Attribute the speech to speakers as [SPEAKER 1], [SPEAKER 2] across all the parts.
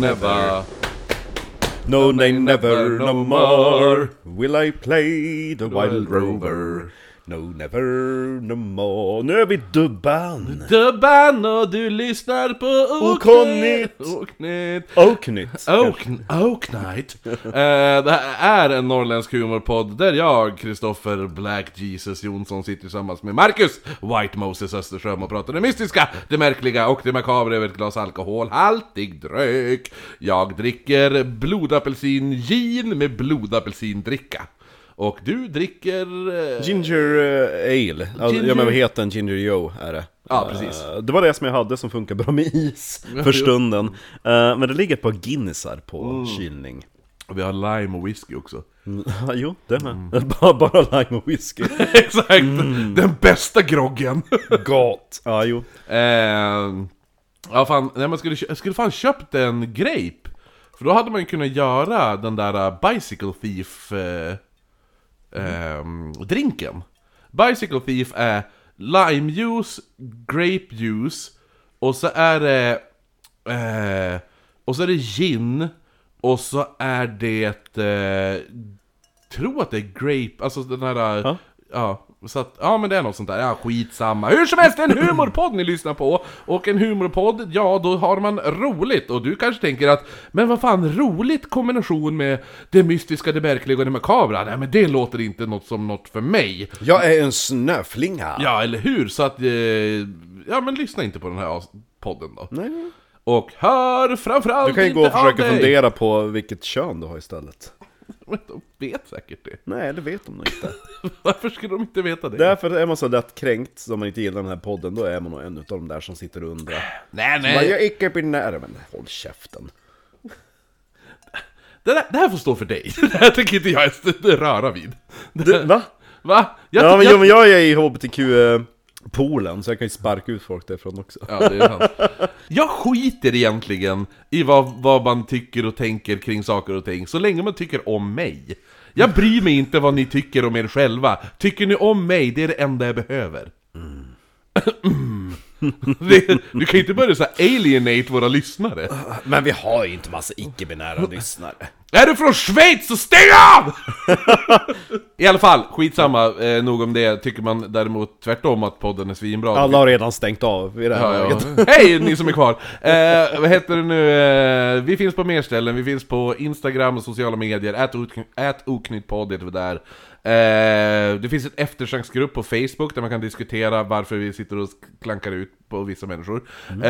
[SPEAKER 1] never.
[SPEAKER 2] No, nay, never, no more will I play the wild rover. No, never, no more. Nu är vi dubban!
[SPEAKER 1] The band och du lyssnar på
[SPEAKER 2] Oknytt.
[SPEAKER 1] Oknytt.
[SPEAKER 2] Oaknytt!
[SPEAKER 1] Oak, Oak Night. Eh, det här är en norrländsk humorpodd där jag, Kristoffer Black Jesus Jonsson, sitter tillsammans med Marcus White Moses Österström och pratar det mystiska, det märkliga och det makabra över ett glas alkoholhaltig dryck. Jag dricker blodapelsin-gin med blodapelsindricka. Och du dricker... eh,
[SPEAKER 2] Ginger eh, ale. Ja,
[SPEAKER 1] Ginger-
[SPEAKER 2] Ja men vad heter den? Ginger Joe är det.
[SPEAKER 1] Ja, precis.
[SPEAKER 2] Eh, Det var det som jag hade som funkar bra med is för stunden. Eh, Men det ligger ett par Guinnessar på kylning.
[SPEAKER 1] Och vi har lime och whisky också.
[SPEAKER 2] Ja, Jo, det med. Bara, bara lime och whisky.
[SPEAKER 1] Exakt! Den bästa groggen!
[SPEAKER 2] Gott! Ja, jo.
[SPEAKER 1] Ehm, ja fan, nej, man skulle, kö- jag skulle fan köpt en grape För då hade man ju kunnat göra den där äh, Bicycle Thief eh, ehm, drinken Bicycle Thief är limejuice, grapejuice och så är det eh, och så är det gin och så är det eh, tror att det är grape, alltså den här... Ja.
[SPEAKER 2] Ja.
[SPEAKER 1] så att, ja men det är något sånt där, ja skitsamma. Hur som helst, det är en humorpodd ni lyssnar på! Och en humorpodd, ja då har man roligt! Och du kanske tänker att, men vad fan, roligt kombination med det mystiska, det märkliga och det makabra? Nej men det låter inte något som något för mig!
[SPEAKER 2] Jag är en snöflinga!
[SPEAKER 1] Ja, eller hur? Så att, eh, ja men lyssna inte på den här as- podden då.
[SPEAKER 2] Nej.
[SPEAKER 1] Och hör framförallt
[SPEAKER 2] Du kan ju gå och
[SPEAKER 1] inte av
[SPEAKER 2] försöka
[SPEAKER 1] dig.
[SPEAKER 2] fundera på vilket kön du har istället.
[SPEAKER 1] Men de vet säkert det.
[SPEAKER 2] Nej, det vet de nog inte.
[SPEAKER 1] Varför skulle de inte veta det?
[SPEAKER 2] Därför är man så lätt kränkt som man inte gillar den här podden, då är man nog en av de där som sitter och undrar.
[SPEAKER 1] Nej, nej!
[SPEAKER 2] Vad jag icke binär, men håll käften.
[SPEAKER 1] Det, där, det här får stå för dig. Det här tänker inte jag ens röra vid.
[SPEAKER 2] Du, va?
[SPEAKER 1] Va? Jag,
[SPEAKER 2] Ja men,
[SPEAKER 1] jag,
[SPEAKER 2] jo, men jag är i HBTQ-poolen, så jag kan ju sparka ut folk därifrån också.
[SPEAKER 1] Ja, det är sant. jag skiter egentligen i vad, vad man tycker och tänker kring saker och ting, så länge man tycker om mig. Jag bryr mig inte vad ni tycker om er själva. Tycker ni om mig, det är det enda jag behöver. Mm. det, du kan ju inte börja så här alienate våra lyssnare.
[SPEAKER 2] Men vi har ju inte massa icke-binära lyssnare.
[SPEAKER 1] Är du från Schweiz så stäng av! I alla fall, skitsamma, eh, nog om det. Tycker man däremot tvärtom att podden är svinbra.
[SPEAKER 2] Alla har redan stängt av i det här
[SPEAKER 1] Ja,
[SPEAKER 2] laget.
[SPEAKER 1] ja. Hej ni som är kvar! Eh, vad heter det nu? Eh, vi finns på mer ställen, vi finns på Instagram och sociala medier, ät, ok- ät oknyttpodd heter vi där. Eh, det finns en eftersnacksgrupp på Facebook där man kan diskutera varför vi sitter och klankar ut på vissa människor. Eh,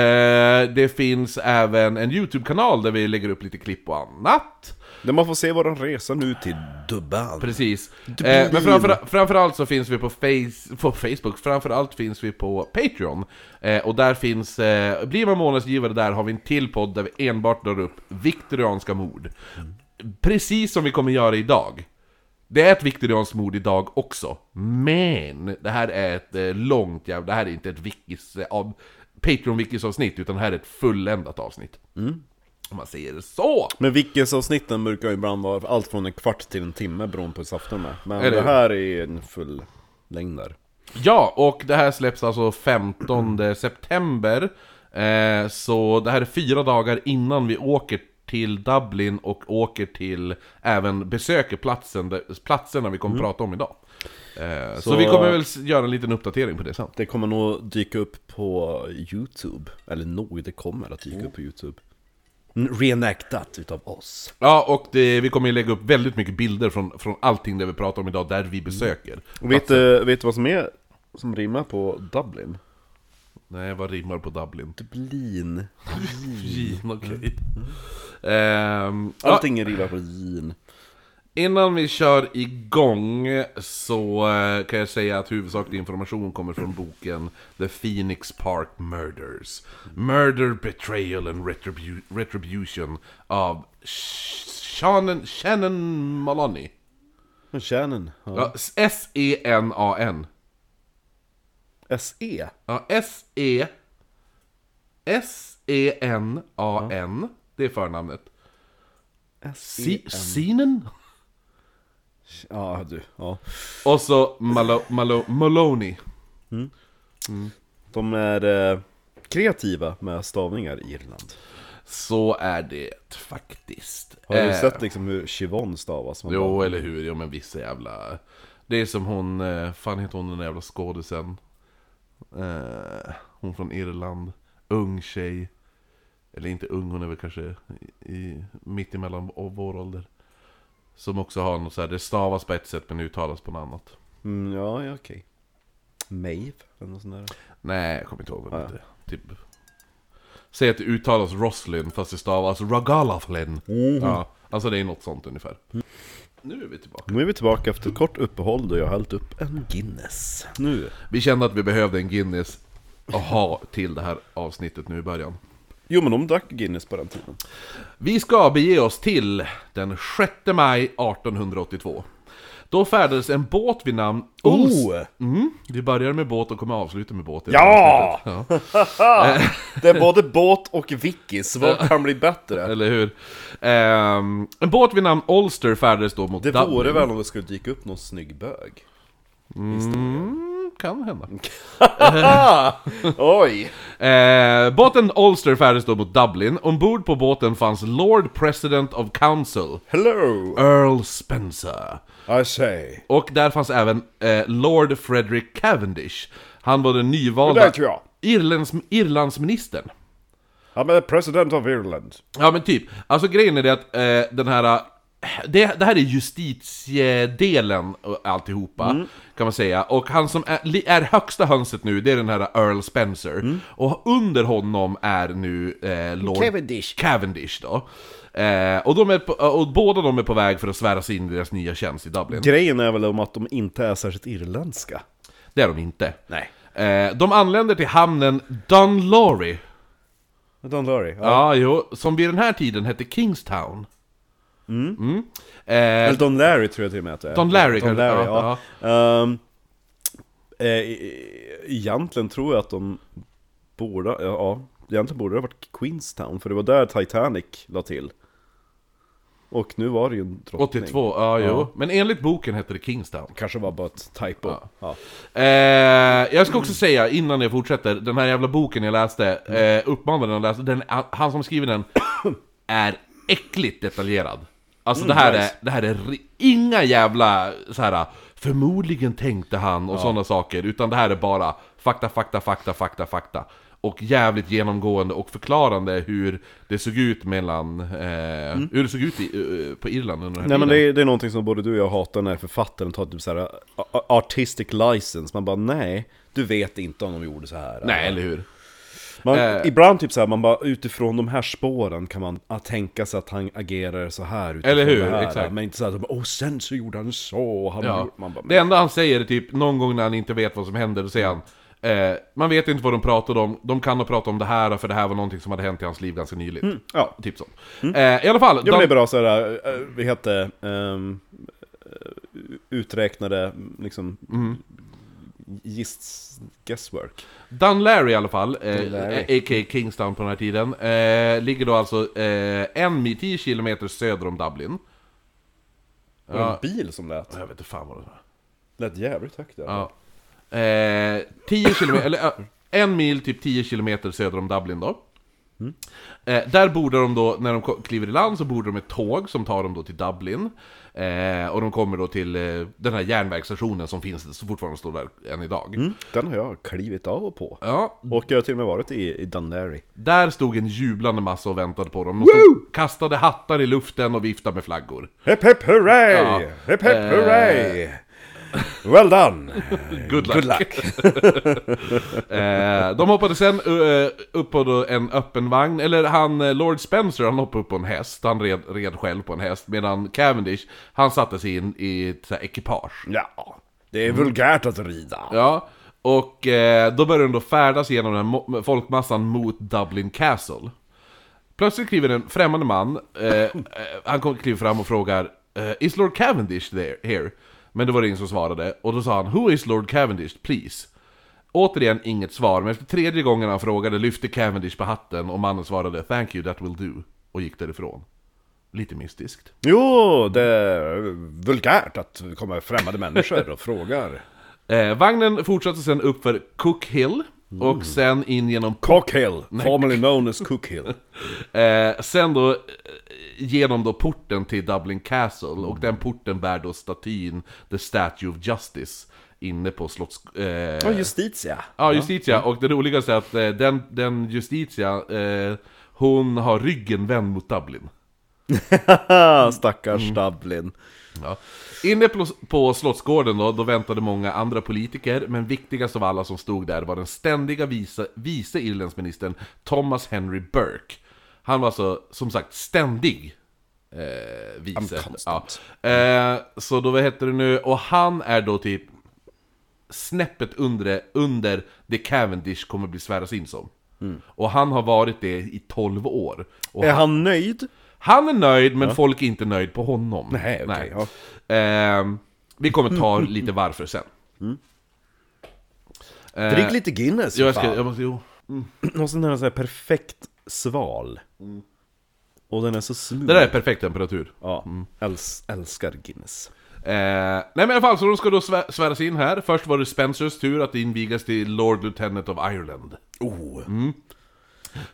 [SPEAKER 1] det finns även en YouTube-kanal där vi lägger upp lite klipp och annat.
[SPEAKER 2] Där man får se våran resa nu till Dubai.
[SPEAKER 1] Precis.
[SPEAKER 2] blir
[SPEAKER 1] Eh,
[SPEAKER 2] din.
[SPEAKER 1] men framför, framförallt så finns vi på, face, på Facebook, framförallt finns vi på Patreon. Eh, och där finns, eh, blir man månadsgivare där har vi en till podd där vi enbart drar upp viktorianska mord. Precis som vi kommer göra idag. Det är ett viktorianskt mord idag också, men det här är ett eh, långt jävla, det här är inte ett wikis, eh, av Patreon-wikis avsnitt, utan det här är ett fulländat avsnitt. Om man säger så!
[SPEAKER 2] Men Vikings-avsnitten brukar ju ibland vara allt från en kvart till en timme beroende på hur saften de är. Men
[SPEAKER 1] Eller
[SPEAKER 2] det
[SPEAKER 1] hur?
[SPEAKER 2] här är en full längd där.
[SPEAKER 1] Ja, och det här släpps alltså 15 september. Eh, så det här är fyra dagar innan vi åker till Dublin och åker till, även besöker platsen, där- platserna vi kommer prata om idag. Eh, så...
[SPEAKER 2] Så-
[SPEAKER 1] vi kommer väl s- göra en liten uppdatering på det sen.
[SPEAKER 2] Det kommer nog dyka upp på Youtube. Eller nog, det kommer att dyka upp på Youtube. Mm, Reenactat utav oss.
[SPEAKER 1] Ja, och det, vi kommer ju lägga upp väldigt mycket bilder från, från allting det vi pratar om idag, där vi besöker.
[SPEAKER 2] Och vet, du- vet du vad som är som rimmar på Dublin?
[SPEAKER 1] Nej, vad rimmar på Dublin?
[SPEAKER 2] Dublin.
[SPEAKER 1] Gin, okej. Ehm, ja,
[SPEAKER 2] Allting är rimmar på gin.
[SPEAKER 1] Innan vi kör igång så eh, kan jag säga att huvudsaklig information kommer från boken The Phoenix Park Murders. Murder, Betrayal and Retribu- Retribution av Sh- Shannon, Shannon Maloney.
[SPEAKER 2] Kärnen. Ja.
[SPEAKER 1] Ja, s- S-E-N-A-N.
[SPEAKER 2] SE.
[SPEAKER 1] Ja, S-E... S-E-N-A-N. Det är förnamnet. Si- Sinen?
[SPEAKER 2] Ja, du. Ja.
[SPEAKER 1] Och så Malo- Malo- Maloney.
[SPEAKER 2] De är eh, kreativa med stavningar i Irland.
[SPEAKER 1] Så är det. Faktiskt.
[SPEAKER 2] Har du
[SPEAKER 1] Eh,
[SPEAKER 2] sett liksom hur Chivon stavas? Man
[SPEAKER 1] Jo,
[SPEAKER 2] bara,
[SPEAKER 1] eller hur. Jo, men vissa jävla... Det är som hon, eh, fan heter hon den där jävla skådisen? Eh, hon från Irland. Ung tjej. Eller inte ung, hon är väl kanske i, i, mitt emellan och vår ålder. Som också har något så här, det stavas på ett sätt men uttalas på något annat.
[SPEAKER 2] Mm, ja, ja okej. Maeve eller något sånt där.
[SPEAKER 1] Nej, jag kommer inte ihåg vad
[SPEAKER 2] Ah,
[SPEAKER 1] det heter. Typ... Säg att det uttalas Roslyn fast det stavas Ragalaflin. Ja, alltså det är något sånt ungefär.
[SPEAKER 2] Mm.
[SPEAKER 1] Nu är vi tillbaka.
[SPEAKER 2] Nu är vi tillbaka efter ett kort uppehåll då jag har hällt upp en Guinness. Nu.
[SPEAKER 1] Vi kände att vi behövde en Guinness att ha till det här avsnittet nu i början.
[SPEAKER 2] Jo men de drack Guinness på den tiden.
[SPEAKER 1] Vi ska bege oss till den 6 maj 1882. Då färdades en båt vid namn Ols...
[SPEAKER 2] Oh!
[SPEAKER 1] Mm, vi börjar med båt och kommer avsluta med båt. i det här
[SPEAKER 2] Ja!
[SPEAKER 1] avsnittet. ja!
[SPEAKER 2] Det är både båt och Vickis, vad kan bli bättre?
[SPEAKER 1] Eller hur? Ehm, en båt vid namn Ulster färdades då mot
[SPEAKER 2] Det
[SPEAKER 1] Dublin.
[SPEAKER 2] vore väl om det skulle dyka upp någon snygg bög?
[SPEAKER 1] Mm, kan hända.
[SPEAKER 2] Oj!
[SPEAKER 1] Eh, båten Ulster färdades då mot Dublin. Ombord på båten fanns Lord President of Council,
[SPEAKER 2] Hello!
[SPEAKER 1] Earl Spencer.
[SPEAKER 2] I say.
[SPEAKER 1] Och där fanns även eh, Lord Frederick Cavendish. Han var den
[SPEAKER 2] Det
[SPEAKER 1] nyvalda
[SPEAKER 2] vet jag.
[SPEAKER 1] Irlands, Irlandsministern.
[SPEAKER 2] I'm the president of Ireland.
[SPEAKER 1] Ja men typ, alltså grejen är det att eh, den här... eh, Det, det här är justitiedelen och alltihopa, kan man säga. Och han som är, li- är högsta hönset nu, det är den här Earl Spencer. Och under honom är nu eh, Lord
[SPEAKER 2] Cavendish.
[SPEAKER 1] Cavendish då. Eh, och, de är på, och båda de är på väg för att sväras in i deras nya tjänst i Dublin.
[SPEAKER 2] Grejen är väl om att de inte är särskilt irländska?
[SPEAKER 1] Det är de inte.
[SPEAKER 2] Nej.
[SPEAKER 1] Eh, de anländer till hamnen Dunlorry.
[SPEAKER 2] Don't worry.
[SPEAKER 1] Ja, jo, som vid den här tiden hette Kingstown. Mm. Eh,
[SPEAKER 2] Eller Don Larry tror jag till och med att det är.
[SPEAKER 1] Don Larry
[SPEAKER 2] Don
[SPEAKER 1] kanske,
[SPEAKER 2] Larry, ja.
[SPEAKER 1] ja,
[SPEAKER 2] Ehm, eh, e- egentligen tror jag att de borde, ja, ja, egentligen borde det ha varit Queenstown, för det var där Titanic la till. Och nu var det ju en drottning.
[SPEAKER 1] 82, ja, jo. Men enligt boken hette det Kingstown.
[SPEAKER 2] Kanske var bara ett typo. Ja.
[SPEAKER 1] Eh, jag ska också säga, innan jag fortsätter, den här jävla boken jag läste, eh, uppmanar den att läsa, den, han som skriver den är äckligt detaljerad. Alltså det här
[SPEAKER 2] Mm, nice.
[SPEAKER 1] är, det här är ri- inga jävla så här. förmodligen tänkte han och sådana saker, utan det här är bara fakta, fakta, fakta, fakta, fakta. Och jävligt genomgående och förklarande hur det såg ut mellan, eh, hur det såg ut i, eh, på Irland under den här
[SPEAKER 2] Mm. Nej men
[SPEAKER 1] tiden.
[SPEAKER 2] det är, det är någonting som både du och jag hatar när författaren tar typ såhär a- a- artistic license, man bara nej, du vet inte om de gjorde så här.
[SPEAKER 1] Nej, eller hur?
[SPEAKER 2] Man,
[SPEAKER 1] Eh.
[SPEAKER 2] Ibland typ så här, man bara utifrån de här spåren kan man ah, tänka sig att han agerar så här utifrån
[SPEAKER 1] Eller hur?
[SPEAKER 2] det här.
[SPEAKER 1] Exakt.
[SPEAKER 2] Men inte så här, bara, åh sen så gjorde han så, och han
[SPEAKER 1] Ja.
[SPEAKER 2] gjorde, man bara,
[SPEAKER 1] det enda han säger är typ någon gång när han inte vet vad som händer, då säger han eh, Man vet inte vad de pratade om, de kan ha pratat om det här för det här var någonting som hade hänt i hans liv ganska nyligen.
[SPEAKER 2] ja.
[SPEAKER 1] Typ så. Eh, I alla fall,
[SPEAKER 2] Ja Mm. men
[SPEAKER 1] Dan-
[SPEAKER 2] det är bra så här, eh, vi hette ehm, eh, uträknade liksom
[SPEAKER 1] Mm.
[SPEAKER 2] gists guesswork.
[SPEAKER 1] Dan Larry i alla fall, eh,
[SPEAKER 2] Dan Larry.
[SPEAKER 1] eh, a.k.a. Kingstown på den här tiden, eh, ligger då alltså eh, en mil, 10 kilometer söder om Dublin.
[SPEAKER 2] Det var en bil som lät,
[SPEAKER 1] Jag vet inte fan vad det var.
[SPEAKER 2] lät jävligt högt där.
[SPEAKER 1] Ja. Eh, 10 kilometer, eller ja, en mil, typ 10 kilometer söder om Dublin då. Eh, där borde de då, när de ko- kliver i land så borde de ett tåg som tar dem då till Dublin. Eh, och de kommer då till eh, den här järnvägsstationen som finns, som fortfarande står där än idag.
[SPEAKER 2] Mm. Den har jag klivit av och på.
[SPEAKER 1] Ja,
[SPEAKER 2] Och jag har till och med varit i, i Dunleary.
[SPEAKER 1] där stod en jublande massa och väntade på dem. De stod, kastade hattar i luften och viftade med flaggor.
[SPEAKER 2] Hepp hepp hurray!
[SPEAKER 1] Ja.
[SPEAKER 2] Hepp hepp hurray! Well done!
[SPEAKER 1] Good luck! eh, de hoppade sen eh, upp på då en öppen vagn, eller han, eh, Lord Spencer, han hoppade upp på en häst, han red, red själv på en häst, medan Cavendish, han satte sig in i ett så här, ekipage.
[SPEAKER 2] Ja, det är vulgärt att rida.
[SPEAKER 1] Ja, och eh, då började de då färdas genom den här mo- folkmassan mot Dublin Castle. Plötsligt kliver en främmande man, eh, eh, han kom- kliver fram och frågar eh, Is Lord Cavendish there, here? Men det var det ingen som svarade, och då sa han Who is Lord Cavendish, please? Återigen inget svar, men efter tredje gången han frågade lyfte Cavendish på hatten och mannen svarade Thank you, that will do, och gick därifrån. Lite mystiskt.
[SPEAKER 2] Jo, det är vulgärt att komma främmande människor och frågar.
[SPEAKER 1] Eh, vagnen fortsatte sen upp för Cook Hill, och sen in genom
[SPEAKER 2] Cockhill, formerly known as Cookhill.
[SPEAKER 1] Eh, sen då, eh, genom då porten till Dublin Castle och den porten bär då statyn The Statue of Justice inne på slotts... Eh,
[SPEAKER 2] Ja, Justitia.
[SPEAKER 1] Ja, Justitia. Och det roligaste är att eh, den, den Justitia, eh, hon har ryggen vänd mot Dublin.
[SPEAKER 2] Stackars Dublin.
[SPEAKER 1] Ja. Inne på, på Slottsgården då, då väntade många andra politiker, men viktigast av alla som stod där var den ständiga vice, vice irländsk Thomas Henry Burke. Han var alltså, som sagt, ständig eh, vice. Ja.
[SPEAKER 2] constant.
[SPEAKER 1] Eh, så då, vad heter det nu, och han är då typ snäppet under, under det Cavendish kommer bli sväras in som. Och han har varit det i 12 år. Och
[SPEAKER 2] Är han nöjd?
[SPEAKER 1] han är nöjd, men folk är inte nöjd på honom.
[SPEAKER 2] Nej, okej, Mm.
[SPEAKER 1] Ehm, vi kommer ta lite varför sen. Eh,
[SPEAKER 2] Drick lite Guinness
[SPEAKER 1] jo, jag
[SPEAKER 2] fan.
[SPEAKER 1] ska, jag måste, jo.
[SPEAKER 2] Och sen är den så här perfekt sval. Och den Mm. är så smooth.
[SPEAKER 1] Det där är perfekt temperatur.
[SPEAKER 2] Ja, Äls- älskar Guinness.
[SPEAKER 1] Eh, nej men i alla fall, så de ska då svä- sväras in här. Först var det Spencers tur att invigas till Lord Lieutenant of Ireland.
[SPEAKER 2] Oh.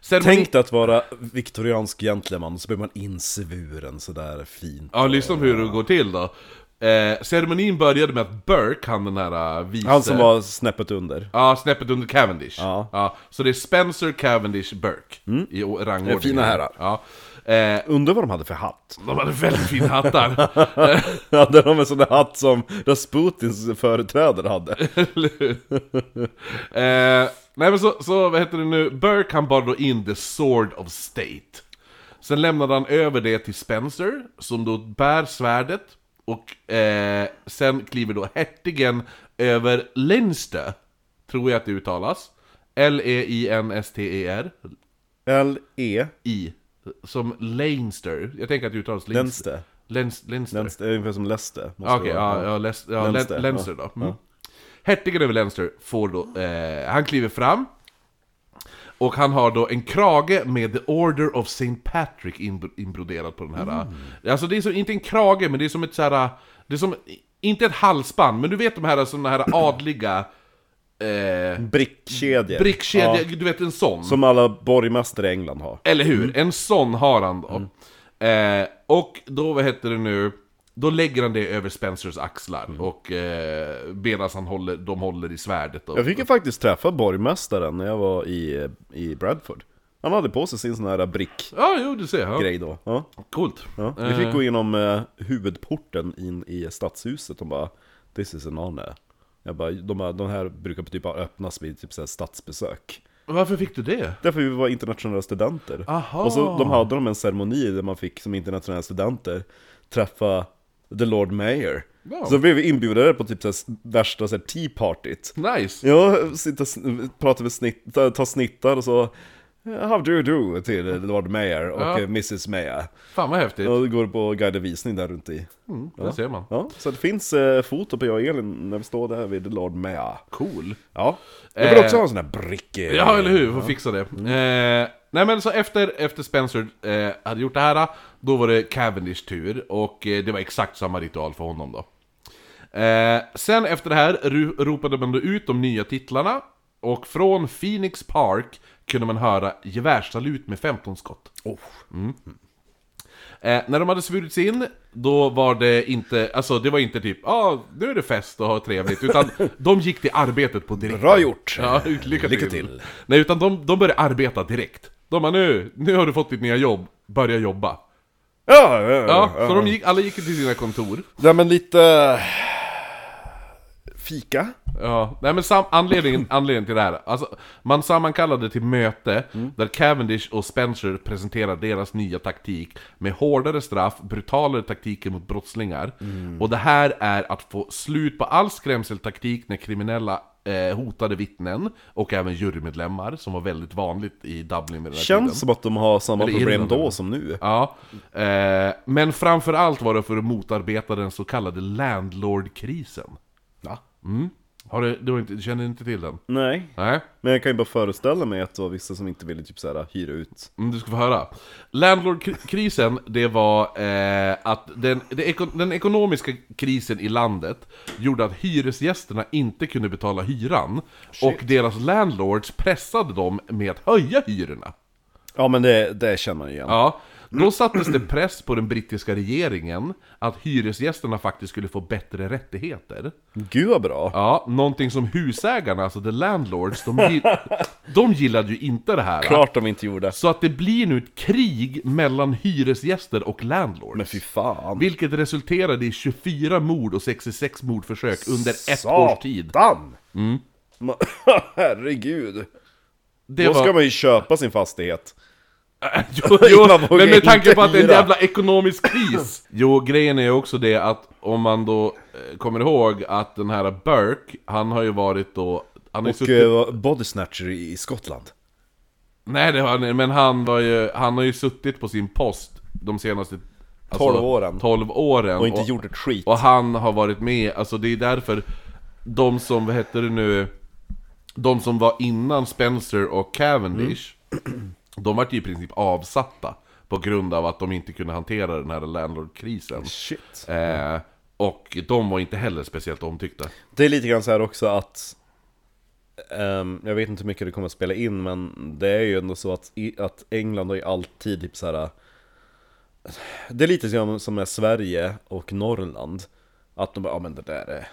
[SPEAKER 1] Ceremoni-
[SPEAKER 2] Tänk dig att vara viktoriansk gentleman och så blir man insvuren sådär fint.
[SPEAKER 1] Ja, lyssna på hur det går till då. Eh, ceremonin började med att Burke, han den där eh, vice...
[SPEAKER 2] Han som var snäppet under.
[SPEAKER 1] Ja, snäppet under Cavendish.
[SPEAKER 2] Ja. Mm.
[SPEAKER 1] så det är Spencer, Cavendish, Burke i o- rangordning.
[SPEAKER 2] Det är fina herrar.
[SPEAKER 1] Ja. Eh,
[SPEAKER 2] Undrar vad de hade för hatt?
[SPEAKER 1] de hade väldigt fina hattar.
[SPEAKER 2] hade de en sån där hatt som Rasputins företrädare hade?
[SPEAKER 1] Eller hur? eh, nej men så, så, vad heter det nu? Burke han bar då in the sword of state. Sen lämnade han över det till Spencer, som då bär svärdet. Och eh, sen kliver då hertigen över Leinster, tror jag att det uttalas. E L-E-I-N-S-T-E-R.
[SPEAKER 2] L-E,
[SPEAKER 1] I. Som Leinster. Jag tänker att det uttalas Leinster.
[SPEAKER 2] Lenste.
[SPEAKER 1] Lens, Leinster.
[SPEAKER 2] Lenste, är ungefär som Leste.
[SPEAKER 1] Ja, Okej, ja, ja, Lens, ja,
[SPEAKER 2] Leinster,
[SPEAKER 1] Leinster,
[SPEAKER 2] ja.
[SPEAKER 1] Leinster då. Mm. Hertigen över Leinster får då, eh, han kliver fram. Och han har då en krage med The Order of St. Patrick inb- inbroderad på den här. Alltså det är som, inte en krage, men det är som ett så här. Det är som, inte ett halsband, men du vet de här såna här adliga eh,
[SPEAKER 2] Brickkedjor.
[SPEAKER 1] brickkedjor,
[SPEAKER 2] Ja,
[SPEAKER 1] du vet en sån.
[SPEAKER 2] som alla borgmästare i England har.
[SPEAKER 1] Eller hur?
[SPEAKER 2] Mm.
[SPEAKER 1] En sån har han då. Eh, och då, vad heter det nu? Då lägger han det över Spencers axlar
[SPEAKER 2] Mm.
[SPEAKER 1] och eh, medan han håller, de håller i svärdet då.
[SPEAKER 2] Jag fick ju faktiskt träffa borgmästaren när jag var i, i Bradford. Han hade på sig sin sån här brickgrej
[SPEAKER 1] Ja, jo du ser. Ja.
[SPEAKER 2] då. Ja,
[SPEAKER 1] Coolt.
[SPEAKER 2] ja. Vi fick gå igenom eh, huvudporten in i stadshuset och bara This is an honor. Jag bara, de, bara, de här brukar typ bara öppnas vid typ så här statsbesök.
[SPEAKER 1] Varför fick du det?
[SPEAKER 2] Därför vi var internationella studenter.
[SPEAKER 1] Aha.
[SPEAKER 2] Och så de hade de en ceremoni där man fick som internationella studenter träffa the Lord Mayor.
[SPEAKER 1] Ja.
[SPEAKER 2] Så blev vi inbjudna på typ så här, värsta så här, tea partyt.
[SPEAKER 1] Nice!
[SPEAKER 2] Ja, sitta, prata med snitt, ta, ta snittar och så How do you do till Lord Mayor och
[SPEAKER 1] Ja.
[SPEAKER 2] eh, Mrs Mayor.
[SPEAKER 1] Fan vad häftigt.
[SPEAKER 2] Och går på guidad visning där runt i.
[SPEAKER 1] Där ser man.
[SPEAKER 2] Ja, så det finns eh, foto på jag och Elin när vi står där vid Lord Mayor.
[SPEAKER 1] Cool.
[SPEAKER 2] Ja, jag vill
[SPEAKER 1] Eh,
[SPEAKER 2] också ha en sån här bricka.
[SPEAKER 1] Ja, eller hur? Får fixa det. Eh, nej men så efter, efter Spencer eh, hade gjort det här, då var det Cavendish tur och eh, det var exakt samma ritual för honom då. Eh, sen efter det här ru- ropade man då ut de nya titlarna och från Phoenix Park kunde man höra gevärssalut med 15 skott.
[SPEAKER 2] Oh,
[SPEAKER 1] Eh, när de hade svurits in, då var det inte, alltså det var inte typ ja, ah, nu är det fest och ha trevligt, utan de gick till arbetet på direkt.
[SPEAKER 2] Bra gjort!
[SPEAKER 1] Ja, lycka till.
[SPEAKER 2] Lycka till.
[SPEAKER 1] Nej, utan de, de börjar arbeta direkt. De bara nu, nu har du fått ditt nya jobb, börja jobba.
[SPEAKER 2] Ja, ja,
[SPEAKER 1] Ja,
[SPEAKER 2] ja. ja.
[SPEAKER 1] så de gick, alla gick till sina kontor.
[SPEAKER 2] Nej men lite... eh, Fika?
[SPEAKER 1] Ja, nej men sam, anledningen, anledningen till det här, alltså, man sammankallade till möte där Cavendish och Spencer presenterar deras nya taktik med hårdare straff, brutalare taktiker mot brottslingar. Och det här är att få slut på all skrämseltaktik när kriminella eh, hotade vittnen och även jurymedlemmar, som var väldigt vanligt i Dublin vid den här tiden.
[SPEAKER 2] Känns som att de har samma
[SPEAKER 1] Eller
[SPEAKER 2] problem
[SPEAKER 1] Irland,
[SPEAKER 2] då
[SPEAKER 1] eller?
[SPEAKER 2] som nu.
[SPEAKER 1] Ja, eh, men framförallt var det för att motarbeta den så kallade landlordkrisen. Mm.
[SPEAKER 2] Ja.
[SPEAKER 1] Har du, du, har inte, du känner inte till den?
[SPEAKER 2] Nej.
[SPEAKER 1] Nej?
[SPEAKER 2] Men jag kan ju bara föreställa mig att det var vissa som inte ville typ så här, hyra ut.
[SPEAKER 1] Mm, du ska få höra. Landlordkrisen, det var eh, att den, det eko, den ekonomiska krisen i landet gjorde att hyresgästerna inte kunde betala hyran. Och deras landlords pressade dem med att höja hyrorna.
[SPEAKER 2] Ja men det, det känner man ju igen.
[SPEAKER 1] Ja, Då sattes det press på den brittiska regeringen att hyresgästerna faktiskt skulle få bättre rättigheter.
[SPEAKER 2] Gud vad bra!
[SPEAKER 1] Ja, någonting som husägarna, alltså the landlords, de, gi- de gillade ju inte det här.
[SPEAKER 2] Klart de inte gjorde.
[SPEAKER 1] Så att det blir nu ett krig mellan hyresgäster och landlords.
[SPEAKER 2] Men fy fan.
[SPEAKER 1] Vilket resulterade i 24 mord och 66 mordförsök under ett års tid.
[SPEAKER 2] Satan! Ma- Herregud.
[SPEAKER 1] Det
[SPEAKER 2] Då
[SPEAKER 1] var...
[SPEAKER 2] ska man ju köpa sin fastighet.
[SPEAKER 1] jo,
[SPEAKER 2] Man
[SPEAKER 1] jo,
[SPEAKER 2] vågar
[SPEAKER 1] men med tanke
[SPEAKER 2] inte
[SPEAKER 1] på att det är en
[SPEAKER 2] hyra.
[SPEAKER 1] jävla ekonomisk kris. Jo, grejen är ju också det att om man då eh, kommer ihåg att den här Burke, han har ju varit då... Han har ju
[SPEAKER 2] Och
[SPEAKER 1] suttit...
[SPEAKER 2] eh, body snatcher i i Skottland.
[SPEAKER 1] Nej, det har han men han, var ju, han har ju suttit på sin post de senaste...
[SPEAKER 2] 12 åren.
[SPEAKER 1] 12 åren.
[SPEAKER 2] Och inte gjort ett skit.
[SPEAKER 1] Och han har varit med, alltså det är därför de som, vad heter det nu, de som var innan Spencer och Cavendish, de var ju i princip avsatta på grund av att de inte kunde hantera den här landlord-krisen.
[SPEAKER 2] Shit.
[SPEAKER 1] Eh, och de var inte heller speciellt omtyckta.
[SPEAKER 2] Det är lite grann så här också att ehm, Jag vet inte hur mycket det kommer att spela in men det är ju ändå så att, i, att England har ju alltid typ så här. eh, Det är lite som, som med Sverige och Norrland Att de bara, ja men det där är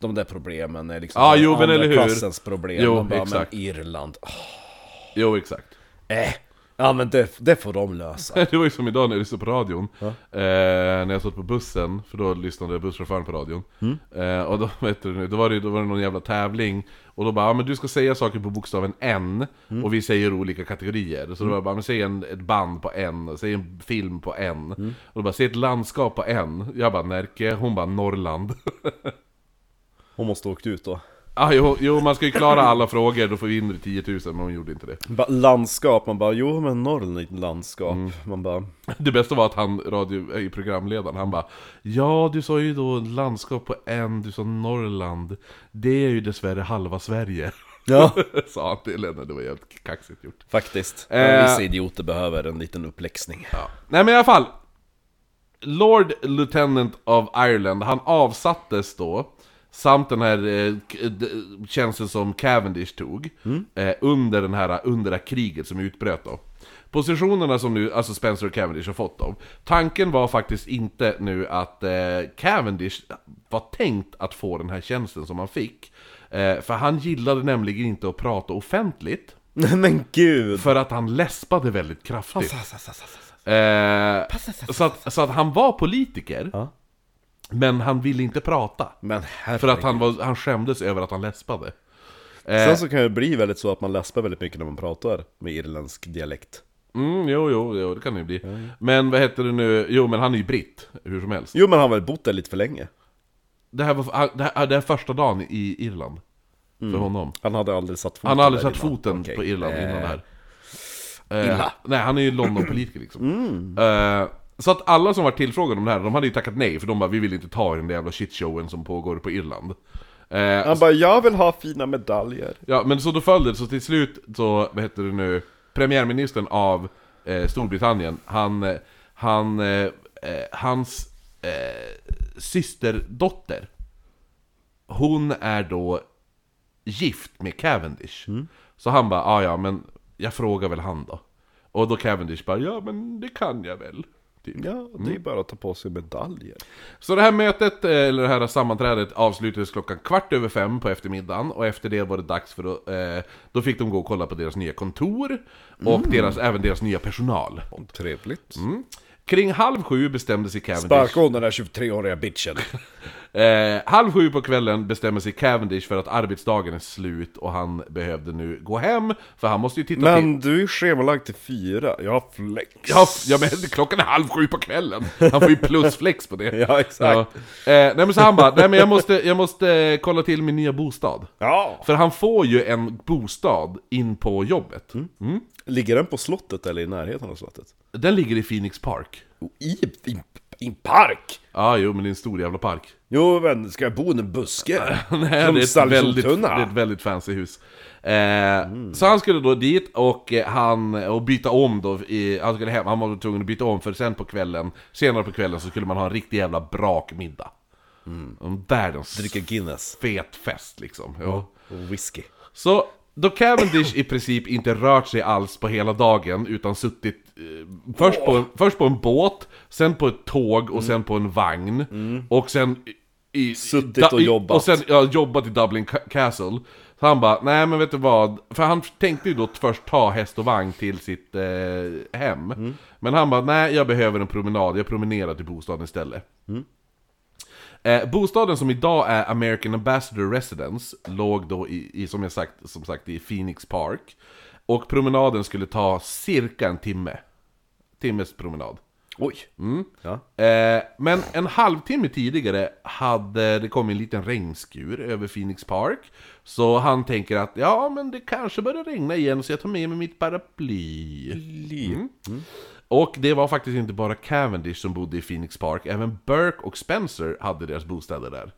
[SPEAKER 2] De där problemen är liksom
[SPEAKER 1] Ja, jo, men
[SPEAKER 2] andra
[SPEAKER 1] eller hur?
[SPEAKER 2] klassens problem
[SPEAKER 1] Jo,
[SPEAKER 2] De bara,
[SPEAKER 1] exakt.
[SPEAKER 2] men Irland, åh,
[SPEAKER 1] Jo, exakt.
[SPEAKER 2] äh, Ja men det, det får de lösa
[SPEAKER 1] Det var ju som idag när jag lyssnade på radion. Eh, när jag satt på bussen, för då lyssnade busschauffören på radion. Eh, och då, vet du, nu, då, var det, då var det någon jävla tävling. Och då bara, ja men du ska säga saker på bokstaven N. Och vi säger olika kategorier. Så då var jag bara, men säg en, ett band på N. Säg en film på N. Och då bara, säg ett landskap på N. Jag bara, Närke. Hon bara, Norrland.
[SPEAKER 2] Hon måste ha åkt ut då
[SPEAKER 1] ah, jo, jo, man ska ju klara alla frågor, då får vi in 10 000. Men hon gjorde inte det.
[SPEAKER 2] bara, Landskap, man bara, jo men Norrland är ett landskap
[SPEAKER 1] Mm.
[SPEAKER 2] Man bara,
[SPEAKER 1] Det bästa var att han, radio, eh, programledaren, han bara Ja, du sa ju då landskap på en, du sa Norrland Det är ju dessvärre halva Sverige
[SPEAKER 2] ja
[SPEAKER 1] Sa han till henne, det var jävligt kaxigt gjort
[SPEAKER 2] Faktiskt.
[SPEAKER 1] Eh.
[SPEAKER 2] Vissa idioter behöver en liten uppläxning.
[SPEAKER 1] ja. Nej men i alla fall Lord Lieutenant of Ireland, han avsattes då Samt den här eh, k- d- tjänsten som Cavendish tog eh, Under den här, under det här kriget som utbröt då Positionerna som nu, alltså Spencer och Cavendish har fått dem Tanken var faktiskt inte nu att eh, Cavendish var tänkt att få den här tjänsten som han fick eh, För han gillade nämligen inte att prata offentligt
[SPEAKER 2] Nej men gud!
[SPEAKER 1] För att han läspade väldigt kraftigt Eh, så, att, så att han var politiker,
[SPEAKER 2] Ja.
[SPEAKER 1] men han ville inte prata.
[SPEAKER 2] Men herregud.
[SPEAKER 1] För att han, Eh. var, han skämdes över att han läspade.
[SPEAKER 2] Sen så kan det bli väldigt så att man läspar väldigt mycket när man pratar med irländsk dialekt.
[SPEAKER 1] Mm, jo, jo, jo, det kan det ju bli. Men vad heter det nu? Jo, men han är ju britt, hur som helst.
[SPEAKER 2] Jo men han har väl bott där lite för länge.
[SPEAKER 1] Det här var han- det här, ah, det här är första dagen i Irland. För honom.
[SPEAKER 2] Han hade aldrig satt foten
[SPEAKER 1] Han har aldrig
[SPEAKER 2] där
[SPEAKER 1] satt
[SPEAKER 2] innan.
[SPEAKER 1] foten
[SPEAKER 2] Okej.
[SPEAKER 1] på Irland
[SPEAKER 2] Eh,
[SPEAKER 1] innan det här. Eh,
[SPEAKER 2] illa.
[SPEAKER 1] nej, han är ju Londonpolitiker liksom. Eh, så att alla som var tillfrågade om det här, de hade ju tackat nej, för de bara 'Vi vill inte ta i den där jävla shitshowen som pågår på Irland' Eh,
[SPEAKER 2] Han bara, jag vill ha fina medaljer.
[SPEAKER 1] Ja, men så då föll det, så till slut så, vad heter det nu, premiärministern av eh, Storbritannien, han, eh, han, eh, eh, hans eh, systerdotter, hon är då gift med Cavendish. Så han bara, "Ah, ja men jag frågar väl han då. Och då Cavendish bara, ja men det kan jag väl. Typ.
[SPEAKER 2] Ja, det är bara att ta på sig medaljer.
[SPEAKER 1] Så det här mötet, eh, eller det här sammanträdet avslutades klockan kvart över fem på eftermiddagen och efter det var det dags för att, eh, då fick de gå och kolla på deras nya kontor och
[SPEAKER 2] Mm.
[SPEAKER 1] deras, även deras nya personal.
[SPEAKER 2] Trevligt.
[SPEAKER 1] Kring halv sju bestämde sig Cavendish...
[SPEAKER 2] Mm. Sparka hon den där 23-åriga bitchen.
[SPEAKER 1] Eh, halv sju på kvällen bestämde sig Cavendish för att arbetsdagen är slut och han behövde nu gå hem, för han måste ju titta till...
[SPEAKER 2] Men du är schemalagd till fyra, jag har flex.
[SPEAKER 1] Ja, f- ja men klockan är halv sju på kvällen. Han får ju plusflex på det.
[SPEAKER 2] Ja, exakt.
[SPEAKER 1] Ja. Eh, nej men så han bara, nej men jag måste, jag måste eh, kolla till min nya bostad.
[SPEAKER 2] Ja.
[SPEAKER 1] För han får ju en bostad in på jobbet. Mm.
[SPEAKER 2] Ligger den på slottet eller i närheten av slottet? Oh,
[SPEAKER 1] Den ligger i Phoenix Park.
[SPEAKER 2] I, i, i en park?
[SPEAKER 1] Ja, jo, men det är en stor jävla park.
[SPEAKER 2] Jo men, ska jag bo i en buske?
[SPEAKER 1] Nej, det, är ett väldigt, det är ett väldigt fancy hus. Eh, Så han skulle då dit och, eh, han, och byta om då, i, han skulle hem, han var tvungen att byta om för sen på kvällen, senare på kvällen så skulle man ha en riktig jävla brakmiddag. Mm. Världens
[SPEAKER 2] Dricka Guinness
[SPEAKER 1] fet fest liksom. Jo.
[SPEAKER 2] och whisky
[SPEAKER 1] Så Då Cavendish i princip inte rört sig alls på hela dagen utan suttit eh, först, på, först på en båt, sen på ett tåg
[SPEAKER 2] Mm.
[SPEAKER 1] och sen på en vagn och sen i, i,
[SPEAKER 2] Suttit
[SPEAKER 1] da-
[SPEAKER 2] och
[SPEAKER 1] i-
[SPEAKER 2] jobbat.
[SPEAKER 1] Och sen ja, jobbat i Dublin Ca- Castle. Så han bara, nej men vet du vad? För han tänkte ju då först ta häst och vagn till sitt eh, hem.
[SPEAKER 2] Mm.
[SPEAKER 1] Men han bara, nej jag behöver en promenad, jag promenerar till bostaden istället. Eh, bostaden som idag är American Ambassador Residence låg då i, i som jag sagt, som sagt i Phoenix Park. Och promenaden skulle ta cirka en timme. Timmes promenad.
[SPEAKER 2] Oj!
[SPEAKER 1] Mm.
[SPEAKER 2] Ja.
[SPEAKER 1] Eh, men en halvtimme tidigare hade det kommit en liten regnskur över Phoenix Park. Så han tänker att ja, men det kanske börjar regna igen så jag tar med mig mitt paraply.
[SPEAKER 2] Mm.
[SPEAKER 1] Och det var faktiskt inte bara Cavendish som bodde i Phoenix Park, även Burke och Spencer hade deras bostäder där.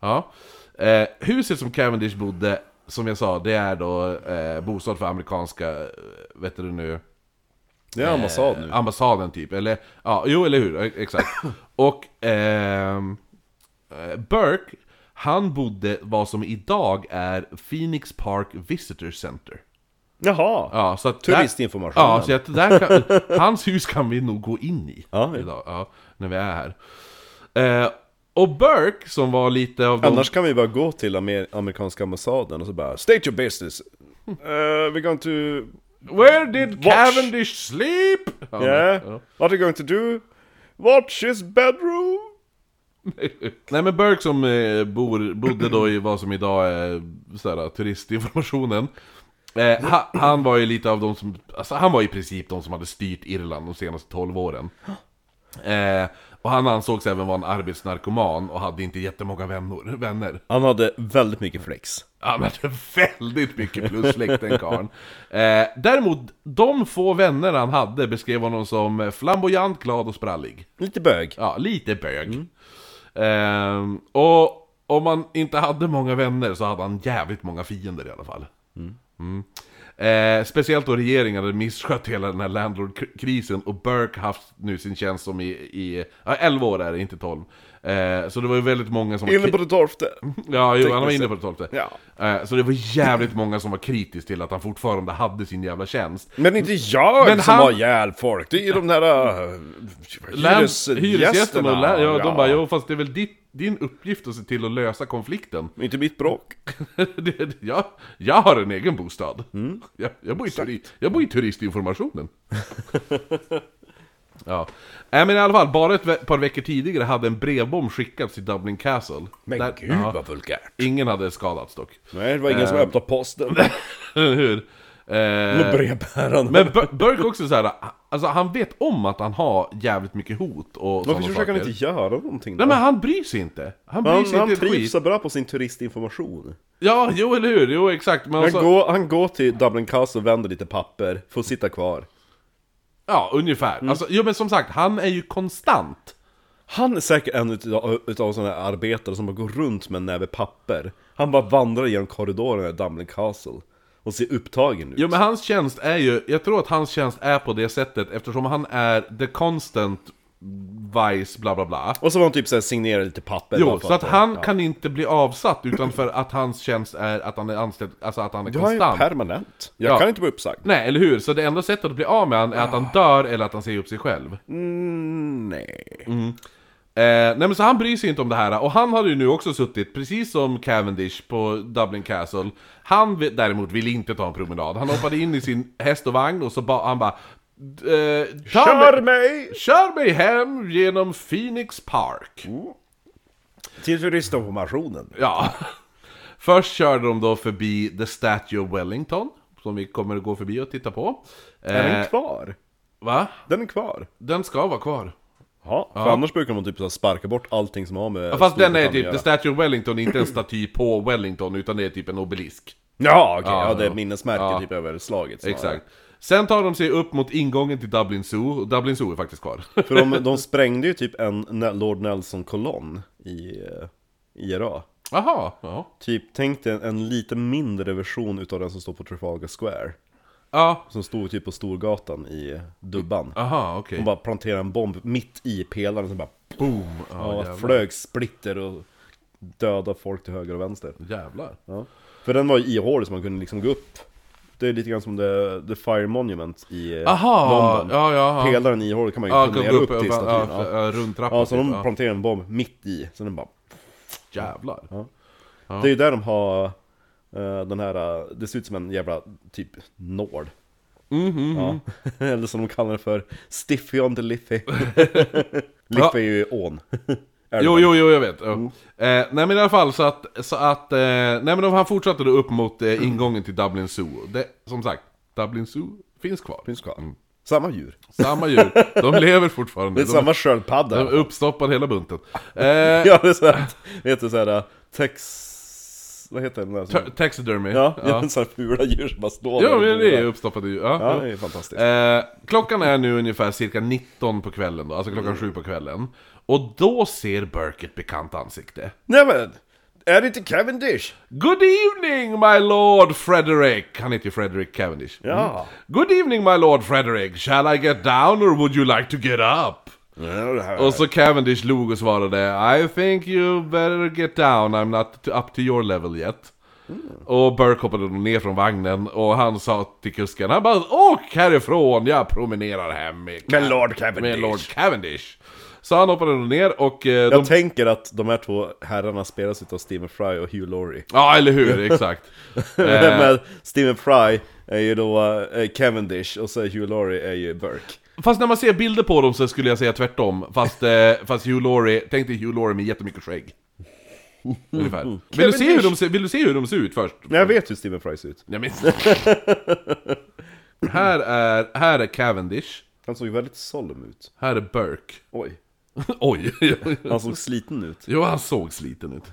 [SPEAKER 1] Ja. Eh, huset som Cavendish bodde, som jag sa, det är då eh, bostad för amerikanska, eh, vet du nu,
[SPEAKER 2] Det är ambassad nu.
[SPEAKER 1] ambassaden typ, eller ja, jo eller hur, e- exakt. och ehm, eh, Burke, han bodde vad som idag är Phoenix Park Visitor Center.
[SPEAKER 2] Jaha!
[SPEAKER 1] Ja, så att där-
[SPEAKER 2] Turistinformationen.
[SPEAKER 1] Ja, så att där kan, hans hus kan vi nog gå in i
[SPEAKER 2] Ja.
[SPEAKER 1] idag, ja, när vi är här. Eh, och Burke, som var lite av de-
[SPEAKER 2] Annars kan vi bara gå till amer amerikanska ambassaden och så bara State your business!
[SPEAKER 1] Hm.
[SPEAKER 2] uh, we're going to...
[SPEAKER 1] Where did
[SPEAKER 2] Watch.
[SPEAKER 1] Cavendish sleep? Ja,
[SPEAKER 2] Yeah?
[SPEAKER 1] ja.
[SPEAKER 2] What are you going to do? Watch his bedroom!
[SPEAKER 1] Nej men Burke som eh, bor, bodde då i vad som idag är sådär, turistinformationen eh, ha, Han var ju lite av de som, alltså han var i princip de som hade styrt Irland de senaste 12 åren eh, Och han ansågs även vara en arbetsnarkoman och hade inte jättemånga vänner, vänner.
[SPEAKER 2] Han hade väldigt mycket flex.
[SPEAKER 1] Han hade väldigt mycket plussläkt den karln. Eh, däremot, de få vänner han hade beskrev honom som flamboyant, glad och sprallig.
[SPEAKER 2] Lite bög.
[SPEAKER 1] Ja, lite bög. Ehm, och om man inte hade många vänner så hade han jävligt många fiender i alla fall. Mm. Eh, speciellt då regeringen hade misskött hela den här landlord-krisen och Burke haft nu sin tjänst som i, i ja, 11 år är det, inte 12. Eh, så det var ju väldigt många som... var
[SPEAKER 2] Inne på det torfte.
[SPEAKER 1] Ja, jo, han var
[SPEAKER 2] Tekniskt
[SPEAKER 1] inne på det tolfte.
[SPEAKER 2] Ja.
[SPEAKER 1] Eh, Så det var jävligt många som var kritiska till att han fortfarande hade sin jävla tjänst.
[SPEAKER 2] Men inte jag
[SPEAKER 1] Men
[SPEAKER 2] som
[SPEAKER 1] han-
[SPEAKER 2] har ihjäl folk, det är ju de där äh,
[SPEAKER 1] Läns-
[SPEAKER 2] hyresgästerna.
[SPEAKER 1] Hyresgästerna, och lä- ja, de bara jo fast det är väl ditt, din uppgift att se till att lösa konflikten.
[SPEAKER 2] Inte mitt bråk.
[SPEAKER 1] Det- det- jag, jag har en egen bostad.
[SPEAKER 2] Mm.
[SPEAKER 1] Jag, jag, bor i turi, jag bor i turistinformationen. ja. Äh, men i alla fall, bara ett ve- par veckor tidigare hade en brevbomb skickats till Dublin Castle.
[SPEAKER 2] Men
[SPEAKER 1] Där-
[SPEAKER 2] gud
[SPEAKER 1] ja, Eh.
[SPEAKER 2] vad vulgärt.
[SPEAKER 1] ingen hade skadats dock.
[SPEAKER 2] Nej, det var ingen som öppnade posten.
[SPEAKER 1] Eller hur? Eh,
[SPEAKER 2] Med brevbärarna.
[SPEAKER 1] Men Bur- Burke också så här, alltså han vet om att han har jävligt mycket hot och
[SPEAKER 2] Varför
[SPEAKER 1] sådana
[SPEAKER 2] försöker
[SPEAKER 1] saker.
[SPEAKER 2] han inte göra någonting då?
[SPEAKER 1] Nej men han bryr sig inte. Han bryr
[SPEAKER 2] han,
[SPEAKER 1] sig
[SPEAKER 2] han
[SPEAKER 1] inte ett
[SPEAKER 2] trivs
[SPEAKER 1] skit.
[SPEAKER 2] så bra på sin turistinformation.
[SPEAKER 1] Ja, jo eller hur, jo exakt. Men
[SPEAKER 2] Han,
[SPEAKER 1] alltså,
[SPEAKER 2] går, han går till Dublin Castle och vänder lite papper, får sitta kvar.
[SPEAKER 1] ja ungefär. Alltså, jo men som sagt, han är ju konstant.
[SPEAKER 2] Han är säkert en utav, utav sådana här arbetare som bara går runt med en näve papper. Han bara vandrar genom korridoren i Dublin Castle och ser upptagen ut.
[SPEAKER 1] Jo men hans tjänst är ju, jag tror att hans tjänst är på det sättet eftersom han är the constant vice bla bla bla.
[SPEAKER 2] Och så var han typ såhär signerade lite papper bara
[SPEAKER 1] Jo,
[SPEAKER 2] för
[SPEAKER 1] så att han kan inte bli avsatt utan för att hans tjänst är att han är anställd, alltså att han är
[SPEAKER 2] Ja, Han är ju
[SPEAKER 1] konstant.
[SPEAKER 2] permanent. Jag
[SPEAKER 1] Ja.
[SPEAKER 2] kan inte bli uppsagd.
[SPEAKER 1] Nej, eller hur? Så det enda sättet att bli av med han är att han dör eller att han säger upp sig själv.
[SPEAKER 2] Mm, nej.
[SPEAKER 1] Eh, nej men så han bryr sig inte om det här, och han har ju nu också suttit, precis som Cavendish på Dublin Castle Han vi- däremot ville inte ta en promenad, han hoppade in i sin häst och vagn och så ba, han bara eh, ta
[SPEAKER 2] Kör
[SPEAKER 1] mig-
[SPEAKER 2] mig!
[SPEAKER 1] Kör mig hem genom Phoenix Park!
[SPEAKER 2] Till turistinformationen.
[SPEAKER 1] Ja. Först körde de då förbi The Statue of Wellington, som vi kommer att gå förbi och titta på.
[SPEAKER 2] Är
[SPEAKER 1] Eh,
[SPEAKER 2] den kvar?
[SPEAKER 1] va?
[SPEAKER 2] Den är kvar.
[SPEAKER 1] Den ska vara kvar.
[SPEAKER 2] Ja, för annars brukar man typ så här sparka bort allting som har med
[SPEAKER 1] Ja, fast den är
[SPEAKER 2] Storbritannien
[SPEAKER 1] typ,
[SPEAKER 2] att
[SPEAKER 1] The
[SPEAKER 2] göra.
[SPEAKER 1] Statue of Wellington är inte en staty på Wellington, utan det är typ en obelisk.
[SPEAKER 2] Ja, okej, ja,
[SPEAKER 1] Ja,
[SPEAKER 2] det är
[SPEAKER 1] ja.
[SPEAKER 2] ett minnesmärke
[SPEAKER 1] Ja.
[SPEAKER 2] typ över slaget snarare.
[SPEAKER 1] Exakt. Sen tar de sig upp mot ingången till Dublin Zoo, och Dublin Zoo är faktiskt kvar.
[SPEAKER 2] För de, de sprängde ju typ en Ne- Lord Nelson-kolonn i eh, IRA
[SPEAKER 1] Jaha, ja.
[SPEAKER 2] Typ, tänk dig en, en lite mindre version utav den som står på Trafalgar Square
[SPEAKER 1] Ja,
[SPEAKER 2] Som stod typ på Storgatan i Dubban
[SPEAKER 1] aha, Ah, okej.
[SPEAKER 2] Hon bara planterade en bomb mitt i pelaren som bara
[SPEAKER 1] Boom! Ja, Mm.
[SPEAKER 2] ja, flög splitter och dödade folk till höger och vänster
[SPEAKER 1] jävlar.
[SPEAKER 2] Ja. För den var ju ihålig så man kunde liksom gå upp Det är lite grann som The, the Fire Monument i eh,
[SPEAKER 1] Aha,
[SPEAKER 2] London
[SPEAKER 1] ja, ja, ja.
[SPEAKER 2] Pelaren ihålig kan man ju
[SPEAKER 1] Ja,
[SPEAKER 2] promenera
[SPEAKER 1] gå
[SPEAKER 2] upp,
[SPEAKER 1] upp, upp
[SPEAKER 2] till
[SPEAKER 1] ja,
[SPEAKER 2] statyn
[SPEAKER 1] ja,
[SPEAKER 2] ja.
[SPEAKER 1] runt trappan
[SPEAKER 2] ja, så
[SPEAKER 1] typ,
[SPEAKER 2] de
[SPEAKER 1] ja.
[SPEAKER 2] planterar en bomb mitt i, så den bara
[SPEAKER 1] Jävlar.
[SPEAKER 2] Det är ju där de har eh, den här, eh, det ser ut som en jävla typ nål
[SPEAKER 1] Mhm,
[SPEAKER 2] ja. Eller som de kallar det för, Stiffy on the Liffy Liffy är ju ån
[SPEAKER 1] Jo, jo, jo, jag vet. Ja.
[SPEAKER 2] Mm.
[SPEAKER 1] Eh, nej men i alla fall så att, så att eh, nej men de- han fortsatte då upp mot
[SPEAKER 2] Mm.
[SPEAKER 1] eh, ingången till Dublin Zoo. Det, som sagt, Dublin Zoo finns kvar.
[SPEAKER 2] Finns kvar. Samma djur,
[SPEAKER 1] Samma djur, de lever fortfarande.
[SPEAKER 2] det är
[SPEAKER 1] de,
[SPEAKER 2] samma sköldpadda
[SPEAKER 1] de uppstoppar hela bunten. Eh,
[SPEAKER 2] Ja, det är såhär, vet du såhär, eh, tex... Vad heter den där? som-
[SPEAKER 1] ta- taxidermy.
[SPEAKER 2] Ja, ja. sådana fula djur som bara står
[SPEAKER 1] Ja,
[SPEAKER 2] där.
[SPEAKER 1] men det är uppstoppade djur. Ja,
[SPEAKER 2] Ja, det är fantastiskt.
[SPEAKER 1] Eh, klockan är nu ungefär cirka 19 på kvällen då, alltså
[SPEAKER 2] Mm.
[SPEAKER 1] klockan 7 på kvällen. Och då ser Burke ett bekant ansikte.
[SPEAKER 2] Nej men! Är det inte Cavendish?
[SPEAKER 1] Good evening my lord Frederick! Han heter ju Frederick Cavendish.
[SPEAKER 2] Ja.
[SPEAKER 1] Good evening my lord Frederick! Shall I get down or would you like to get up?
[SPEAKER 2] Ja, det här.
[SPEAKER 1] Och så Cavendish log och svarade I think you better get down, I'm not to- up to your level yet.
[SPEAKER 2] Mm.
[SPEAKER 1] Och Burke hoppade då ner från vagnen och han sa till kusken, han bara Åk härifrån, jag promenerar hem med,
[SPEAKER 2] Men
[SPEAKER 1] Ca-
[SPEAKER 2] Lord Cavendish."
[SPEAKER 1] med Lord Cavendish. Så han hoppade då ner och eh,
[SPEAKER 2] Jag
[SPEAKER 1] de...
[SPEAKER 2] tänker att de här två herrarna spelas utav Stephen Fry och Hugh Laurie.
[SPEAKER 1] Ja, eller hur, exakt.
[SPEAKER 2] Eh.
[SPEAKER 1] Eh,
[SPEAKER 2] men Stephen Fry är ju då eh, Cavendish och så är Hugh Laurie är ju Burke.
[SPEAKER 1] Fast när man ser bilder på dem så skulle jag säga tvärtom. Fast, eh, fast Hugh Laurie, tänk dig Hugh Laurie med jättemycket skägg. Ungefär.
[SPEAKER 2] Mm.
[SPEAKER 1] Vill du, se hur de ser, vill du se hur de ser ut först?
[SPEAKER 2] Men jag vet hur Stephen Fry ser ut.
[SPEAKER 1] Nej, men... här, är, här är Cavendish,
[SPEAKER 2] Han såg väldigt solemn ut.
[SPEAKER 1] här är Burke.
[SPEAKER 2] Oj.
[SPEAKER 1] Oj!
[SPEAKER 2] Han såg sliten ut.
[SPEAKER 1] jo, han såg sliten ut.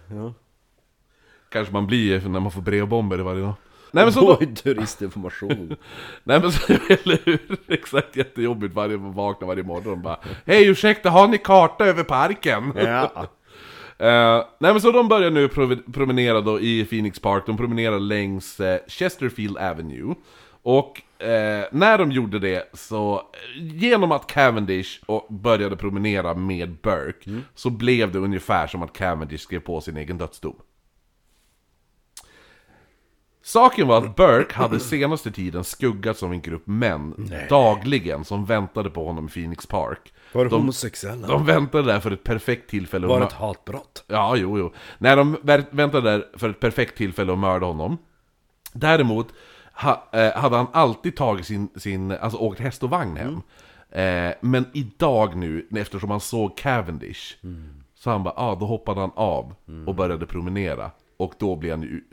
[SPEAKER 1] Kanske man blir när man får brevbomber varje dag. Nej men så då,
[SPEAKER 2] Oj, turistinformation.
[SPEAKER 1] Nej men så, eller hur? Exakt jättejobbigt varje vakna varje morgon och bara Hej ursäkta, har ni karta över parken?
[SPEAKER 2] ja.
[SPEAKER 1] Eh, nej men så de börjar nu prov- promenera då i Phoenix Park, de promenerar längs eh, Chesterfield Avenue. Och eh, när de gjorde det så, eh, genom att Cavendish och började promenera med Burke,
[SPEAKER 2] Mm.
[SPEAKER 1] så blev det ungefär som att Cavendish skrev på sin egen dödsdom. Saken var att Burke hade senaste tiden skuggats av en grupp män dagligen som väntade på honom i Phoenix Park.
[SPEAKER 2] Var det homosexuella?
[SPEAKER 1] De väntade där för ett perfekt tillfälle att
[SPEAKER 2] Var det
[SPEAKER 1] mör-
[SPEAKER 2] ett hatbrott?
[SPEAKER 1] Ja, jo, jo. När de vä- väntade där för ett perfekt tillfälle att mörda honom. Däremot ha, eh, hade han alltid tagit sin, sin, alltså åkt häst och vagn hem. Eh, men idag nu, eftersom han såg Cavendish, så han bara, ah, då hoppade han av och började promenera. Och då blev han ju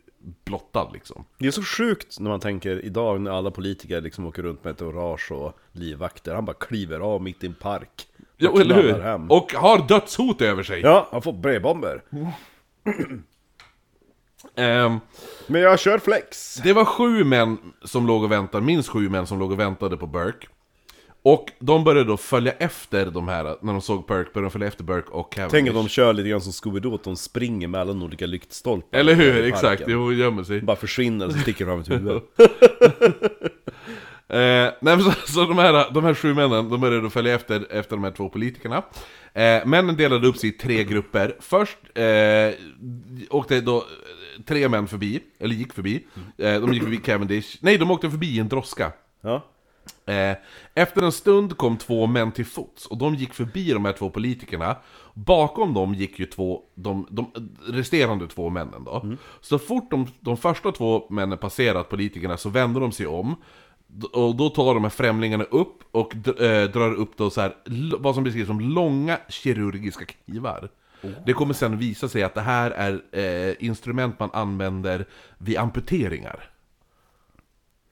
[SPEAKER 1] blottad liksom.
[SPEAKER 2] Det är så sjukt när man tänker idag när alla politiker liksom åker runt med ett orage och livvakter. Han bara kliver av mitt i en park. och
[SPEAKER 1] Ja, eller
[SPEAKER 2] knallar Hem.
[SPEAKER 1] hur? Och har dödshot över sig.
[SPEAKER 2] Ja, han får brevbomber.
[SPEAKER 1] Ehm,
[SPEAKER 2] Men jag kör flex.
[SPEAKER 1] Det var sju män som låg och väntade, minst sju män som låg och väntade på Burke. Och de började då följa efter de här, när de såg Burke, började de följa efter Burke och Cavendish.
[SPEAKER 2] Tänk att de kör lite grann som Scooby-Doo, att de springer mellan olika lyktstolpar.
[SPEAKER 1] Eller
[SPEAKER 2] i
[SPEAKER 1] hur,
[SPEAKER 2] parken.
[SPEAKER 1] exakt, jo, gömmer sig.
[SPEAKER 2] Bara försvinner, så sticker de fram ett huvud.
[SPEAKER 1] Eh, nej, men så, så de, här, de här sju männen, de började då följa efter, efter de här två politikerna. Eh, männen delade upp sig i tre grupper. Först eh, åkte då eh, tre män förbi, eller gick förbi. Eh, de gick förbi Cavendish, nej de åkte förbi en droska.
[SPEAKER 2] Ja.
[SPEAKER 1] Eh, efter en stund kom två män till fots och de gick förbi de här två politikerna. Bakom dem gick ju två, de, de resterande två männen då. Så fort de, de första två männen passerat politikerna så vänder de sig om. D- Och då tar de här främlingarna upp och dr- eh, drar upp då så här, l- vad som beskrivs som långa kirurgiska knivar. Det kommer sen visa sig att det här är eh, instrument man använder vid amputeringar.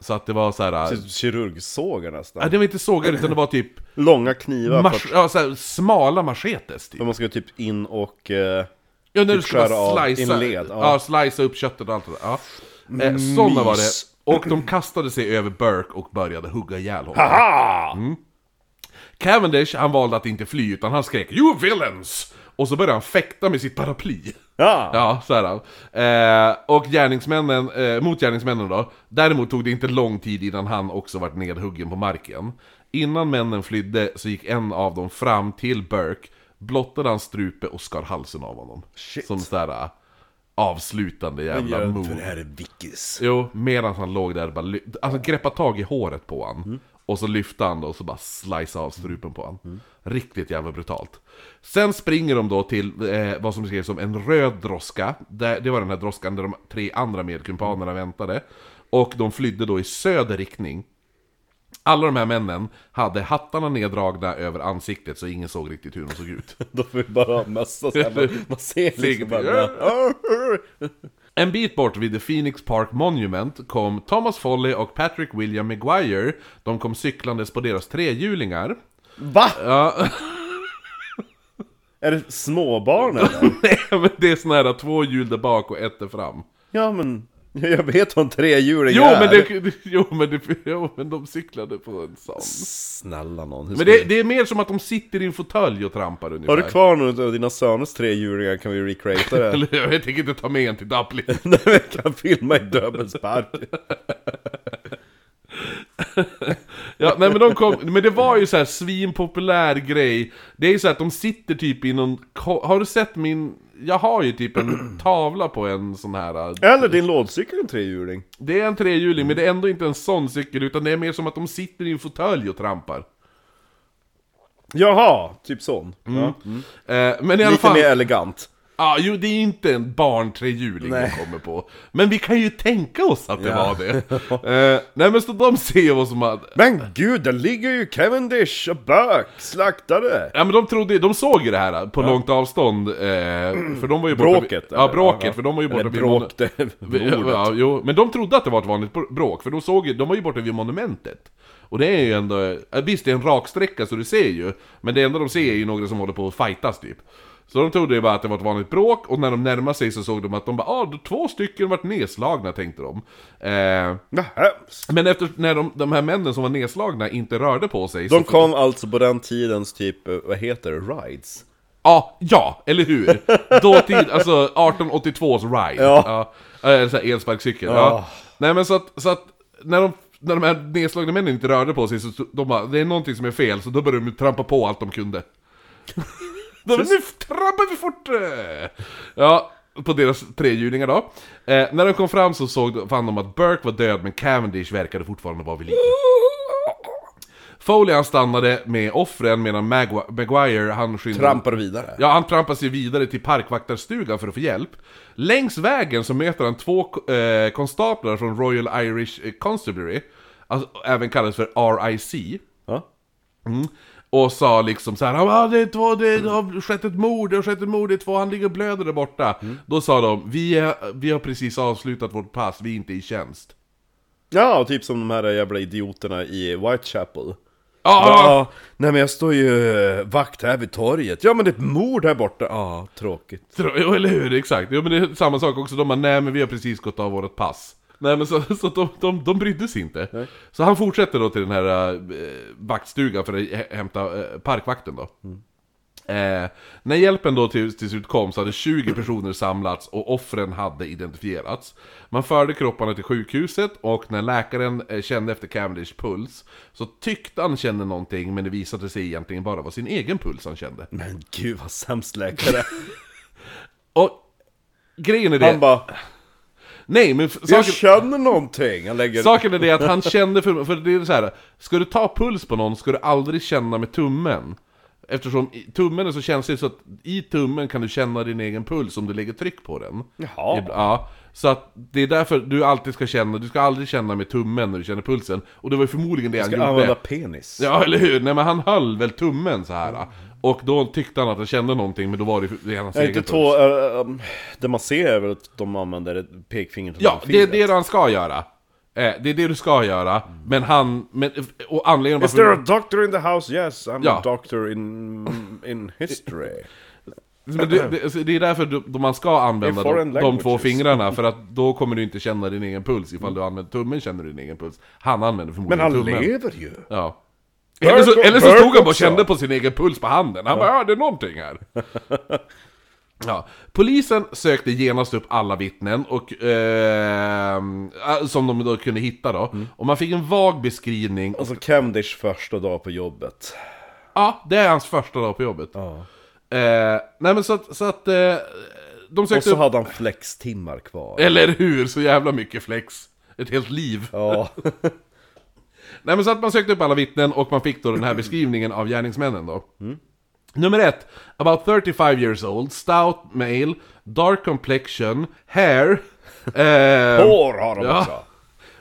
[SPEAKER 1] Så att det var så här...
[SPEAKER 2] Typ Kirurgsågar
[SPEAKER 1] Ja,
[SPEAKER 2] nästan.
[SPEAKER 1] det var inte sågar utan det var typ
[SPEAKER 2] Långa knivar för
[SPEAKER 1] mach-
[SPEAKER 2] att
[SPEAKER 1] ja, så här, smala machetes typ.
[SPEAKER 2] för man ska typ in och... Eh,
[SPEAKER 1] Ja, när
[SPEAKER 2] typ
[SPEAKER 1] du ska
[SPEAKER 2] skära av
[SPEAKER 1] bara slicea,
[SPEAKER 2] en led, ja.
[SPEAKER 1] ja. slicea upp köttet och allt det där. Ja. Eh, sådana var det.
[SPEAKER 2] Mys.
[SPEAKER 1] Och de kastade sig över Burke och började hugga ihjäl honom.
[SPEAKER 2] Aha!
[SPEAKER 1] Mm. Cavendish, han valde att inte fly utan han skrek 'You villains!' Och så började han fäkta med sitt paraply.
[SPEAKER 2] Ja!
[SPEAKER 1] Ja, så här. Eh, och gärningsmännen, eh, mot gärningsmännen då, däremot tog det inte lång tid innan han också vart nedhuggen på marken. Innan männen flydde så gick en av dem fram till Burke, blottade hans strupe och skar halsen av honom.
[SPEAKER 2] Shit.
[SPEAKER 1] Som sådär, eh, avslutande jävla
[SPEAKER 2] För det
[SPEAKER 1] move.
[SPEAKER 2] här är Vickis.
[SPEAKER 1] Jo, medan han låg där bara ly- alltså greppa tag i håret på han Och så lyfte han det och så bara slice av strupen på han Riktigt jävla brutalt Sen springer de då till eh, vad som skrevs som en röd droska det, det var den här droskan där de tre andra medkumpanerna väntade Och de flydde då i söder riktning alla de här männen hade hattarna neddragna över ansiktet så ingen såg riktigt hur de såg ut.
[SPEAKER 2] Då får vi bara ha massa så här, man, man ser liksom bara...
[SPEAKER 1] En bit bort vid The Phoenix Park Monument kom Thomas Foley och Patrick William Maguire. De kom cyklandes på deras trehjulingar.
[SPEAKER 2] Va?
[SPEAKER 1] Ja,
[SPEAKER 2] Är det småbarn eller?
[SPEAKER 1] nej men det är såna här två hjul där bak och ett där fram.
[SPEAKER 2] Ja men, jag vet vad en trehjuling
[SPEAKER 1] Jo
[SPEAKER 2] är.
[SPEAKER 1] men, det, jo, men det, jo men de cyklade på en sån.
[SPEAKER 2] Snälla någon, hur
[SPEAKER 1] Men
[SPEAKER 2] ska
[SPEAKER 1] det,
[SPEAKER 2] vi-
[SPEAKER 1] det är mer som att de sitter i en fåtölj och trampar ungefär.
[SPEAKER 2] Har du kvar någon av dina söners trehjulingar kan vi recreata det.
[SPEAKER 1] Eller jag tänker inte ta med en till Dublin.
[SPEAKER 2] Nej men jag kan filma i Döbelns park.
[SPEAKER 1] Ja, nej men de kom, men det var ju så här svinpopulär grej. Det är ju så att de sitter typ i någon, ko- har du sett min, jag har ju typ en tavla på en sån här. äh,
[SPEAKER 2] Eller din lådcykel är en trehjuling.
[SPEAKER 1] Det är en trehjuling, men det är ändå inte en sån cykel, utan det är mer som att de sitter i en fåtölj och trampar.
[SPEAKER 2] Jaha, typ sån. Ja.
[SPEAKER 1] Eh, men Mm. i alla
[SPEAKER 2] Lite
[SPEAKER 1] fall,
[SPEAKER 2] mer elegant.
[SPEAKER 1] ja, jo det är ju inte en barntrehjuling jag
[SPEAKER 2] Nej.
[SPEAKER 1] kommer på. Men vi kan ju tänka oss att det
[SPEAKER 2] Ja.
[SPEAKER 1] var det. Eh, nej men så de ser vad som hade,
[SPEAKER 2] Men gud, där ligger ju Cavendish och Burke, slaktade!
[SPEAKER 1] Ja men de trodde, de såg ju det här på långt avstånd, eh, för de var ju borta
[SPEAKER 2] Bråket,
[SPEAKER 1] vid, Ja,
[SPEAKER 2] eller?
[SPEAKER 1] bråket,
[SPEAKER 2] Ja, ja.
[SPEAKER 1] för de var ju borta
[SPEAKER 2] Eller
[SPEAKER 1] vid
[SPEAKER 2] bråk,
[SPEAKER 1] monu-
[SPEAKER 2] det är
[SPEAKER 1] Vi- ja,
[SPEAKER 2] ordet.
[SPEAKER 1] ja, jo, men de trodde att det var ett vanligt br- bråk, för de såg ju, de var ju borta vid monumentet Och det är ju ändå, eh, visst det är en rak sträcka så du ser ju Men det enda de ser är ju några som håller på att fightas typ Så de trodde ju bara att det var ett vanligt bråk, och när de närmade sig så såg de att de bara ah, två stycken vart nedslagna tänkte de eh,
[SPEAKER 2] Nähä.
[SPEAKER 1] Men efter, när de, de här männen som var nedslagna inte rörde på sig så
[SPEAKER 2] De kom alltså på den tidens typ, eh, vad heter det, rides?
[SPEAKER 1] Ja, ja, eller hur? Dåtid, alltså 1882s ride.
[SPEAKER 2] Ja.
[SPEAKER 1] ja eh, så här elsparkcykel. Ja.
[SPEAKER 2] Ja.
[SPEAKER 1] Nej men så att, så att när, de, när de här nedslagna männen inte rörde på sig så så- de bara, det är någonting som är fel, så då började de trampa på allt de kunde. de bara, nu trampar vi fort! eh." Ja, på deras trehjulingar då. Eh, när de kom fram så såg, de- fann de att Burke var död, men Cavendish verkade fortfarande vara vid liv. Foley han stannade med offren medan Magua- Maguire han skyndade...
[SPEAKER 2] Trampar vidare.
[SPEAKER 1] Ja, han trampar sig vidare till parkvaktarstugan för att få hjälp. Längs vägen så möter han två eh, konstaplar från Royal Irish Constabulary, alltså, även kallas för RIC.
[SPEAKER 2] Ja.
[SPEAKER 1] Mm. Och sa liksom så här, ah, det, är två, det, det har skett ett mord, det har skett ett mord, det är två, han ligger och blöder där borta. Då sa de, vi, är, vi har precis avslutat vårt pass, vi är inte i tjänst.
[SPEAKER 2] Ja, typ som de här jävla idioterna i Whitechapel.
[SPEAKER 1] Ja, ja.
[SPEAKER 2] Ja, nej men jag står ju eh, vakt här vid torget. Ja men det är ett mord här borta. Ja, tråkigt.
[SPEAKER 1] Tro- Jo, eller hur? Exakt. Jo, men det är samma sak också. De bara, nej men vi har precis gått av vårt pass. Nej men så, så de, de, de brydde sig inte. Så han fortsätter då till den här eh, vaktstugan för att hä- hämta eh, parkvakten då. Eh, när hjälpen då till, till slut kom så hade 20 personer samlats och offren hade identifierats. Man förde kropparna till sjukhuset och när läkaren eh, kände efter Cavendish puls så tyckte han kände någonting men det visade sig egentligen bara vara sin egen puls han kände.
[SPEAKER 2] Men gud vad sämst läkare.
[SPEAKER 1] Och grejen är det...
[SPEAKER 2] Han bara,
[SPEAKER 1] Nej men f-
[SPEAKER 2] jag
[SPEAKER 1] saken,
[SPEAKER 2] känner någonting. Han lägger...
[SPEAKER 1] saken är det att han kände för, för det är så här. Ska du ta puls på någon ska du aldrig känna med tummen Eftersom i- tummen är så känslig så att i tummen kan du känna din egen puls om du lägger tryck på den
[SPEAKER 2] Jaha.
[SPEAKER 1] Ibla- Ja, så att det är därför du alltid ska känna, du ska aldrig känna med tummen när du känner pulsen Och det var ju förmodligen det han
[SPEAKER 2] Ska
[SPEAKER 1] gjorde
[SPEAKER 2] använda penis.
[SPEAKER 1] Ja, eller hur? Nej men han höll väl tummen så här. Och då tyckte han att han kände någonting men då var det ju det hans
[SPEAKER 2] Nej,
[SPEAKER 1] egen
[SPEAKER 2] inte
[SPEAKER 1] puls
[SPEAKER 2] tå, eh, um, det man ser är väl att de använder ett pekfinger till
[SPEAKER 1] Ja, det är
[SPEAKER 2] fingret.
[SPEAKER 1] det han ska göra. Eh, det är det du ska göra, men han... Men, och anledningen
[SPEAKER 2] Is there a doctor in the house? Yes, I'm
[SPEAKER 1] Ja.
[SPEAKER 2] a doctor in, in history.
[SPEAKER 1] men det, det, alltså, det är därför du, då man ska använda
[SPEAKER 2] In foreign
[SPEAKER 1] de, de två
[SPEAKER 2] languages. Mm.
[SPEAKER 1] fingrarna, för att då kommer du inte känna din egen puls ifall du använder tummen känner du din egen puls. Han använder
[SPEAKER 2] Men
[SPEAKER 1] förmodligen
[SPEAKER 2] han
[SPEAKER 1] tummen.
[SPEAKER 2] lever ju!
[SPEAKER 1] Ja. Eller så,
[SPEAKER 2] Burke-
[SPEAKER 1] eller så stod
[SPEAKER 2] Burke
[SPEAKER 1] han bara och
[SPEAKER 2] också.
[SPEAKER 1] kände på sin egen puls på handen. Han bara ja, det är någonting här. Ja. Polisen sökte genast upp alla vittnen och, eh, som de då kunde hitta då.
[SPEAKER 2] Mm.
[SPEAKER 1] Och man fick en vag beskrivning
[SPEAKER 2] Alltså Cavendish första dag på jobbet.
[SPEAKER 1] Ja, det är hans första dag på jobbet. Eh, nej men så att, så att eh, de
[SPEAKER 2] Och
[SPEAKER 1] sökte
[SPEAKER 2] så
[SPEAKER 1] upp...
[SPEAKER 2] hade han flextimmar kvar.
[SPEAKER 1] Eller hur? Så jävla mycket flex. Ett helt liv.
[SPEAKER 2] Ja,
[SPEAKER 1] Nej men så att man sökte upp alla vittnen och man fick då den här beskrivningen av gärningsmännen då.
[SPEAKER 2] Mm.
[SPEAKER 1] Nummer ett, about 35 years old, stout male, dark complexion, hair, eh,
[SPEAKER 2] hår har de
[SPEAKER 1] Ja.
[SPEAKER 2] också.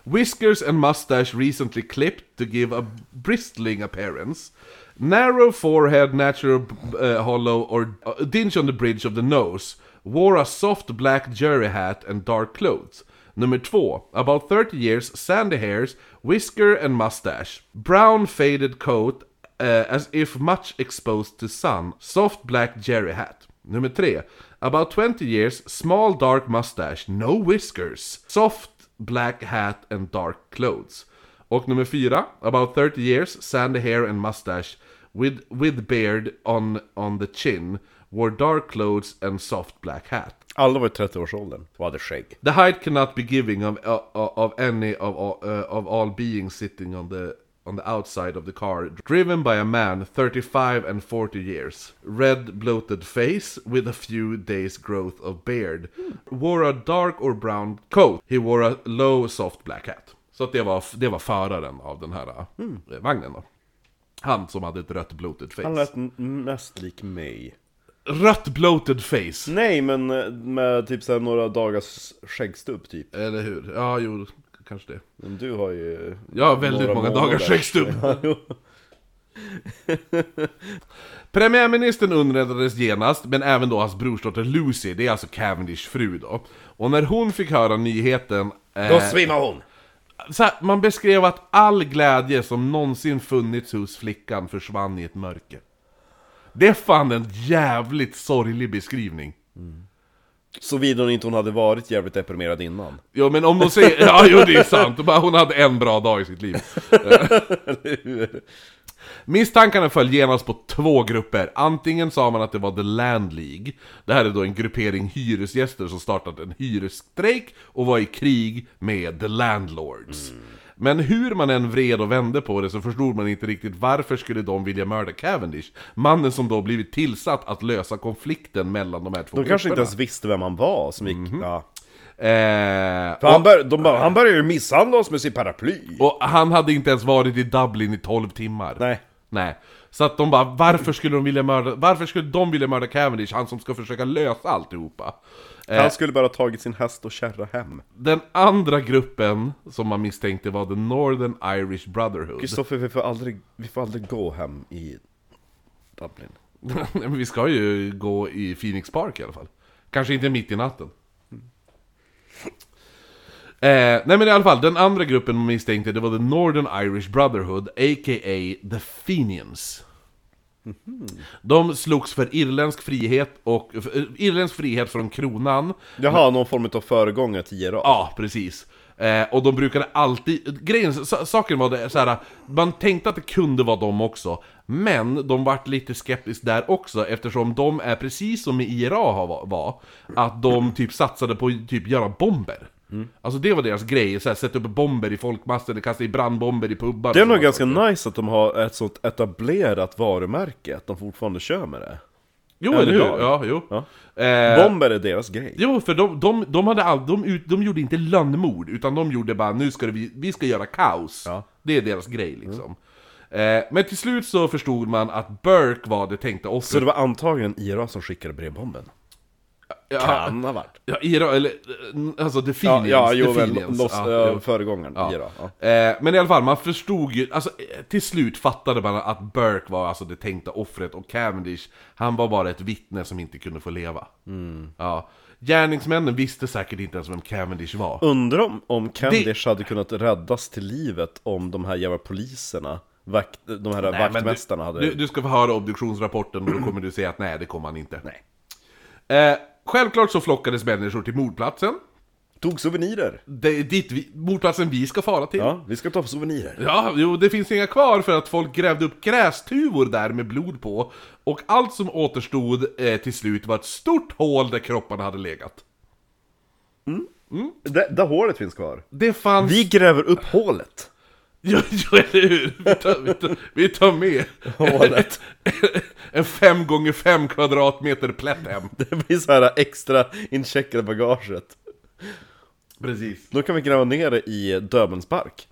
[SPEAKER 1] whiskers and mustache recently clipped to give a bristling appearance, narrow forehead, natural uh, hollow or a dinge on the bridge of the nose, wore a soft black jury hat and dark clothes. Nummer två, about 30 years, sandy hairs, whisker and mustache, brown faded coat uh, as if much exposed to sun, soft black jerry hat. Nummer tre. About 20 years, small dark mustache, no whiskers, soft black hat and dark clothes. Och nummer fyra. About 30 years, sandy hair and mustache, with, with beard on, on the chin, wore dark clothes and soft black hat.
[SPEAKER 2] Alla var i 30-årsåldern och hade skägg.
[SPEAKER 1] The height cannot be giving of, of, of any of, all- uh, of all beings sitting on the on the outside of the car, driven by a man 35 and 40 years. Red bloated face with a few days growth of beard. Wore a dark or brown coat. He wore a low soft black hat. Så att det var, det var föraren av den här eh, vagnen då. Han som hade ett rött bloated face.
[SPEAKER 2] Hmm. Han lät n- mest lik mig.
[SPEAKER 1] Rött bloated face!
[SPEAKER 2] Nej, men eh, med typ så här några dagars skäggstubb typ.
[SPEAKER 1] Eller hur? Ja, jo, kanske det.
[SPEAKER 2] Men du har ju...
[SPEAKER 1] Jag har väldigt
[SPEAKER 2] Några
[SPEAKER 1] många
[SPEAKER 2] månader.
[SPEAKER 1] dagars Eh. skäggstubb.
[SPEAKER 2] Ja, jo.
[SPEAKER 1] Premiärministern underrättades genast, men även då hans brorsdotter Lucy, det är alltså Cavendishs fru då. Och när hon fick höra nyheten...
[SPEAKER 2] Då
[SPEAKER 1] Eh,
[SPEAKER 2] svimmar hon!
[SPEAKER 1] så här, man beskrev att all glädje som någonsin funnits hos flickan försvann i ett mörker. Det är fan en jävligt sorglig beskrivning.
[SPEAKER 2] Såvida hon inte hon hade varit jävligt deprimerad innan.
[SPEAKER 1] Jo men om de säger... Ja jo det är sant, Bara hon hade en bra dag i sitt liv. Eh. Misstankarna föll genast på två grupper. Antingen sa man att det var The Land League. Det här är då en gruppering hyresgäster som startat en hyresstrejk och var i krig med The Landlords. Men hur man än vred och vände på det så förstod man inte riktigt varför skulle de vilja mörda Cavendish? Mannen som då blivit tillsatt att lösa konflikten mellan de här två
[SPEAKER 2] De kanske inte
[SPEAKER 1] grupperna.
[SPEAKER 2] ens visste vem han var som gick...
[SPEAKER 1] Mhm.
[SPEAKER 2] Ja.
[SPEAKER 1] Eh,
[SPEAKER 2] För han, bör, de bara, han började ju misshandla oss med sin paraply!
[SPEAKER 1] Och han hade inte ens varit i Dublin i 12 timmar.
[SPEAKER 2] Nej.
[SPEAKER 1] Nej. Så att de bara, varför skulle de vilja mörda, varför skulle de vilja mörda Cavendish, han som ska försöka lösa alltihopa? Eh,
[SPEAKER 2] Han skulle bara ha tagit sin häst och kärra hem.
[SPEAKER 1] den andra gruppen som man misstänkte var The Northern Irish Brotherhood.
[SPEAKER 2] Kristoffer, vi, får aldrig- vi får aldrig gå hem i Dublin.
[SPEAKER 1] Nej, Men vi ska ju gå i Phoenix Park i alla fall. Kanske inte mitt i natten. Eh, nej men i alla fall, den andra gruppen man misstänkte det var The Northern Irish Brotherhood, a.k.a. The Fenians. De slogs för irländsk frihet och för, eh, irländsk frihet från kronan.
[SPEAKER 2] Jaha, någon form av föregångare till IRA?
[SPEAKER 1] Ja, precis. Eh, och de brukade alltid... Grejen, sa- saken var det så här. man tänkte att det kunde vara dem också. Men de vart lite skeptiska där också eftersom de är precis som IRA har va- var. Att de typ satsade på att typ göra bomber.
[SPEAKER 2] Mm.
[SPEAKER 1] Alltså det var deras grej, så här, sätta upp bomber i folkmassor, eller kasta i brandbomber i pubbar.
[SPEAKER 2] Det är
[SPEAKER 1] och
[SPEAKER 2] nog
[SPEAKER 1] sådana
[SPEAKER 2] ganska nice att de har ett sånt etablerat varumärke, att de fortfarande kör med det.
[SPEAKER 1] Jo, eller hur?
[SPEAKER 2] Eller hur?
[SPEAKER 1] Ja, jo.
[SPEAKER 2] Ja.
[SPEAKER 1] Eh,
[SPEAKER 2] Bomber är deras grej.
[SPEAKER 1] Jo, för de, de, de, hade all, de, ut- de gjorde inte lönnmord, utan de gjorde bara nu ska det, vi, vi ska göra kaos.
[SPEAKER 2] Ja.
[SPEAKER 1] Det är deras grej liksom. Eh, men till slut så förstod man att Burke var det tänkta
[SPEAKER 2] Så
[SPEAKER 1] offret.
[SPEAKER 2] det var antagligen IRA som skickade brevbomben?
[SPEAKER 1] Ja,
[SPEAKER 2] Kan ha varit.
[SPEAKER 1] ja, Ira, eller eh, alltså The
[SPEAKER 2] Ja,
[SPEAKER 1] Fenians.
[SPEAKER 2] ja
[SPEAKER 1] The
[SPEAKER 2] jo, väl,
[SPEAKER 1] Fenians.
[SPEAKER 2] loss,
[SPEAKER 1] Ja,
[SPEAKER 2] eh,
[SPEAKER 1] jo.
[SPEAKER 2] föregångaren
[SPEAKER 1] Ja.
[SPEAKER 2] IRA. Ja.
[SPEAKER 1] Eh, men i alla fall, man förstod ju, alltså eh, till slut fattade man att Burke var alltså det tänkta offret och Cavendish, han var bara ett vittne som inte kunde få leva.
[SPEAKER 2] Mm.
[SPEAKER 1] Ja. Gärningsmännen visste säkert inte ens vem Cavendish var.
[SPEAKER 2] Undrar om, om Candish hade kunnat räddas till livet om de här jävla poliserna, vakt, de här
[SPEAKER 1] Nej, men
[SPEAKER 2] vaktmästarna
[SPEAKER 1] du,
[SPEAKER 2] hade...
[SPEAKER 1] du, du ska få höra obduktionsrapporten och då kommer du säga att nej, det kommer han inte.
[SPEAKER 2] Nej.
[SPEAKER 1] Eh, självklart så flockades människor till mordplatsen.
[SPEAKER 2] Tog souvenirer!
[SPEAKER 1] Det är dit vi, mordplatsen vi ska fara till. Ja.
[SPEAKER 2] Ja, vi ska ta souvenirer.
[SPEAKER 1] jo, det finns inga kvar för att folk grävde upp grästuvor där med blod på. Och allt som återstod eh, till slut var ett stort hål där kropparna hade legat.
[SPEAKER 2] Det, där hålet finns kvar.
[SPEAKER 1] Det fanns...
[SPEAKER 2] Vi gräver upp hålet.
[SPEAKER 1] Jo, jo eller hur? Vi tar, vi tar, vi tar med
[SPEAKER 2] Hålet.
[SPEAKER 1] ett, en 5 gånger 5 kvadratmeter plätt hem.
[SPEAKER 2] Det blir så här extra incheckade bagaget.
[SPEAKER 1] Precis.
[SPEAKER 2] Då kan vi gräva ner det i Döbelns park.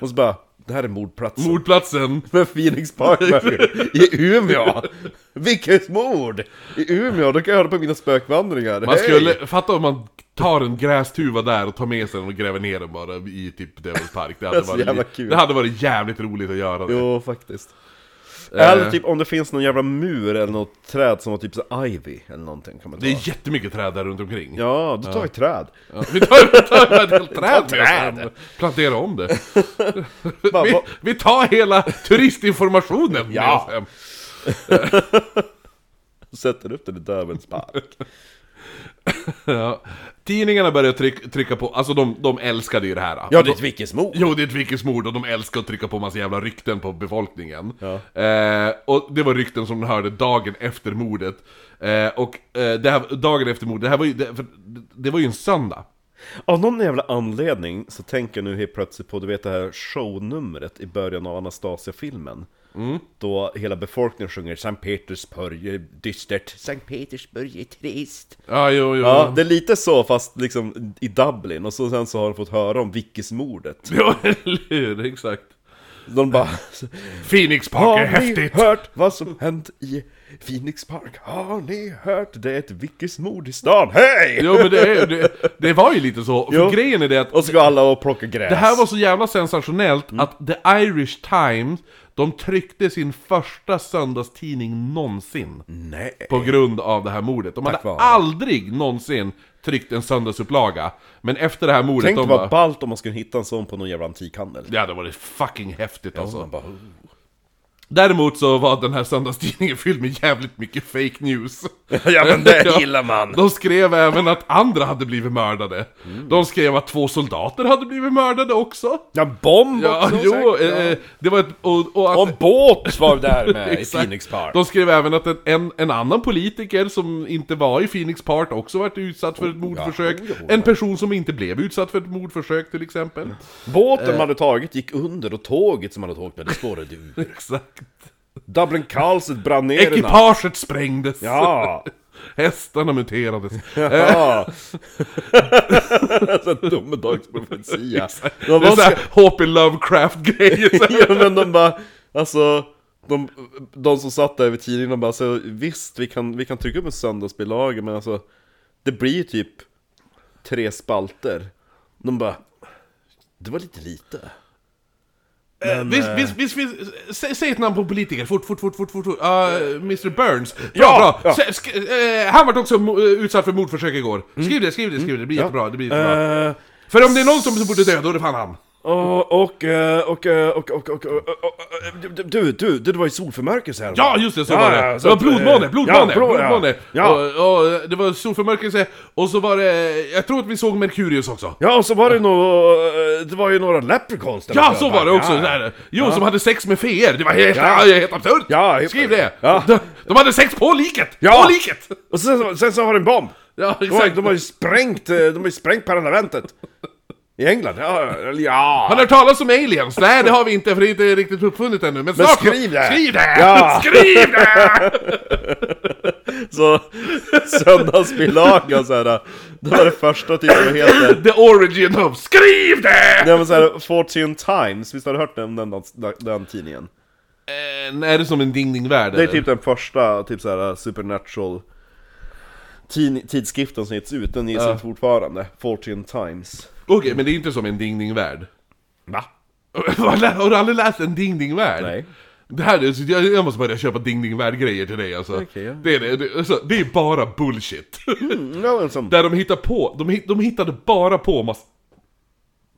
[SPEAKER 2] Och så bara, det här är mordplatsen.
[SPEAKER 1] Mordplatsen.
[SPEAKER 2] Med Phoenix Partner i Umeå! Vilket mord! I Umeå, då kan jag höra på mina spökvandringar.
[SPEAKER 1] Man
[SPEAKER 2] Hej!
[SPEAKER 1] skulle, fatta om man tar en grästuva där och tar med sig den och gräver ner den bara i typ Dövens park. Det hade,
[SPEAKER 2] är så
[SPEAKER 1] varit,
[SPEAKER 2] Alltså, jävla
[SPEAKER 1] li-
[SPEAKER 2] kul.
[SPEAKER 1] det hade varit jävligt roligt att göra det.
[SPEAKER 2] Jo, faktiskt.
[SPEAKER 1] Eh.
[SPEAKER 2] Eller typ om det finns någon jävla mur eller något träd som var typ så ivy eller någonting. Kan man ta.
[SPEAKER 1] Det är jättemycket träd där runt omkring.
[SPEAKER 2] Ja, då tar vi träd.
[SPEAKER 1] Ja, Vi tar, vi tar ett helt träd med
[SPEAKER 2] träd.
[SPEAKER 1] oss hem. Plantera om det.
[SPEAKER 2] Bara,
[SPEAKER 1] Vi,
[SPEAKER 2] va-
[SPEAKER 1] vi tar hela turistinformationen med
[SPEAKER 2] Ja.
[SPEAKER 1] oss hem.
[SPEAKER 2] Sätter upp den i Dövens park.
[SPEAKER 1] Ja. Tidningarna börjar tryck, trycka på, alltså de, de älskade ju det här. Alltså,
[SPEAKER 2] Ja, det är ett vickesmord.
[SPEAKER 1] Jo, det är ett virkesmord och de älskar att trycka på massa jävla rykten på befolkningen.
[SPEAKER 2] Ja.
[SPEAKER 1] Eh, och det var rykten som de hörde dagen efter mordet. Eh, och eh, det här, dagen efter mordet, det här var ju, det, för, det var ju en söndag.
[SPEAKER 2] Av någon jävla anledning så tänker jag nu helt plötsligt på, du vet det här shownumret i början av Anastasia-filmen.
[SPEAKER 1] Mm.
[SPEAKER 2] Då hela befolkningen sjunger Sankt Petersburg är dystert, Sankt Petersburg är trist.
[SPEAKER 1] Ja, jo, jo.
[SPEAKER 2] Ja, Mm. det är lite så fast liksom i Dublin och så sen så har de fått höra om Vickismordet.
[SPEAKER 1] Ja, eller hur? Exakt.
[SPEAKER 2] De bara
[SPEAKER 1] Phoenix Park är
[SPEAKER 2] Har ni
[SPEAKER 1] häftigt!
[SPEAKER 2] hört vad som hänt i Phoenix Park? Har ni hört? Det är ett Vickismord i stan, hej!
[SPEAKER 1] Jo, men det, är, det, det var ju lite så. För
[SPEAKER 2] Jo.
[SPEAKER 1] grejen är det att
[SPEAKER 2] Och så går alla och plockar gräs.
[SPEAKER 1] Det här var så jävla sensationellt
[SPEAKER 2] Mm.
[SPEAKER 1] att The Irish Times, de tryckte sin första söndagstidning någonsin.
[SPEAKER 2] Nej.
[SPEAKER 1] På grund av det här mordet. De hade
[SPEAKER 2] vare.
[SPEAKER 1] aldrig någonsin tryckt en söndagsupplaga. Men efter det här mordet,
[SPEAKER 2] Tänk
[SPEAKER 1] de
[SPEAKER 2] vad
[SPEAKER 1] bara...
[SPEAKER 2] ballt om man skulle hitta en sån på någon jävla antikhandel.
[SPEAKER 1] Det hade varit fucking häftigt alltså.
[SPEAKER 2] Man bara, "Oh."
[SPEAKER 1] Däremot så var den här söndagstidningen fylld med jävligt mycket fake news.
[SPEAKER 2] Ja, men det gillar man. Mm.
[SPEAKER 1] De skrev även att andra hade blivit mördade. De skrev att två soldater hade blivit mördade också.
[SPEAKER 2] Ja, bomb
[SPEAKER 1] Ja,
[SPEAKER 2] också!
[SPEAKER 1] jo,
[SPEAKER 2] säkert.
[SPEAKER 1] eh, det var ett... Och, och att,
[SPEAKER 2] Och en båt var där med Eh, i
[SPEAKER 1] Exakt.
[SPEAKER 2] Phoenix Park.
[SPEAKER 1] De skrev även att en- en, en annan politiker som inte var i Phoenix Park också varit utsatt för ett mordförsök.
[SPEAKER 2] Oh, ja, Mm. oh,
[SPEAKER 1] En person som inte blev utsatt för ett mordförsök till exempel. Eh.
[SPEAKER 2] Båten man hade tagit gick under och tåget som man hade åkt med, det spårade ur.
[SPEAKER 1] Exakt.
[SPEAKER 2] Dublin Carlset brann ner i natt.
[SPEAKER 1] Ekipaget sprängdes.
[SPEAKER 2] Ja!
[SPEAKER 1] Hästarna muterades. Eh,
[SPEAKER 2] ja. Sån domedagsprofetia.
[SPEAKER 1] Det
[SPEAKER 2] De
[SPEAKER 1] är
[SPEAKER 2] bara,
[SPEAKER 1] såhär H.P. Lovecraft-grejer. så här.
[SPEAKER 2] ja, men de bara, alltså, de, de som satt där vid tidningen, de bara, alltså, visst vi kan, vi kan trycka upp en söndagsbilaga, men alltså, det blir ju typ tre spalter. De bara, det var lite lite.
[SPEAKER 1] Visst,
[SPEAKER 2] eh.
[SPEAKER 1] visst, visst, visst, sä, säg ett namn på en politiker, fort, fort, fort, fort, fort, fort. Ah, Mr Burns. Bra,
[SPEAKER 2] Ja,
[SPEAKER 1] bra.
[SPEAKER 2] ja.
[SPEAKER 1] Sä, sk, eh, han vart också mo- eh, utsatt för mordförsök igår. Skriv det, skriv det, skriv det, det blir jättebra, det blir jättebra.
[SPEAKER 2] Mm. Eh,
[SPEAKER 1] För om det är någon som borde dö, då är det fan han.
[SPEAKER 2] och, och, eh, och, eh, och, och, och, och, och, du, du, du, det var ju solförmörkelse här.
[SPEAKER 1] Ja, just det, så
[SPEAKER 2] Ja,
[SPEAKER 1] var det.
[SPEAKER 2] ja, så
[SPEAKER 1] det var
[SPEAKER 2] att,
[SPEAKER 1] blodmåne,
[SPEAKER 2] eh,
[SPEAKER 1] blodmåne,
[SPEAKER 2] ja, blod- ja.
[SPEAKER 1] blodmåne.
[SPEAKER 2] Ja.
[SPEAKER 1] Och, och det var solförmörkelse, och så var det, jag tror att vi såg Merkurius också.
[SPEAKER 2] Ja, och så var det nog, eh, det var ju några leprechauns där
[SPEAKER 1] Ja,
[SPEAKER 2] uppe.
[SPEAKER 1] så var det också!
[SPEAKER 2] Ja.
[SPEAKER 1] Där. Jo, som hade sex med feer, det var helt,
[SPEAKER 2] Ja.
[SPEAKER 1] ja. helt absurt!
[SPEAKER 2] Ja, helt-
[SPEAKER 1] Skriv det!
[SPEAKER 2] Ja.
[SPEAKER 1] De, de hade sex på liket!
[SPEAKER 2] Ja.
[SPEAKER 1] På liket!
[SPEAKER 2] Och sen, så- sen så har det en bomb.
[SPEAKER 1] Ja,
[SPEAKER 2] De har,
[SPEAKER 1] exakt.
[SPEAKER 2] de har ju sprängt, eh, de har ju sprängt parlamentet. I England? Ja, eller
[SPEAKER 1] Har
[SPEAKER 2] ja.
[SPEAKER 1] ni hört talas om aliens? Nej, det har vi inte, för det är inte riktigt uppfunnet ännu. Men, snart
[SPEAKER 2] skriv det!
[SPEAKER 1] Skriv det!
[SPEAKER 2] Ja.
[SPEAKER 1] Skriv det!
[SPEAKER 2] Så söndagsbilagan såhär, det var det första typ som heter.
[SPEAKER 1] The origin of... Skriv det!
[SPEAKER 2] Nej men såhär, Fortune Times, visst har du hört den, den, den, den tidningen?
[SPEAKER 1] Eh, är det som en ding-ding-värld?
[SPEAKER 2] Det är typ den första typ såhär supernatural tid, tidskriften som getts ut, den ges ut fortfarande. Fortune Times.
[SPEAKER 1] Okej, men det är inte som en ding-ding-värld.
[SPEAKER 2] Va?
[SPEAKER 1] Har du aldrig läst en ding-ding-värld?
[SPEAKER 2] Nej.
[SPEAKER 1] Det här, är- så jag, jag måste börja köpa ding-ding-värld-grejer till dig alltså.
[SPEAKER 2] Okej, ja.
[SPEAKER 1] det, är det, det, alltså, det är bara bullshit.
[SPEAKER 2] Mm, ja, men som,
[SPEAKER 1] Där de hittar på, de, hit- de hittade bara på massa,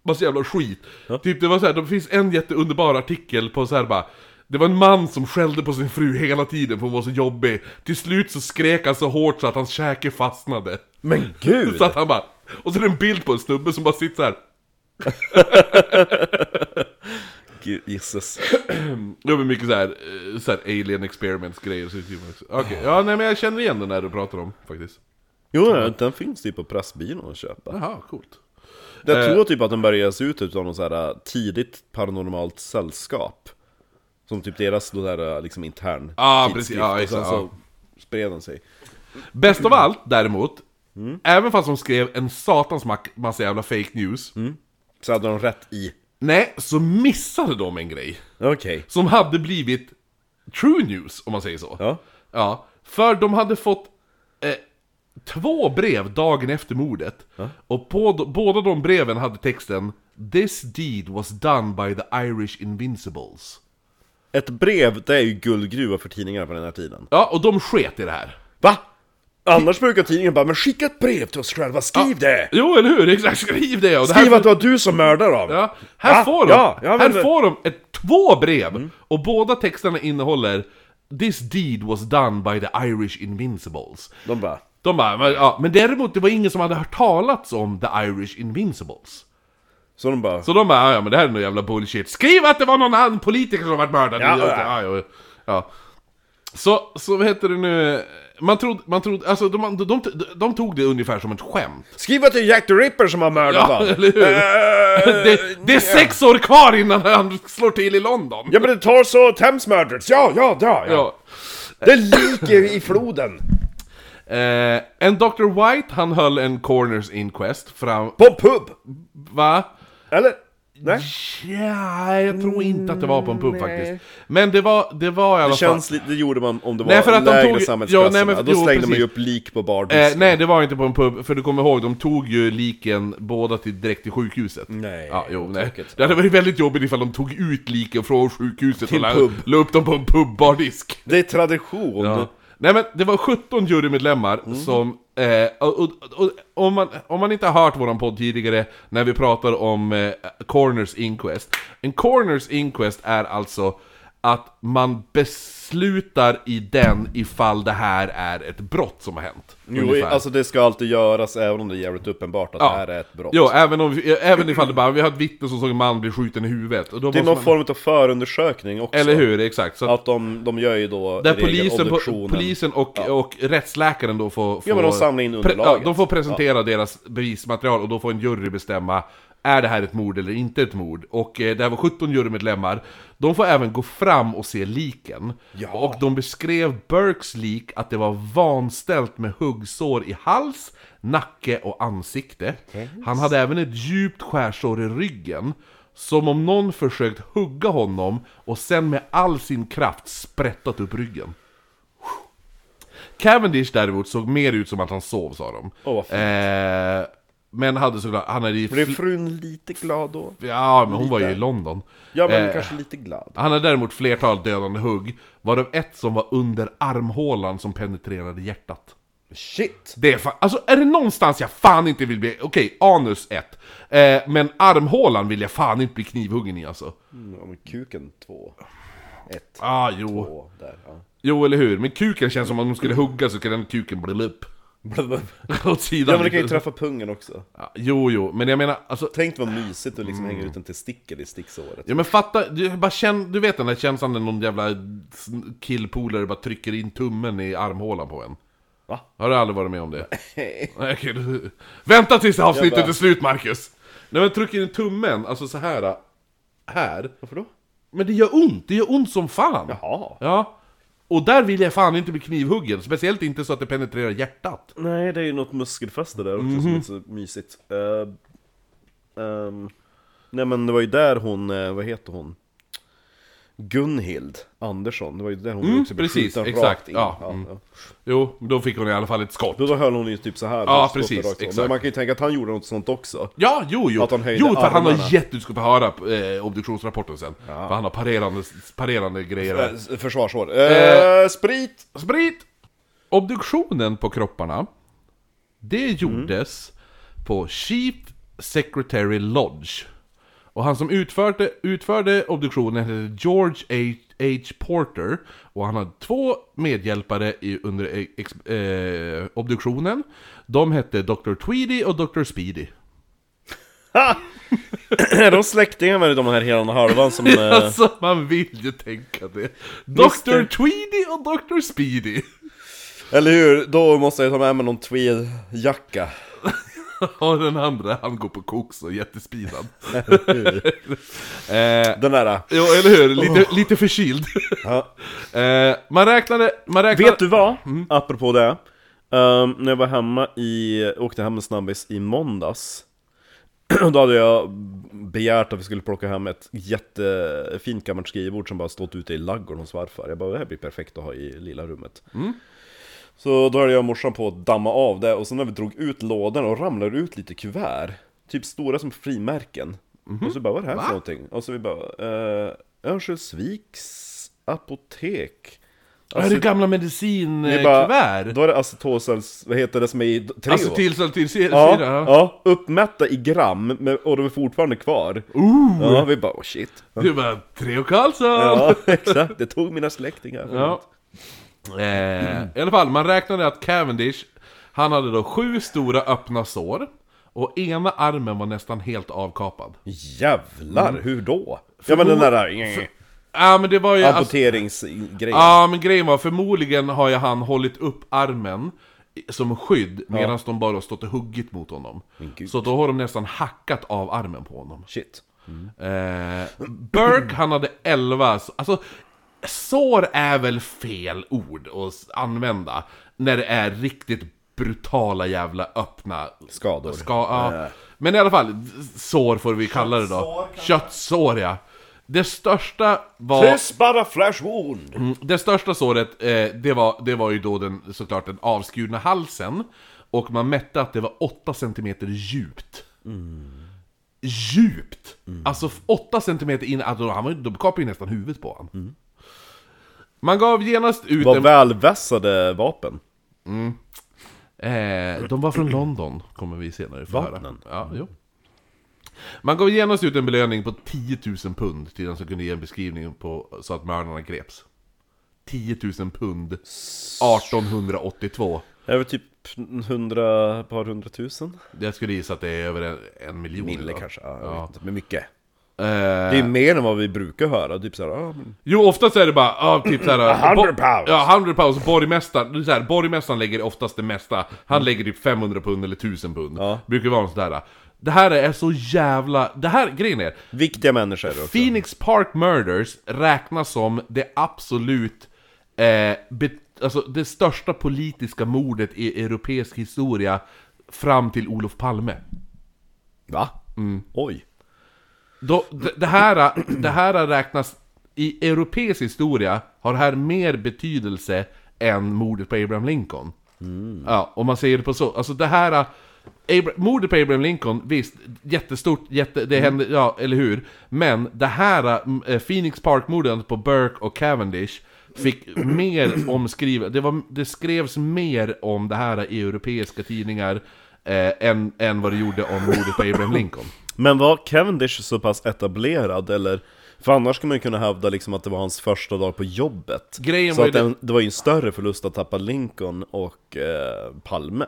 [SPEAKER 1] massa jävla skit. Typ det var så här, det finns en jätteunderbar artikel på så här bara det var en man som skällde på sin fru hela tiden för hon var så jobbig. Till slut så skrek han så hårt så att hans käke fastnade.
[SPEAKER 2] men gud!
[SPEAKER 1] Så att han bara... Och så är det en bild på en snubbe som bara sitter så här.
[SPEAKER 2] Gud, Jesus.
[SPEAKER 1] Det var mycket så här, eh, så här alien experiments grejer. så det är typ också- Okej, ja nej men jag känner igen den här du pratar om faktiskt.
[SPEAKER 2] Jo, ja, den finns typ på Pressbyrån att köpa.
[SPEAKER 1] Jaha, coolt. Eh.
[SPEAKER 2] typ Jag tror typ att den börjar ges ut utav något så här tidigt paranormalt eh, sällskap. Som typ deras då där liksom intern
[SPEAKER 1] Ja,
[SPEAKER 2] tidskrift.
[SPEAKER 1] Ah, precis. Ja,
[SPEAKER 2] Och sen
[SPEAKER 1] exakt,
[SPEAKER 2] så spred den sig.
[SPEAKER 1] Bäst av allt däremot, även fast de skrev en satans mack- massa jävla fake news,
[SPEAKER 2] Så hade de rätt i.
[SPEAKER 1] nej, så missade de en grej.
[SPEAKER 2] Okej.
[SPEAKER 1] Som hade blivit true news, om man säger så.
[SPEAKER 2] Ja.
[SPEAKER 1] Ja, för de hade fått eh, två brev dagen efter mordet. Och på, d- båda de breven hade texten This deed was done by the Irish Invincibles.
[SPEAKER 2] Ett brev, det är ju guldgruva för tidningar på den här tiden.
[SPEAKER 1] Ja, och de sket i det här.
[SPEAKER 2] Va? Annars brukar tidningen bara 'Men skicka ett brev till oss själva, skriv det!'
[SPEAKER 1] Jo, eller hur? Exakt, skriv det! Och det här
[SPEAKER 2] Skriv att det var du som mördar dem!
[SPEAKER 1] Ja, här
[SPEAKER 2] Va?
[SPEAKER 1] får de,
[SPEAKER 2] Ja, ja, men- Mm.
[SPEAKER 1] här får de ett, två brev! Och båda texterna innehåller This deed was done by the Irish Invincibles.
[SPEAKER 2] De bara
[SPEAKER 1] De bara, men, ja, men däremot det var ingen som hade hört talats om the Irish Invincibles.
[SPEAKER 2] Så de bara
[SPEAKER 1] Så de bara, "Ja, ja men det här är nog jävla bullshit. Skriv att det var någon annan politiker som varit mördad!
[SPEAKER 2] Ja, ja.
[SPEAKER 1] ja, ja. ja. Så, så vad heter det nu? Man trodde, man trodde, alltså de, de, de, de tog det ungefär som ett skämt.
[SPEAKER 2] Skriv att det är Jack the Ripper som har mördat
[SPEAKER 1] Ja,
[SPEAKER 2] dem!
[SPEAKER 1] eller hur?
[SPEAKER 2] Eh,
[SPEAKER 1] Det, det är sex år kvar innan han slår till i London!
[SPEAKER 2] Ja men det tar så Thames Murders, ja, ja, ja, ja.
[SPEAKER 1] Ja.
[SPEAKER 2] Det ligger i floden!
[SPEAKER 1] Eh, en Dr. White, han höll en corners inquest fram...
[SPEAKER 2] På pub!
[SPEAKER 1] Va?
[SPEAKER 2] Eller? Nej?
[SPEAKER 1] Ja, jag tror inte att det var på en pub faktiskt. Men det var, det var i alla
[SPEAKER 2] Mm, Det,
[SPEAKER 1] fall...
[SPEAKER 2] känns, li- det gjorde man om det var
[SPEAKER 1] Nej, för att de
[SPEAKER 2] lägre
[SPEAKER 1] tog-
[SPEAKER 2] samhällsklasserna,
[SPEAKER 1] Ja, nej, men-
[SPEAKER 2] då
[SPEAKER 1] jo,
[SPEAKER 2] slängde man ju
[SPEAKER 1] precis.
[SPEAKER 2] upp lik på
[SPEAKER 1] Eh,
[SPEAKER 2] bardisken
[SPEAKER 1] nej, det var inte på en pub, för du kommer ihåg, de tog ju liken båda till, direkt till sjukhuset.
[SPEAKER 2] Nej,
[SPEAKER 1] Ja, jo, nej.
[SPEAKER 2] tråkigt.
[SPEAKER 1] Det hade varit väldigt jobbigt ifall de tog ut liken från sjukhuset
[SPEAKER 2] Till
[SPEAKER 1] och la,
[SPEAKER 2] pub.
[SPEAKER 1] la upp dem på en pubbbardisk.
[SPEAKER 2] Det är tradition!
[SPEAKER 1] Ja. Nej men det var 17 jurymedlemmar
[SPEAKER 2] Mm.
[SPEAKER 1] som... Eh, och, och, och, om, man, om man inte har hört våran podd tidigare när vi pratar om eh, Corners Inquest. En Corners Inquest är alltså att man beslutar i den ifall det här är ett brott som har hänt.
[SPEAKER 2] Jo,
[SPEAKER 1] ungefär.
[SPEAKER 2] alltså det ska alltid göras även om det är jävligt uppenbart att
[SPEAKER 1] Ja.
[SPEAKER 2] det här är ett brott.
[SPEAKER 1] Jo, även, om, vi- även ifall det bara, vi har ett vittne som såg en man bli skjuten i huvudet. Och då
[SPEAKER 2] Det är
[SPEAKER 1] måste
[SPEAKER 2] någon
[SPEAKER 1] man,
[SPEAKER 2] form av förundersökning också.
[SPEAKER 1] Eller hur, exakt. Så att,
[SPEAKER 2] Att de, de gör ju då
[SPEAKER 1] där
[SPEAKER 2] i regel
[SPEAKER 1] polisen, po-
[SPEAKER 2] obduktionen.
[SPEAKER 1] polisen och, och rättsläkaren då får... får
[SPEAKER 2] Ja men de samlar in
[SPEAKER 1] pre-
[SPEAKER 2] underlaget.
[SPEAKER 1] ja, de får presentera deras bevismaterial och då får en jury bestämma är det här ett mord eller inte ett mord? Och eh, det här var 17 jurymedlemmar. De får även gå fram och se liken.
[SPEAKER 2] Ja.
[SPEAKER 1] Och de beskrev Burkes lik att det var vanställt med huggsår i hals, nacke och ansikte. Han hade även ett djupt skärsår i ryggen. Som om någon försökt hugga honom och sen med all sin kraft sprättat upp ryggen. Cavendish däremot såg mer ut som att han sov sa de.
[SPEAKER 2] Åh, vad fint.
[SPEAKER 1] eh, men hade såklart, han hade ju...
[SPEAKER 2] Blev
[SPEAKER 1] fl-
[SPEAKER 2] frun lite glad då?
[SPEAKER 1] Ja, men hon var ju i
[SPEAKER 2] Lite.
[SPEAKER 1] London.
[SPEAKER 2] Ja men
[SPEAKER 1] Eh,
[SPEAKER 2] kanske lite glad.
[SPEAKER 1] Han hade däremot flertal dödande hugg, varav ett som var under armhålan som penetrerade hjärtat.
[SPEAKER 2] Shit!
[SPEAKER 1] Det är fan, alltså är det någonstans jag fan inte vill bli, okej, anus 1. Eh, men armhålan vill jag fan inte bli knivhuggen i alltså.
[SPEAKER 2] Mm, ja, men kuken två. Ett,
[SPEAKER 1] Ah, jo.
[SPEAKER 2] två, där. Ja.
[SPEAKER 1] Jo, eller hur? Men kuken känns som om de skulle hugga så kan den kuken bli upp. Åt sidan. liksom.
[SPEAKER 2] ja men du kan ju träffa pungen också.
[SPEAKER 1] Ja, Jo, jo, men jag menar, alltså
[SPEAKER 2] Tänk vad mysigt att liksom hänga ut en testikel i sticksåret.
[SPEAKER 1] Ja men fatta, du, bara känn, du vet den där känslan när någon jävla sn- killpolare bara trycker in tummen i armhålan på en?
[SPEAKER 2] Va?
[SPEAKER 1] Har du aldrig varit med om det? Nej. okej, du, vänta tills det här avsnittet
[SPEAKER 2] Jag bara-
[SPEAKER 1] är slut Marcus! Nej men trycker in tummen, alltså så här. Här.
[SPEAKER 2] Varför då?
[SPEAKER 1] Men det gör ont, det gör ont som fan!
[SPEAKER 2] Jaha.
[SPEAKER 1] Ja. Och där vill jag fan inte bli knivhuggen, speciellt inte så att det penetrerar hjärtat.
[SPEAKER 2] Nej, det är ju något muskelfäste där också som är så mysigt. Eh, ehm, nej men det var ju där hon, eh, vad heter hon? Gunhild Andersson, det var ju där hon också blev
[SPEAKER 1] precis,
[SPEAKER 2] skjuten
[SPEAKER 1] exakt,
[SPEAKER 2] rakt in.
[SPEAKER 1] ja,
[SPEAKER 2] Mm, Ja,
[SPEAKER 1] mm.
[SPEAKER 2] ja.
[SPEAKER 1] Jo, då fick hon i alla fall ett skott.
[SPEAKER 2] Då, då höll hon ju typ så här.
[SPEAKER 1] Ja,
[SPEAKER 2] och skottade
[SPEAKER 1] precis,
[SPEAKER 2] rakt om.
[SPEAKER 1] exakt.
[SPEAKER 2] Men man kan ju tänka att han gjorde något sånt också.
[SPEAKER 1] Ja, jo, jo.
[SPEAKER 2] Att han höjde
[SPEAKER 1] jo, för han
[SPEAKER 2] armarna.
[SPEAKER 1] har gett, du ska få höra eh, obduktionsrapporten sen. För han har parerande, parerande grejer.
[SPEAKER 2] Eh, s- Försvarsår. Eh, Sprit!
[SPEAKER 1] Sprit! Obduktionen på kropparna, det gjordes på Chief Secretary Lodge. Och han som utförde, utförde obduktionen hette George H. H. Porter och han hade två medhjälpare i, under eh, ex, eh, obduktionen. De hette Dr. Tweedy och Dr. Speedy.
[SPEAKER 2] Är de släktingar med de här hela och halvan som... eh,
[SPEAKER 1] Alltså man vill ju tänka det.
[SPEAKER 2] Mister-
[SPEAKER 1] Dr. Tweedy och Dr. Speedy.
[SPEAKER 2] Eller hur? Då måste jag ta med mig någon tweedjacka
[SPEAKER 1] och den andra, han går på koks och är jättespinad. eh,
[SPEAKER 2] Den där.
[SPEAKER 1] jo, eller hur? Lite, lite förkyld.
[SPEAKER 2] Ja.
[SPEAKER 1] eh, man räknade... Man räknade...
[SPEAKER 2] Vet du vad?
[SPEAKER 1] Mm.
[SPEAKER 2] Apropå det. Ehm, när jag var hemma i, åkte hem med snabbis i måndags. Då hade jag begärt att vi skulle plocka hem ett jättefint gammalt skrivbord som bara stått ute i laggården hos farfar. Jag bara, det här blir perfekt att ha i lilla rummet.
[SPEAKER 1] Mm.
[SPEAKER 2] Så då höll jag och morsan på att damma av det och sen när vi drog ut lådorna och ramlade ut lite kuvert. Typ stora som frimärken.
[SPEAKER 1] Mhm.
[SPEAKER 2] Och så bara, vad är det här för någonting? Och så vi bara, eh, Örnsköldsviks apotek.
[SPEAKER 1] är det gamla medicinkuvert?
[SPEAKER 2] Det är bara, då är det acetosels, vad heter det som är i Treo?
[SPEAKER 1] Alltså till så till syra?
[SPEAKER 2] ja, ja, uppmätta i gram, men- och de är fortfarande kvar.
[SPEAKER 1] Ooh.
[SPEAKER 2] Ja, vi bara oh shit.
[SPEAKER 1] Du bara, Treo Karlsson!
[SPEAKER 2] Ja, exakt. Det tog mina släktingar.
[SPEAKER 1] Ja. Eh, I alla fall, man räknade att Cavendish, han hade då sju stora öppna sår och ena armen var nästan helt avkapad.
[SPEAKER 2] Jävlar,
[SPEAKER 1] Mm.
[SPEAKER 2] hur då? Ja men den där eh,
[SPEAKER 1] Ja men det var ju... alltså-
[SPEAKER 2] amputeringsgrejen.
[SPEAKER 1] Ja men grejen var, förmodligen har ju han hållit upp armen i- som skydd medan de bara har stått och huggit mot honom.
[SPEAKER 2] gud.
[SPEAKER 1] Så då har de nästan hackat av armen på honom.
[SPEAKER 2] Shit.
[SPEAKER 1] Eh, Burke, han hade 11, så- alltså sår är väl fel ord att s- använda när det är riktigt brutala jävla öppna
[SPEAKER 2] Skador.
[SPEAKER 1] Ska, ja. Men i alla fall, sår får vi kalla det då.
[SPEAKER 2] Köttsår kanske?
[SPEAKER 1] Köttsår ja. Det största var...
[SPEAKER 2] This bara flash wound!
[SPEAKER 1] Mm, Det största såret, eh, det, var, det var ju då den, såklart den avskurna halsen. Och man mätte att det var 8 cm djupt. Djupt! Alltså 8 cm in, alltså, han var, ju- de kapade ju nästan huvudet på honom. Man gav genast ut
[SPEAKER 2] Var
[SPEAKER 1] en...
[SPEAKER 2] välvässade vapen.
[SPEAKER 1] Eh, de var från London, kommer vi senare få höra.
[SPEAKER 2] Vapnen.
[SPEAKER 1] Ja, jo. Man gav genast ut en belöning på 10 000 pund till den som kunde ge en beskrivning på, så att mördarna greps. 10 000 pund 1882.
[SPEAKER 2] Det är väl typ hundra, par hundratusen?
[SPEAKER 1] Jag skulle gissa att det är över en, en miljon.
[SPEAKER 2] Mille
[SPEAKER 1] idag.
[SPEAKER 2] kanske, ja, jag vet inte. Men mycket.
[SPEAKER 1] Eh,
[SPEAKER 2] Det är mer än vad vi brukar höra, typ såhär, ah, men...
[SPEAKER 1] Jo, oftast är det bara, ja, typ såhär...
[SPEAKER 2] 100
[SPEAKER 1] bo-
[SPEAKER 2] pounds.
[SPEAKER 1] Ja, 100 pounds. Borgmästaren, det är så här, borgmästaren lägger oftast det mesta. Han lägger typ 500 pund eller 1000 pund.
[SPEAKER 2] Ja.
[SPEAKER 1] Brukar vara något sådär. Det här är så jävla... Det här, grejen är,
[SPEAKER 2] Viktiga människor också.
[SPEAKER 1] Phoenix Park Murders räknas som det absolut... Eh, be, alltså det största politiska mordet i europeisk historia fram till Olof Palme.
[SPEAKER 2] Va?
[SPEAKER 1] Mm.
[SPEAKER 2] Oj.
[SPEAKER 1] Då, d- det, här, det här räknas... I europeisk historia har det här mer betydelse än mordet på Abraham Lincoln. Ja, om man säger det på så. Alltså det här... Abra- mordet på Abraham Lincoln, visst, jättestort, jätte, det hände, ja, eller hur? Men det här eh, Phoenix Park-mordet på Burke och Cavendish fick mer omskrivet, det, var, det skrevs mer om det här i europeiska tidningar eh, än, än vad det gjorde om mordet på Abraham Lincoln.
[SPEAKER 2] Men var Cavendish så pass etablerad eller? För annars skulle man ju kunna hävda liksom att det var hans första dag på jobbet.
[SPEAKER 1] Grejen
[SPEAKER 2] så
[SPEAKER 1] var
[SPEAKER 2] att
[SPEAKER 1] ju det-
[SPEAKER 2] den, det var ju en större förlust att tappa Lincoln och eh, Palme.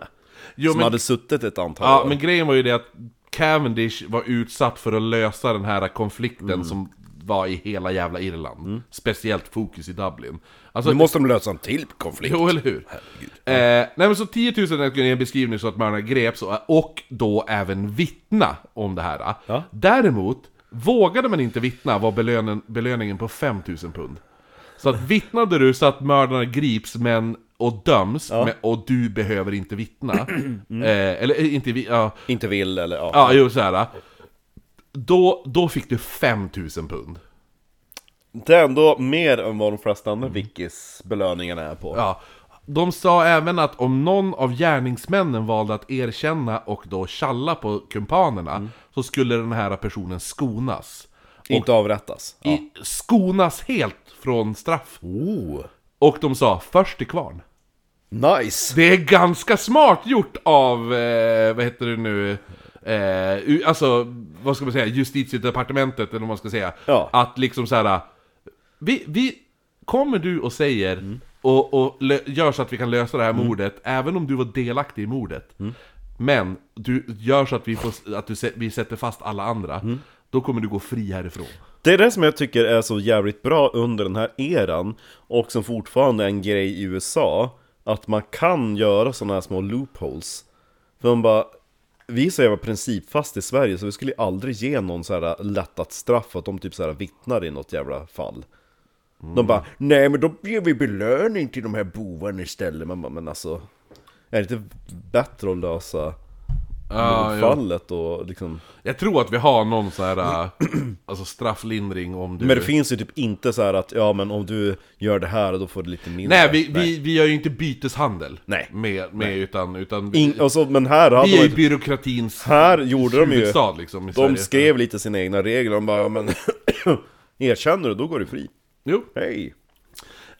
[SPEAKER 1] Jo,
[SPEAKER 2] som
[SPEAKER 1] men-
[SPEAKER 2] hade suttit ett antal
[SPEAKER 1] Ja,
[SPEAKER 2] år.
[SPEAKER 1] men grejen var ju det att Cavendish var utsatt för att lösa den här konflikten som var i hela jävla Irland. Speciellt fokus i Dublin. Alltså,
[SPEAKER 2] Nu måste de lösa en till konflikt.
[SPEAKER 1] Jo, eller hur? Eh, nej, men så 10 000 är kunde ge en beskrivning så att mördarna greps och, och då även vittna om det här.
[SPEAKER 2] Ja.
[SPEAKER 1] Däremot, vågade man inte vittna var belönen, belöningen på 5 000 pund. Så att vittnade du så att mördarna grips men och döms, men, och du behöver inte vittna. Eh, eller eh, inte vi, ja,
[SPEAKER 2] Inte vill eller ja.
[SPEAKER 1] ja jo såhär. Då, då fick du 5 000 pund.
[SPEAKER 2] Det är ändå mer än vad de flesta andra Vickis belöningarna är på.
[SPEAKER 1] Ja. De sa även att om någon av gärningsmännen valde att erkänna och då tjalla på kumpanerna
[SPEAKER 2] Mm.
[SPEAKER 1] så skulle den här personen skonas.
[SPEAKER 2] Inte avrättas. Ja.
[SPEAKER 1] I, skonas helt från straff.
[SPEAKER 2] Oh,
[SPEAKER 1] Och de sa först till kvarn.
[SPEAKER 2] nice!
[SPEAKER 1] Det är ganska smart gjort av, eh, vad heter det nu, eh, u- alltså vad ska man säga, justitiedepartementet eller vad man ska säga.
[SPEAKER 2] Ja.
[SPEAKER 1] Att liksom så här. Vi, vi, kommer du och säger
[SPEAKER 2] Mm.
[SPEAKER 1] och, och lö- gör så att vi kan lösa det här mordet, även om du var delaktig i mordet.
[SPEAKER 2] Mm.
[SPEAKER 1] Men du gör så att, vi, får, att du, sä- vi sätter fast alla andra.
[SPEAKER 2] Mm.
[SPEAKER 1] Då kommer du gå fri härifrån.
[SPEAKER 2] Det är det som jag tycker är så jävligt bra under den här eran och som fortfarande är en grej i USA att man kan göra sådana här små loopholes. För man bara vi är så jävla principfast i Sverige så vi skulle ju aldrig ge någon så här lättat straff att de typ så här vittnar i något jävla fall. De bara Nej men då ger vi belöning till de här bovarna istället. Man bara, men alltså Är det inte bättre att lösa
[SPEAKER 1] Ja, jo.
[SPEAKER 2] fallet och liksom
[SPEAKER 1] Jag tror att vi har någon så här äh, alltså strafflindring om du...
[SPEAKER 2] Men det finns ju typ inte så här att ja men om du gör det här då får du lite mindre
[SPEAKER 1] Nej, vi, Vi, vi gör ju inte byteshandel
[SPEAKER 2] Nej.
[SPEAKER 1] med, med utan, utan vi,
[SPEAKER 2] In, och så, men här hade
[SPEAKER 1] vi är
[SPEAKER 2] de
[SPEAKER 1] ju byråkratins
[SPEAKER 2] Här gjorde de ju
[SPEAKER 1] huvudstad liksom i
[SPEAKER 2] De
[SPEAKER 1] Sverige.
[SPEAKER 2] skrev lite sina egna regler, de bara ja, men Erkänner du då går du fri
[SPEAKER 1] Jo.
[SPEAKER 2] Hej!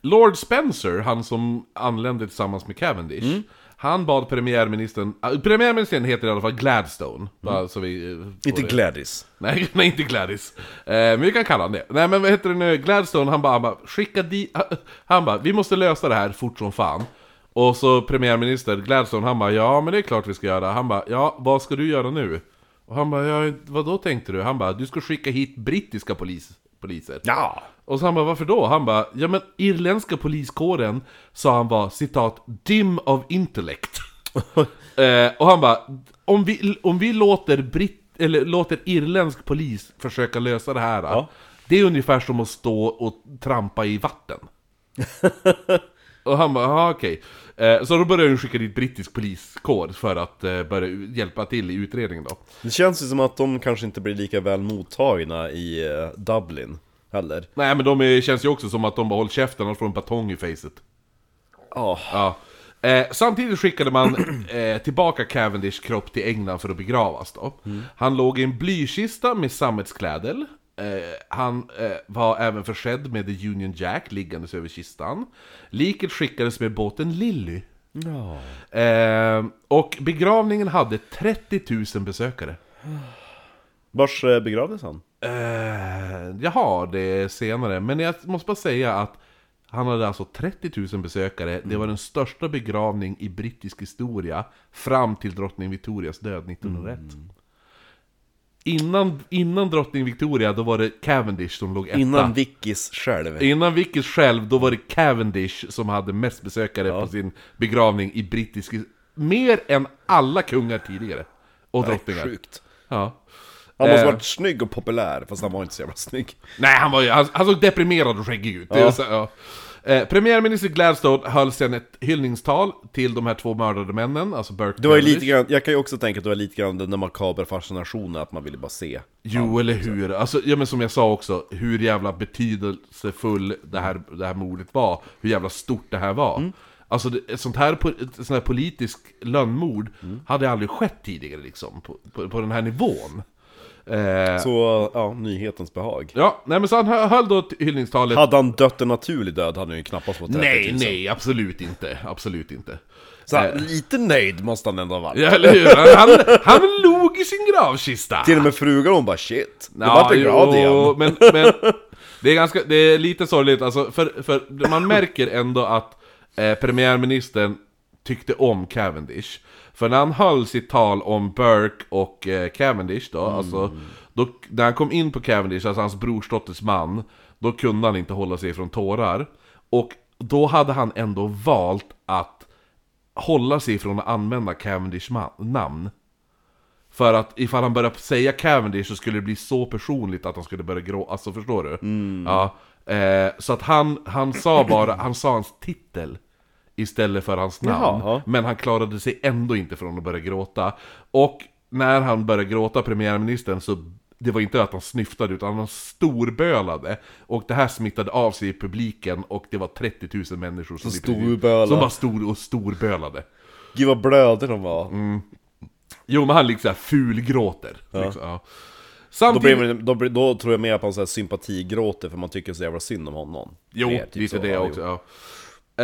[SPEAKER 1] Lord Spencer, han som anlände tillsammans med Cavendish,
[SPEAKER 2] Mm.
[SPEAKER 1] han bad premiärministern, äh, premiärministern heter i alla fall Gladstone, bara så vi... eh, får
[SPEAKER 2] Mm. Inte
[SPEAKER 1] det.
[SPEAKER 2] Gladys
[SPEAKER 1] Nej, nej, inte Gladys. Eh, men vi kan kalla honom det. Nej, men vad heter det nu? Gladstone, han bara, han bara skicka dit... Han bara, vi måste lösa det här fort som fan. Och så premiärminister Gladstone, han bara, ja men det är klart vi ska göra. Han bara, ja vad ska du göra nu? Och han bara, ja vadå tänkte du? Han bara, du ska skicka hit brittiska polis, poliser.
[SPEAKER 2] Ja!
[SPEAKER 1] Och så han bara, varför då? Han bara, ja men irländska poliskåren sa han var citat, dim of intellect. eh, och han bara, om vi, om vi låter, britt, eller låter irländsk polis försöka lösa det här,
[SPEAKER 2] Ja.
[SPEAKER 1] det är ungefär som att stå och trampa i vatten. och han bara, ja okej. Eh, så då började de skicka dit brittisk poliskår för att eh, börja hjälpa till i utredningen då.
[SPEAKER 2] Det känns ju som att de kanske inte blir lika väl mottagna i eh, Dublin heller
[SPEAKER 1] Nej men de är, känns ju också som att de bara håller käften, och får en batong i facet.
[SPEAKER 2] Ja,
[SPEAKER 1] Ja. Eh, samtidigt skickade man eh, tillbaka Cavendishs kropp till England för att begravas då. Han låg i en blykista med sammetskläder. Eh, han eh, var även försedd med The Union Jack liggandes över kistan. Liket skickades med båten Lilly. Eh, och begravningen hade 30 000 besökare.
[SPEAKER 2] Vars eh, begravdes han?
[SPEAKER 1] Eh, jag har det senare, men jag måste bara säga att han hade alltså 30 000 besökare. Det
[SPEAKER 2] Mm.
[SPEAKER 1] var den största begravning i brittisk historia fram till drottning Victorias död 1901.
[SPEAKER 2] Mm.
[SPEAKER 1] Innan, innan drottning Victoria, då var det Cavendish som låg etta.
[SPEAKER 2] Innan Vickis själv
[SPEAKER 1] Innan Vickers själv, då var det Cavendish som hade mest besökare på sin begravning i brittisk... Mer än alla kungar tidigare. Och drottningar.
[SPEAKER 2] Sjukt
[SPEAKER 1] Ja.
[SPEAKER 2] Han måste
[SPEAKER 1] Eh.
[SPEAKER 2] varit snygg och populär, fast han var inte så jävla snygg
[SPEAKER 1] Nej, han, var ju, han, han såg deprimerad och skäggig ut. Det är så, ja. Eh, premiärminister Gladstone höll sedan ett hyllningstal till de här två mördade männen, alltså Burke
[SPEAKER 2] Det var ju
[SPEAKER 1] Cavendish.
[SPEAKER 2] lite grann, jag kan ju också tänka att det var lite grann den där makabra fascinationen att man ville bara se
[SPEAKER 1] Jo, eller hur. Alltså, ja, men som jag sa också, hur jävla betydelsefull det här, det här mordet var. Hur jävla stort det här var.
[SPEAKER 2] Mm.
[SPEAKER 1] Alltså, det, ett sånt här, po- ett sånt här politisk lönnmord
[SPEAKER 2] Mm.
[SPEAKER 1] hade aldrig skett tidigare liksom, på, på, på den här nivån. Eh,
[SPEAKER 2] Så, ja, nyhetens behag
[SPEAKER 1] ja, nej men så han hö- höll då ett hyllningstalet
[SPEAKER 2] Hade liksom. han dött en naturlig död hade han ju knappast fått 30
[SPEAKER 1] Nej,
[SPEAKER 2] 000.
[SPEAKER 1] nej, absolut inte. Absolut inte.
[SPEAKER 2] Så här, lite nöjd måste han ändå ha varit
[SPEAKER 1] Ja, eller hur? Han, han, han log i sin gravkista!
[SPEAKER 2] Till och med frugan hon bara shit, det
[SPEAKER 1] Ja,
[SPEAKER 2] vart en grad igen
[SPEAKER 1] jo, men, men det är ganska, det är lite sorgligt alltså, för, för man märker ändå att eh, premiärministern tyckte om Cavendish. För när han höll sitt tal om Burke och eh, Cavendish
[SPEAKER 2] Mm.
[SPEAKER 1] då, alltså, då, när han kom in på Cavendish, alltså hans brorsdotters man, då kunde han inte hålla sig från tårar. Och då hade han ändå valt att hålla sig från att använda Cavendish ma- namn. För att ifall han började säga Cavendish så skulle det bli så personligt att han skulle börja gråta, alltså förstår du? Ja, eh, så att han, han sa bara, han sa hans titel istället för hans namn.
[SPEAKER 2] Jaha.
[SPEAKER 1] Men han klarade sig ändå inte från att börja gråta. Och när han började gråta, premiärministern, så det var inte att han snyftade utan han storbölade. Och det här smittade av sig i publiken och det var 30 000 människor som, i princip-
[SPEAKER 2] storbölade.
[SPEAKER 1] som bara stod och storbölade.
[SPEAKER 2] Gud vad blödig de var
[SPEAKER 1] Mm. Jo men han liksom såhär fulgråter. Liksom, ja.
[SPEAKER 2] då,
[SPEAKER 1] Samtidigt...
[SPEAKER 2] blir, man- då, blir- då tror jag mer på en sån här sympatigråter för man tycker så jävla synd om honom
[SPEAKER 1] Jo,
[SPEAKER 2] Mer, typ
[SPEAKER 1] lite
[SPEAKER 2] så.
[SPEAKER 1] det
[SPEAKER 2] Ja, jo.
[SPEAKER 1] också. Ja.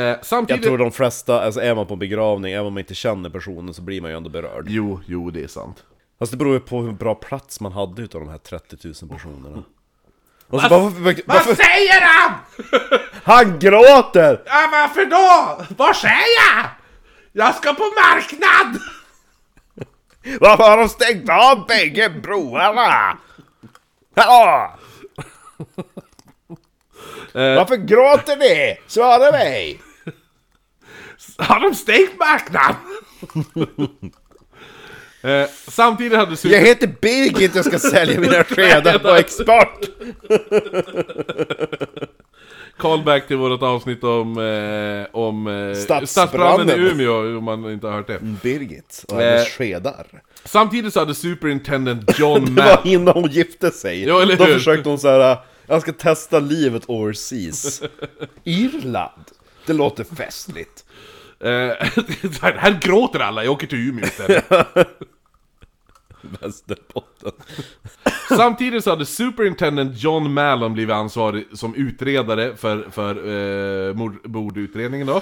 [SPEAKER 1] Eh, samtidigt...
[SPEAKER 2] Jag tror de flesta, alltså är man på en begravning, även om man inte känner personen så blir man ju ändå berörd
[SPEAKER 1] Jo, jo det är sant.
[SPEAKER 2] Fast det beror ju på hur bra plats man hade utav de här 30 000 personerna
[SPEAKER 3] Mm.
[SPEAKER 2] Alltså, varför, varför, varför,
[SPEAKER 1] säger han?
[SPEAKER 2] han gråter!
[SPEAKER 1] Ja, varför då? Vad säger jag? Jag ska på marknad!
[SPEAKER 2] Varför har de stängt av bägge broarna? Hallå!
[SPEAKER 3] Eh.
[SPEAKER 2] Varför gråter ni? Svara mig!
[SPEAKER 1] Har de stängt marknaden? Eh, samtidigt hade
[SPEAKER 2] Jag
[SPEAKER 1] Super...
[SPEAKER 2] heter Birgit, jag ska sälja mina skedar på export!
[SPEAKER 1] Callback till vårt avsnitt om, eh, om eh,
[SPEAKER 3] Stadsbranden.
[SPEAKER 1] stadsbranden i Umeå, om man inte har hört det.
[SPEAKER 2] Mm.
[SPEAKER 3] Birgit och hennes
[SPEAKER 1] Eh.
[SPEAKER 3] skedar.
[SPEAKER 1] Samtidigt så hade Superintendent John
[SPEAKER 2] Det
[SPEAKER 1] Matt...
[SPEAKER 2] var innan hon gifte sig.
[SPEAKER 1] Ja, eller
[SPEAKER 2] Då
[SPEAKER 1] hur?
[SPEAKER 2] försökte hon så här. jag ska testa livet overseas.
[SPEAKER 3] Irland! Det låter festligt.
[SPEAKER 1] Eh, här, här gråter alla, jag åker till Umeå istället.
[SPEAKER 2] Västerbotten.
[SPEAKER 1] Samtidigt så hade Superintendent John Mallon blivit ansvarig som utredare för, för eh, mord- mordutredningen då.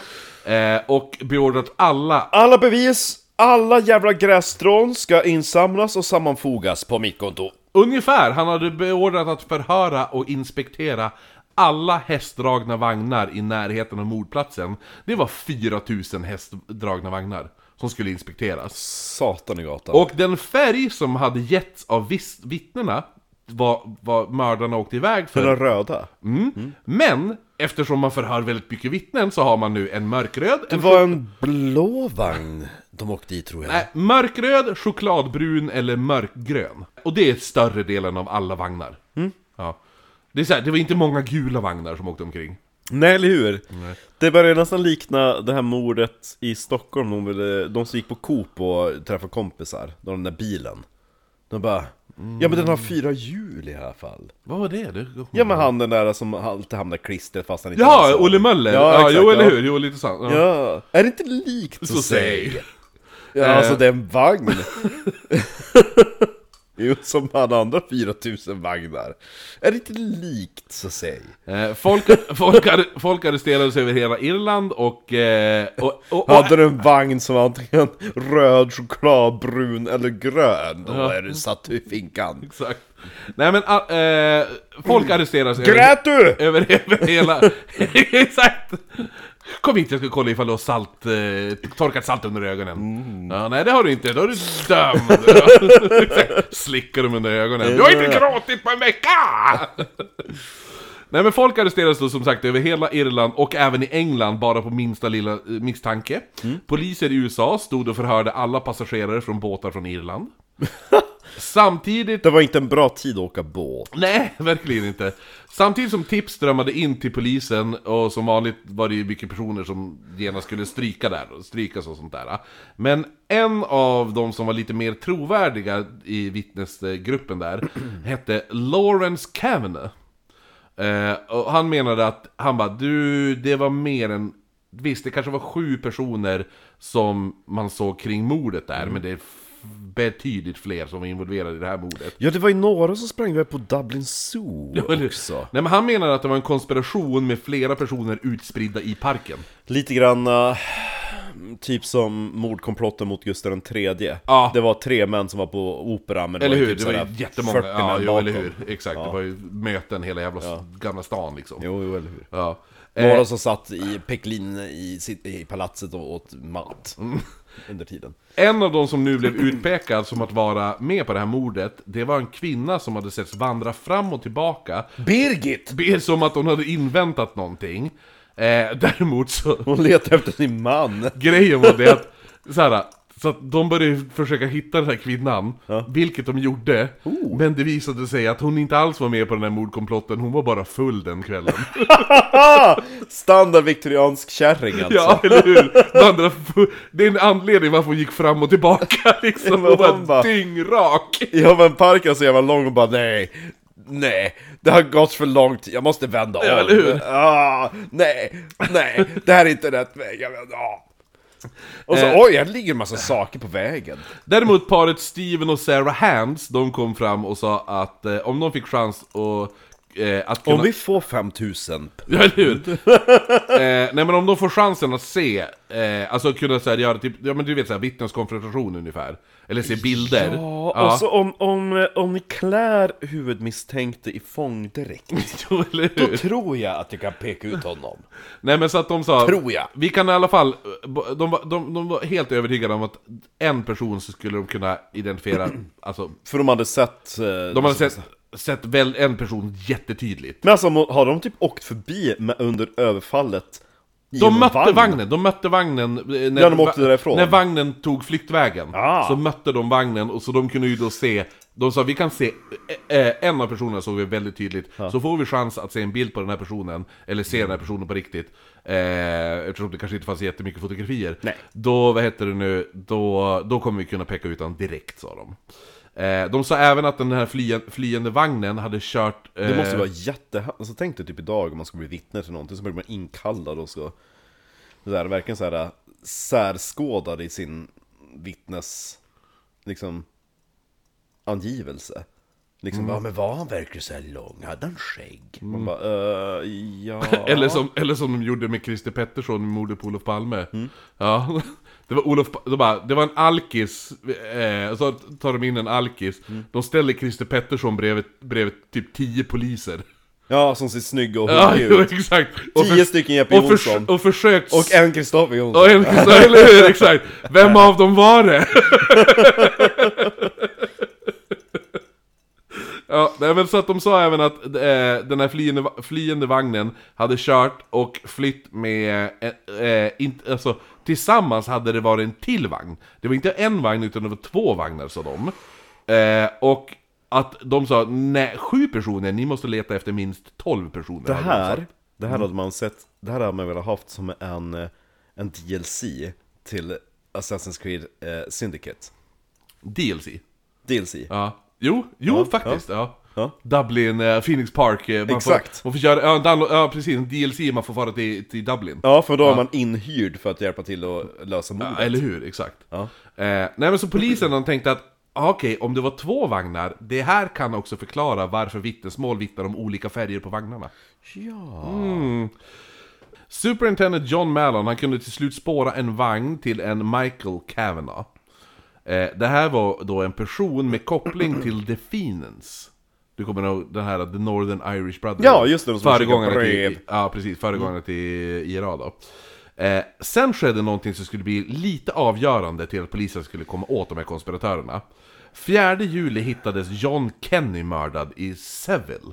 [SPEAKER 1] Eh, och beordrat alla
[SPEAKER 2] Alla bevis, alla jävla grässtrån ska insamlas och sammanfogas på mitt kontor.
[SPEAKER 1] Ungefär, han hade beordrat att förhöra och inspektera alla hästdragna vagnar i närheten av mordplatsen. Det var 4000 hästdragna vagnar som skulle inspekteras.
[SPEAKER 2] Satan i gatan.
[SPEAKER 1] Och den färg som hade getts av viss- vittnena var vad mördarna åkte iväg för.
[SPEAKER 2] den röda.
[SPEAKER 1] Mm. Men eftersom man förhör väldigt mycket vittnen så har man nu en mörkröd,
[SPEAKER 3] Det
[SPEAKER 1] en
[SPEAKER 3] var en blå vagn de åkte i tror jag.
[SPEAKER 1] Nej, mörkröd, chokladbrun eller mörkgrön. Och det är större delen av alla vagnar. Ja. Det, är så här, det var inte många gula vagnar som åkte omkring.
[SPEAKER 2] Nej, eller hur? Det börjar nästan likna det här mordet i Stockholm, de, ville, de som gick på Coop och träffade kompisar, de den där bilen. De bara, ja men den
[SPEAKER 1] Mm.
[SPEAKER 2] har fyra hjul i alla fall.
[SPEAKER 1] Vad var det? du?
[SPEAKER 2] Ja men han den där som alltid hamnar klistret fast han inte
[SPEAKER 1] Ja,
[SPEAKER 2] ens har.
[SPEAKER 1] Mm. Olle Möller! Ja,
[SPEAKER 2] Ja, exakt,
[SPEAKER 1] jo, eller
[SPEAKER 2] ja.
[SPEAKER 1] hur? Jo, lite sant. Ja.
[SPEAKER 2] Ja, är det inte likt
[SPEAKER 1] Så säg. Eh.
[SPEAKER 2] Ja, alltså det är en vagn. jo, som han andra 4000 vagnar. Är det inte likt så säg?
[SPEAKER 1] Eh, Folk, folk, ar- folk arresterades över hela Irland och... eh, och, och, och
[SPEAKER 2] Hade du en vagn som var antingen röd, chokladbrun eller grön? Då är du satt i finkan.
[SPEAKER 1] exakt. Nej men, ah, eh, folk arresterades över,
[SPEAKER 2] Grät du?
[SPEAKER 1] över, över hela... exakt! Kom hit, jag ska kolla ifall du har salt, eh, torkat salt under ögonen. Ja, nej, det har du inte. Då är du dömd. Exakt. Slickar dem under ögonen. Du har inte gråtit på en vecka! Nej, men folk arresterades då som sagt över hela Irland och även i England bara på minsta lilla eh, misstanke. Poliser i USA stod och förhörde alla passagerare från båtar från Irland. Samtidigt
[SPEAKER 2] Det var inte en bra tid att åka båt.
[SPEAKER 1] Nej, verkligen inte. Samtidigt som tips strömmade in till polisen, och som vanligt var det ju mycket personer som genast skulle stryka där, och strykas och sånt där. Men en av de som var lite mer trovärdiga i vittnesgruppen där, hette Lawrence Kavanagh. Eh, och han menade att, han bara du, det var mer än, visst det kanske var sju personer som man såg kring mordet där, men det är f- betydligt fler som var involverade i det här mordet.
[SPEAKER 2] Ja, det var ju några som sprang iväg på Dublin Zoo
[SPEAKER 1] Eller-
[SPEAKER 2] också.
[SPEAKER 1] Nej men han menar att det var en konspiration med flera personer utspridda i parken.
[SPEAKER 2] Lite grann eh, typ som mordkomplotten mot Gustav III.
[SPEAKER 1] Ja.
[SPEAKER 2] Det var tre män som var på operan, men det
[SPEAKER 1] Eller
[SPEAKER 2] var ju
[SPEAKER 1] hur?
[SPEAKER 2] typ
[SPEAKER 1] det var ju
[SPEAKER 2] sådär
[SPEAKER 1] jättemånga.
[SPEAKER 2] 40
[SPEAKER 1] Ja,
[SPEAKER 2] män
[SPEAKER 1] jo, eller
[SPEAKER 2] bakom.
[SPEAKER 1] hur? Exakt, det var ju möten hela jävla s- gamla stan liksom.
[SPEAKER 2] Jo, jo, eller hur.
[SPEAKER 1] Ja.
[SPEAKER 2] Några
[SPEAKER 1] Eh,
[SPEAKER 2] som satt i Peklin i, sitt- i palatset och åt mat
[SPEAKER 1] Mm.
[SPEAKER 2] under tiden.
[SPEAKER 1] en av de som nu blev utpekad som att vara med på det här mordet, det var en kvinna som hade setts vandra fram och tillbaka.
[SPEAKER 3] Birgit!
[SPEAKER 1] Det är som att hon hade inväntat någonting. Eh, däremot så...
[SPEAKER 2] Hon letade efter sin man.
[SPEAKER 1] Grejen var det att, så här, så att de började försöka hitta den här kvinnan, vilket de gjorde. Men det visade sig att hon inte alls var med på den här mordkomplotten, hon var bara full den kvällen.
[SPEAKER 2] Ah! Standard viktoriansk kärring alltså.
[SPEAKER 1] ja, eller hur? Den andra, fu- det är en anledning varför hon gick fram och tillbaka liksom,
[SPEAKER 2] Men
[SPEAKER 1] hon
[SPEAKER 2] hon
[SPEAKER 1] var
[SPEAKER 2] bara-
[SPEAKER 1] dyngrak.
[SPEAKER 2] Ja men parken är så jävla lång och bara nej, nej, det har gått för långt, jag måste vända om.
[SPEAKER 1] Ja, eller hur?
[SPEAKER 2] Ah, nej, nej, det här är inte rätt väg, jag vet, ah. Och så
[SPEAKER 1] Eh.
[SPEAKER 2] oj, här ligger en massa saker på vägen.
[SPEAKER 1] Däremot paret Steven och Sarah Hands, de kom fram och sa att eh, om de fick chans att Eh, att kunna...
[SPEAKER 2] Om vi får 5000
[SPEAKER 1] Ja, eller hur? eh, nej men om de får chansen att se, eh, alltså kunna så här, göra typ, ja men du vet såhär vittneskonfrontation ungefär. Eller se bilder.
[SPEAKER 2] och så om, om, om ni klär huvudmisstänkte i fångdräkt,
[SPEAKER 1] Jo, eller hur?
[SPEAKER 2] tror jag att jag kan peka ut honom.
[SPEAKER 1] Nej men så att de sa,
[SPEAKER 2] Tror jag.
[SPEAKER 1] vi kan i alla fall, de, var- de, de var helt övertygade om att en person så skulle de kunna identifiera, alltså,
[SPEAKER 2] För de hade sett... eh,
[SPEAKER 1] de hade sett, sett väl en person jättetydligt.
[SPEAKER 2] Men alltså må- har de typ åkt förbi med, under överfallet en
[SPEAKER 1] De mötte
[SPEAKER 2] vagn?
[SPEAKER 1] vagnen, de mötte vagnen eh, när,
[SPEAKER 2] Ja, de åkte därifrån.
[SPEAKER 1] när vagnen tog flyktvägen
[SPEAKER 2] Ah.
[SPEAKER 1] Så mötte de vagnen, och så de kunde ju då se De sa vi kan se, eh, eh, en av personerna såg vi väldigt tydligt Så får vi chans att se en bild på den här personen Eller se den här personen på riktigt eh, Eftersom det kanske inte fanns jättemycket fotografier
[SPEAKER 2] Nej.
[SPEAKER 1] Då, vad heter det nu, då, då kommer vi kunna peka ut honom direkt sa de eh, De sa även att den här flyende, flyende vagnen hade kört eh,
[SPEAKER 2] Det måste vara jätte... Alltså tänk dig typ idag om man ska bli vittne till någonting så blir man inkallad och ska... Det där, verkligen så här äh, särskådad i sin vittnes... Liksom... Angivelse. Liksom
[SPEAKER 3] Ja
[SPEAKER 2] bara...
[SPEAKER 3] men var han verkligen så här lång? Hade han skägg?
[SPEAKER 2] Man bara, eh, ja...
[SPEAKER 1] Mm. Eller som, eller som de gjorde med Christer Pettersson i mordet på Olof Palme.
[SPEAKER 2] Mm.
[SPEAKER 1] Ja. Det var, Olof, Pa- de bara, det var en alkis, eh, så tar de in en alkis.
[SPEAKER 2] Mm.
[SPEAKER 1] De ställer Christer Pettersson bredvid, bredvid typ 10 poliser.
[SPEAKER 2] Ja, som ser snygg och
[SPEAKER 1] Ja,
[SPEAKER 2] hungrig
[SPEAKER 1] jo,
[SPEAKER 2] ut.
[SPEAKER 1] exakt.
[SPEAKER 2] 10 stycken Jeppe
[SPEAKER 1] och,
[SPEAKER 2] Johnsson.
[SPEAKER 1] förs- och försökt...
[SPEAKER 2] Och en Kristoffer Jonsson.
[SPEAKER 1] och en, eller hur, exakt. Vem av dem var det? Ja, nej, men så att de sa även att eh, den här flyende, va- flyende vagnen hade kört och flytt med... Eh, eh, inte, alltså, tillsammans hade det varit en till vagn. Det var inte en vagn utan det var två vagnar sa de. Eh, och att de sa nej, sju personer, ni måste leta efter minst tolv personer. Alltså,
[SPEAKER 2] Det
[SPEAKER 1] hade de
[SPEAKER 2] här,
[SPEAKER 1] sagt.
[SPEAKER 2] det
[SPEAKER 1] Mm.
[SPEAKER 2] här hade man sett, det här hade man velat haft som en, eh, en DLC till Assassin's Creed eh, Syndicate.
[SPEAKER 1] DLC.
[SPEAKER 2] DLC.
[SPEAKER 1] Ja. Jo, jo faktiskt. Ja.
[SPEAKER 2] Ja.
[SPEAKER 1] Dublin, eh, Phoenix Park. eh, Man
[SPEAKER 2] Exakt.
[SPEAKER 1] Får, man får göra, ja, download, ja, precis. En DLC man får fara till, till Dublin.
[SPEAKER 2] Ja, för då är man inhyrd för att hjälpa till att lösa mordet.
[SPEAKER 1] Ja, eller hur, exakt.
[SPEAKER 2] Ja.
[SPEAKER 1] Eh, nej men så polisen de tänkte att ah, okej, om det var två vagnar, det här kan också förklara varför vittnesmål vittnar om olika färger på vagnarna.
[SPEAKER 2] Ja.
[SPEAKER 1] Mm. Superintendent John Mallon, han kunde till slut spåra en vagn till en Michael Kavanaugh. Eh, det här var då en person med koppling till The Phoenix. Du kommer ihåg den här The Northern Irish Brothers?
[SPEAKER 2] Ja, just det, de som
[SPEAKER 1] föregångare
[SPEAKER 2] skickar
[SPEAKER 1] till,
[SPEAKER 2] brev.
[SPEAKER 1] Ja, precis. Föregångare till IRA då. Eh, sen skedde någonting som skulle bli lite avgörande till att polisen skulle komma åt de här konspiratörerna. 4 juli hittades John Kenny mördad i Seville.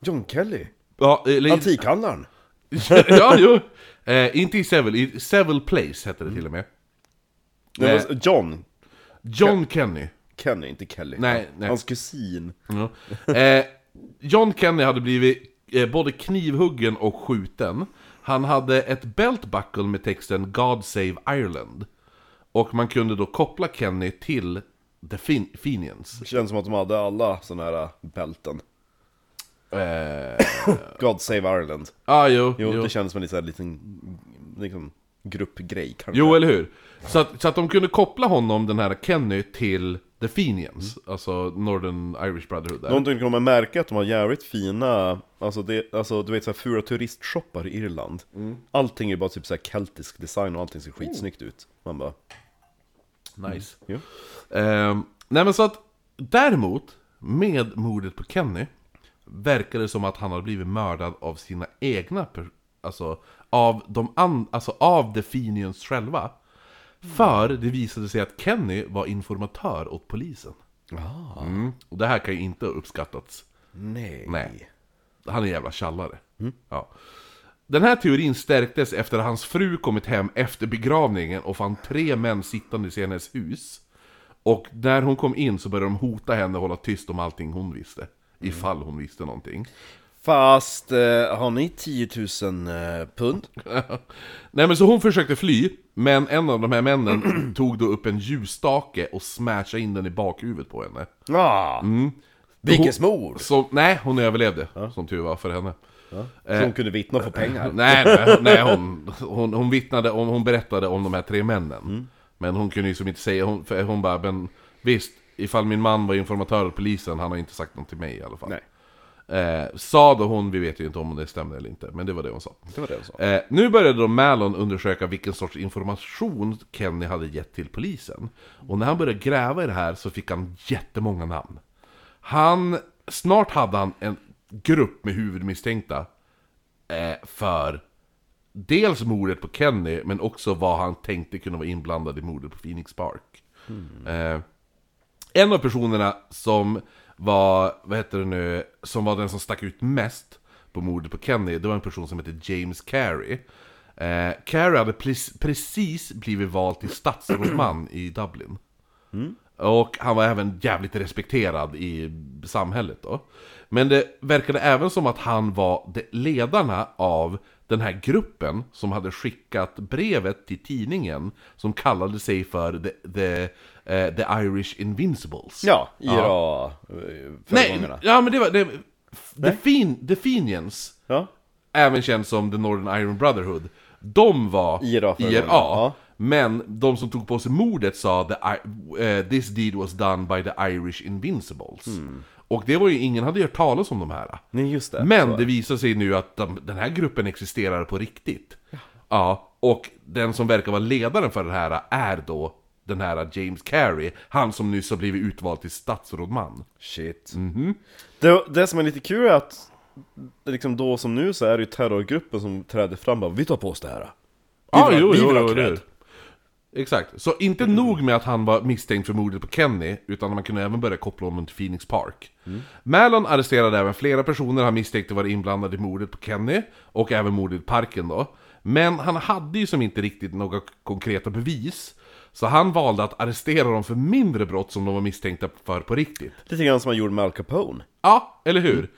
[SPEAKER 2] John Kelly.
[SPEAKER 1] Ja, eller,
[SPEAKER 2] Antikhandlaren.
[SPEAKER 1] ja, jo. Eh, inte i Seville, i Seville Place hette det till och med.
[SPEAKER 2] Nej.
[SPEAKER 1] Nej.
[SPEAKER 2] men John
[SPEAKER 1] John Kenny.
[SPEAKER 2] Kenny, inte Kelly.
[SPEAKER 1] Nej, nej.
[SPEAKER 2] Hans kusin.
[SPEAKER 1] Ja. Eh, John Kenny hade blivit eh, både knivhuggen och skjuten. Han hade ett belt buckle med texten God Save Ireland. Och man kunde då koppla Kenny till The fin- Fenians.
[SPEAKER 2] Det känns som att de hade alla sådana här bälten.
[SPEAKER 1] Eh,
[SPEAKER 2] God save Ireland.
[SPEAKER 1] ah, jo,
[SPEAKER 2] Jo,
[SPEAKER 1] jo.
[SPEAKER 2] det känns som en liten, så här liten liksom, gruppgrej kanske.
[SPEAKER 1] Jo, eller hur? Så att, så att de kunde koppla honom, den här Kenny, till The Fenians. Alltså Northern Irish Brotherhood där.
[SPEAKER 2] Någonting du kommer märka att de har jävligt fina, alltså, det, alltså du vet såhär fula turistshoppar i Irland Allting är bara typ såhär keltisk design och allting ser skitsnyggt ut Man bara,
[SPEAKER 1] Nice.
[SPEAKER 2] jo.
[SPEAKER 1] Ehm, nej men så att däremot, med mordet på Kenny, verkade det som att han hade blivit mördad av sina egna, per- alltså av de an- alltså av The Fenians själva. För det visade sig att Kenny var informatör åt polisen. Mm. Och det här kan ju inte ha uppskattats.
[SPEAKER 2] Nej.
[SPEAKER 1] Nej. Han är en jävla tjallare.
[SPEAKER 3] Mm.
[SPEAKER 1] Ja. Den här teorin stärktes efter att hans fru kommit hem efter begravningen och fann tre män sittandes i hennes hus. Och när hon kom in så började de hota henne och hålla tyst om allting hon visste.
[SPEAKER 3] Mm.
[SPEAKER 1] Ifall hon visste någonting.
[SPEAKER 2] Fast, eh, har ni 10 000 eh, pund?
[SPEAKER 1] Nej men så hon försökte fly, men en av de här männen tog då upp en ljusstake och smashade in den i bakhuvudet på henne.
[SPEAKER 2] Ja!
[SPEAKER 3] Vilken smor!
[SPEAKER 1] Så nej, hon överlevde, som tur var för henne.
[SPEAKER 2] Så hon kunde vittna och få pengar
[SPEAKER 1] Nej, nej, nej hon, hon, hon vittnade om, hon berättade om de här tre männen.
[SPEAKER 2] Mm.
[SPEAKER 1] Men hon kunde ju som inte säga, hon, för hon bara, men visst, ifall min man var informatör åt polisen, han har inte sagt något till mig i alla fall.
[SPEAKER 2] Nej.
[SPEAKER 1] Eh, sa då hon, vi vet ju inte om det stämde eller inte, men det var det hon sa.
[SPEAKER 2] Det var det hon sa
[SPEAKER 1] Eh, nu började då Mallon undersöka vilken sorts information Kenny hade gett till polisen. Och när han började gräva i det här så fick han jättemånga namn. Han, snart hade han en grupp med huvudmisstänkta eh, för dels mordet på Kenny, men också vad han tänkte kunna vara inblandad i mordet på Phoenix Park. Eh, en av personerna som var, vad heter det nu, som var den som stack ut mest på mordet på Kenny, det var en person som hette James Carey. Eh, Carey hade pres- precis blivit vald till statsrådsman i Dublin. Och han var även jävligt respekterad i samhället då. Men det verkade även som att han var de- ledarna av den här gruppen som hade skickat brevet till tidningen som kallade sig för The, the, eh, the Irish Invincibles.
[SPEAKER 2] Ja, IRA eh,
[SPEAKER 1] Nej,
[SPEAKER 2] föregångarna.
[SPEAKER 1] ja men det var... Det, the, fin, the Fenians
[SPEAKER 2] Ja.
[SPEAKER 1] även känd som The Northern Iron Brotherhood. De var
[SPEAKER 2] IRA för
[SPEAKER 1] IRA,
[SPEAKER 2] ögonen, ja.
[SPEAKER 1] men de som tog på sig mordet sa the, I- eh, This deed was done by the Irish Invincibles. Och det var ju, ingen hade hört talas om de här.
[SPEAKER 2] Hmm. Nej, just det.
[SPEAKER 1] Men det visar sig nu att de, den här gruppen existerar på riktigt. Ja. och den som verkar vara ledaren för det här är då den här James Carey, han som nyss har blivit utvald till statsrådman.
[SPEAKER 2] Shit.
[SPEAKER 1] Mhm.
[SPEAKER 2] Det, det som är lite kul är att liksom då som nu så är det ju terrorgruppen som träder fram och bara, vi tar på oss det här.
[SPEAKER 1] Ja,
[SPEAKER 2] vill ha-
[SPEAKER 1] Ah, jo,
[SPEAKER 2] vi
[SPEAKER 1] jo,
[SPEAKER 2] vill ha
[SPEAKER 1] jo,
[SPEAKER 2] cred.
[SPEAKER 1] jo. Exakt. Så inte nog med att han var misstänkt för mordet på Kenny, utan man kunde även börja koppla honom till Phoenix Park. Mallon arresterade även flera personer han misstänkte vara inblandade i mordet på Kenny, och även mordet i parken då. Men han hade ju som inte riktigt några konkreta bevis, så han valde att arrestera dem för mindre brott som de var misstänkta för på riktigt.
[SPEAKER 2] Lite grann som man gjorde med Al Capone.
[SPEAKER 1] Ja, eller hur?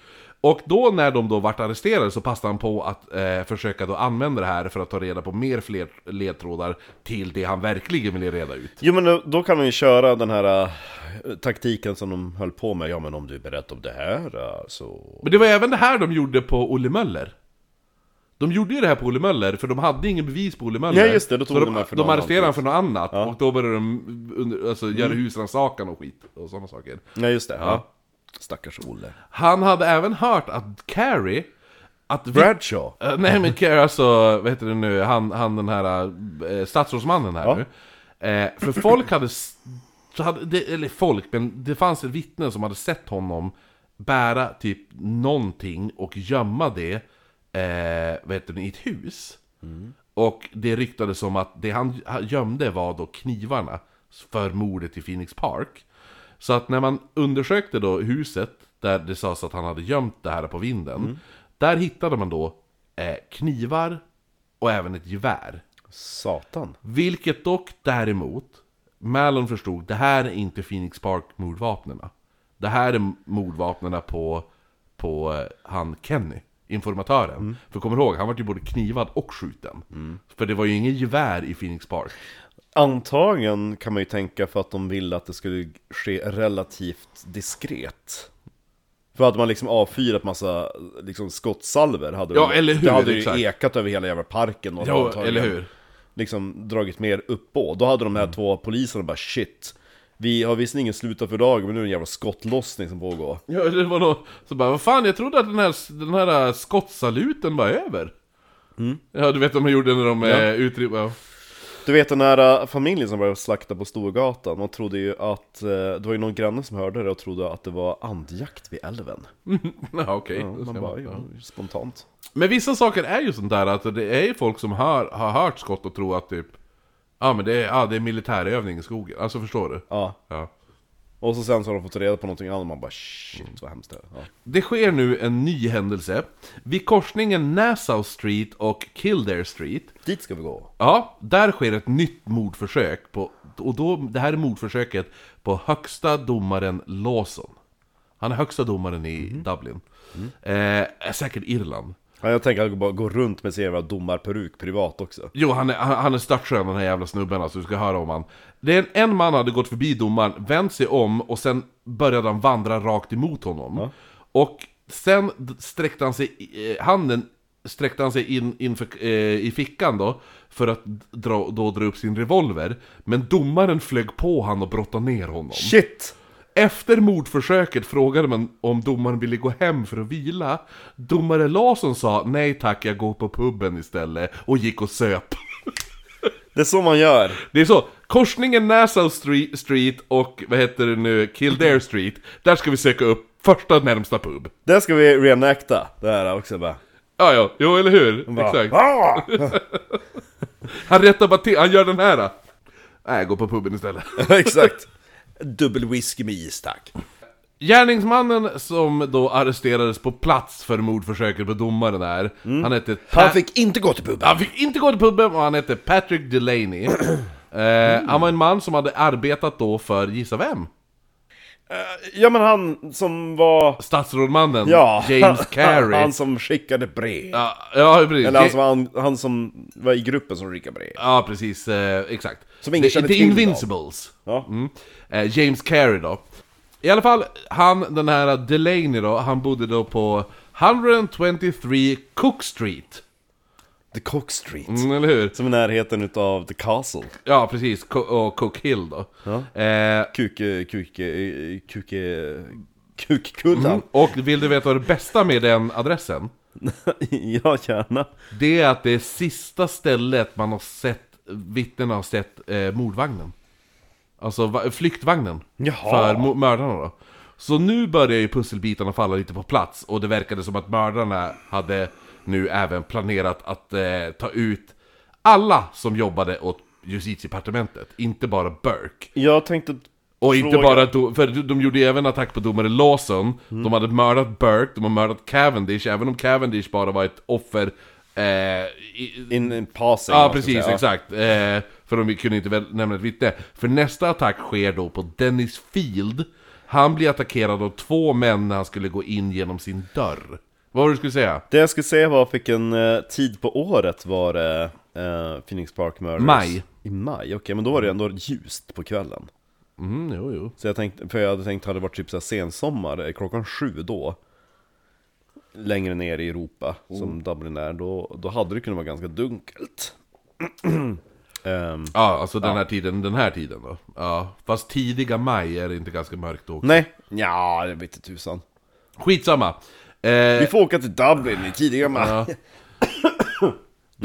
[SPEAKER 1] Och då när de då vart arresterade så passade han på att eh, försöka då använda det här för att ta reda på mer fler ledtrådar till det han verkligen ville reda ut.
[SPEAKER 2] Jo men då, då kan man ju köra den här eh, taktiken som de höll på med. Ja men om du är beredd om det här eh, så...
[SPEAKER 1] Men det var även det här de gjorde på Olle Möller. De gjorde ju det här på Olle Möller, för de hade ingen bevis på Olle Möller.
[SPEAKER 2] Nej, just det, då tog
[SPEAKER 1] Så
[SPEAKER 2] de här för
[SPEAKER 1] de
[SPEAKER 2] något
[SPEAKER 1] arresterade honom
[SPEAKER 2] annat.
[SPEAKER 1] för något annat, och då började de under, alltså, göra
[SPEAKER 2] Mm.
[SPEAKER 1] husrannsakan och skit och sådana saker.
[SPEAKER 2] Nej just det. Ja. Stackars Olle.
[SPEAKER 1] Han hade även hört att Carrie... Att vi-
[SPEAKER 2] Bradshaw.
[SPEAKER 1] Eh, nej men Kerr, alltså, vad heter det nu, han, han den här eh, statsrådsmannen här
[SPEAKER 2] Ja.
[SPEAKER 1] nu. Eh, för folk hade, s- så hade det, eller folk, men det fanns ett vittne som hade sett honom bära typ någonting och gömma det, eh, vad heter det, i ett hus. Och det ryktades som att det han han gömde var då knivarna för mordet i Phoenix Park. Så att när man undersökte då huset, där det sades att han hade gömt det här på vinden, där hittade man då eh, knivar och även ett gevär.
[SPEAKER 2] Satan.
[SPEAKER 1] Vilket dock däremot, Malon förstod, det här är inte Phoenix Park-mordvapnena. Det här är mordvapnena på, på eh, han Kenny, informatören. För kommer du ihåg, han var ju både knivad och skjuten. För det var ju ingen gevär i Phoenix Park.
[SPEAKER 2] Antagligen kan man ju tänka för att de ville att det skulle ske relativt diskret. För hade man liksom avfyrat massa liksom, skottsalver hade
[SPEAKER 1] Ja,
[SPEAKER 2] de,
[SPEAKER 1] eller hur,
[SPEAKER 2] det hade ju
[SPEAKER 1] exakt.
[SPEAKER 2] ekat över hela jävla parken och
[SPEAKER 1] Ja,
[SPEAKER 2] antagligen
[SPEAKER 1] eller hur? Mm.
[SPEAKER 2] liksom dragit mer uppå. Då hade de här två poliserna bara shit, vi har visserligen ingen slutat för dagen men nu är det en jävla skottlossning som pågår.
[SPEAKER 1] Ja, det var nog... Så bara, vad fan, jag trodde att den här, den här äh, skottsaluten var över.
[SPEAKER 2] Mm.
[SPEAKER 1] Ja, du vet de gjorde när de ja. utrymde... Ja.
[SPEAKER 2] Du vet den här äh, familjen som började slakta på Storgatan, de trodde ju att, eh, det var ju någon granne som hörde det och trodde att det var andjakt vid älven.
[SPEAKER 1] Ja, okej.
[SPEAKER 2] Ja,
[SPEAKER 1] Då ska
[SPEAKER 2] man bara,
[SPEAKER 1] man-
[SPEAKER 2] ja,
[SPEAKER 1] ja.
[SPEAKER 2] spontant.
[SPEAKER 1] Men vissa saker är ju sånt där att det är ju folk som hör, har hört skott och tror att typ Ja men det är, ja, det är militärövning i skogen, alltså förstår du?
[SPEAKER 2] Ja.
[SPEAKER 1] Ja.
[SPEAKER 2] Och så sen så har de fått reda på någonting annat och man bara shit vad hemskt det är. Ja.
[SPEAKER 1] Det sker nu en ny händelse Vid korsningen Nassau Street och Kildare Street
[SPEAKER 2] Dit ska vi gå.
[SPEAKER 1] Ja, där sker ett nytt mordförsök på, Och då, det här är mordförsöket på högsta domaren Lawson Han är högsta domaren i Dublin eh, Säkert Irland
[SPEAKER 2] Ja, jag tänker att jag bara går runt med sin jävla domarperuk privat också.
[SPEAKER 1] Jo, han är, han, han är startskön den här jävla snubben alltså, du ska höra om han. Det är en, en man hade gått förbi domaren, vänt sig om och sen började han vandra rakt emot honom. Och sen d- sträckte han sig, i- eh, handen sträckte han sig in, in för, eh, i fickan då, för att dra, då dra upp sin revolver. Men domaren flög på han och brottade ner honom.
[SPEAKER 2] Shit!
[SPEAKER 1] Efter mordförsöket frågade man om domaren ville gå hem för att vila. Domare Larsson sa nej tack, jag går på puben istället och gick och söp.
[SPEAKER 2] Det är så man gör.
[SPEAKER 1] Det är så, korsningen Nassau Street, Street och vad heter det nu, Kildare Street, där ska vi söka upp första närmsta pub.
[SPEAKER 2] Det ska vi reenacta, det här också bara.
[SPEAKER 1] Ja, ja, jo eller hur?
[SPEAKER 2] bara
[SPEAKER 1] Exakt.
[SPEAKER 2] "Ah!"
[SPEAKER 1] Han rättar bara till, han gör den här. Nej, gå på puben istället.
[SPEAKER 2] Exakt. Dubbel whisky med is tack.
[SPEAKER 1] Gärningsmannen som då arresterades på plats för mordförsöket på domaren där, han hette...
[SPEAKER 3] Han
[SPEAKER 1] Ta-
[SPEAKER 3] fick inte gå till puben.
[SPEAKER 1] han fick inte gå till puben och han hette Patrick Delaney. Eh, han var en man som hade arbetat då för, gissa vem?
[SPEAKER 2] Ja men han som var...
[SPEAKER 1] Statsrådmannen
[SPEAKER 2] Ja,
[SPEAKER 1] James Carey.
[SPEAKER 2] han som skickade brev.
[SPEAKER 1] Ja, ja, precis.
[SPEAKER 2] Eller han
[SPEAKER 1] Ja,
[SPEAKER 2] som, var, han som var i gruppen som skickade brev.
[SPEAKER 1] ja, precis. Eh, exakt.
[SPEAKER 2] Som ingen
[SPEAKER 1] The,
[SPEAKER 2] känner
[SPEAKER 1] The
[SPEAKER 2] till
[SPEAKER 1] Invincibles.
[SPEAKER 2] Ja.
[SPEAKER 1] Mm. Eh, James Carey då. I alla fall, han, den här Delaney då, han bodde då på 123 Cook Street.
[SPEAKER 2] The Cock Street.
[SPEAKER 1] Mm, eller hur?
[SPEAKER 2] Som är närheten utav The Castle.
[SPEAKER 1] Ja, precis. Co- och Cook Hill då. Eh,
[SPEAKER 2] Kuke, kuke, kuke... Kukkullan.
[SPEAKER 1] och vill du veta vad det bästa med den adressen?
[SPEAKER 2] ja, gärna.
[SPEAKER 1] Det är att det är sista stället man har sett, vittnena har sett eh, mordvagnen. Alltså va- flyktvagnen.
[SPEAKER 2] Jaha.
[SPEAKER 1] För mo- mördarna då. Så nu börjar ju pusselbitarna falla lite på plats och det verkade som att mördarna hade nu även planerat att eh, ta ut alla som jobbade åt justitiedepartementet, inte bara Burke.
[SPEAKER 2] Jag tänkte...
[SPEAKER 1] Och inte
[SPEAKER 2] Fråga.
[SPEAKER 1] bara, do- för de gjorde ju även attack på domare Lawson De hade mördat Burke, de har mördat Cavendish Även om Cavendish bara var ett offer eh, i,
[SPEAKER 2] In, in passing.
[SPEAKER 1] Ja
[SPEAKER 2] vad ska jag
[SPEAKER 1] precis,
[SPEAKER 2] säga.
[SPEAKER 1] exakt eh, För de kunde inte väl nämna ett vittne För nästa attack sker då på Dennis Field Han blir attackerad av två män när han skulle gå in genom sin dörr Vad var det du skulle säga?
[SPEAKER 2] Det jag skulle säga var vilken eh, tid på året var det eh, Phoenix Park Murders?
[SPEAKER 1] Maj.
[SPEAKER 2] I maj, okej, men då var det ändå ljust på kvällen
[SPEAKER 1] Mm, jo jo
[SPEAKER 2] Så jag tänkte, för jag hade tänkt att det hade varit typ såhär sensommar, eh, klockan sju då Längre ner i Europa,
[SPEAKER 1] Oh.
[SPEAKER 2] som Dublin är, då, då hade det kunnat vara ganska dunkelt Ehm,
[SPEAKER 1] Ja, alltså den här tiden, den här tiden då Ja, fast tidiga maj är det inte ganska mörkt då
[SPEAKER 2] Nej, ja, det vete tusan
[SPEAKER 1] Skitsamma eh,
[SPEAKER 2] Vi får åka till Dublin i tidiga maj
[SPEAKER 1] Ja.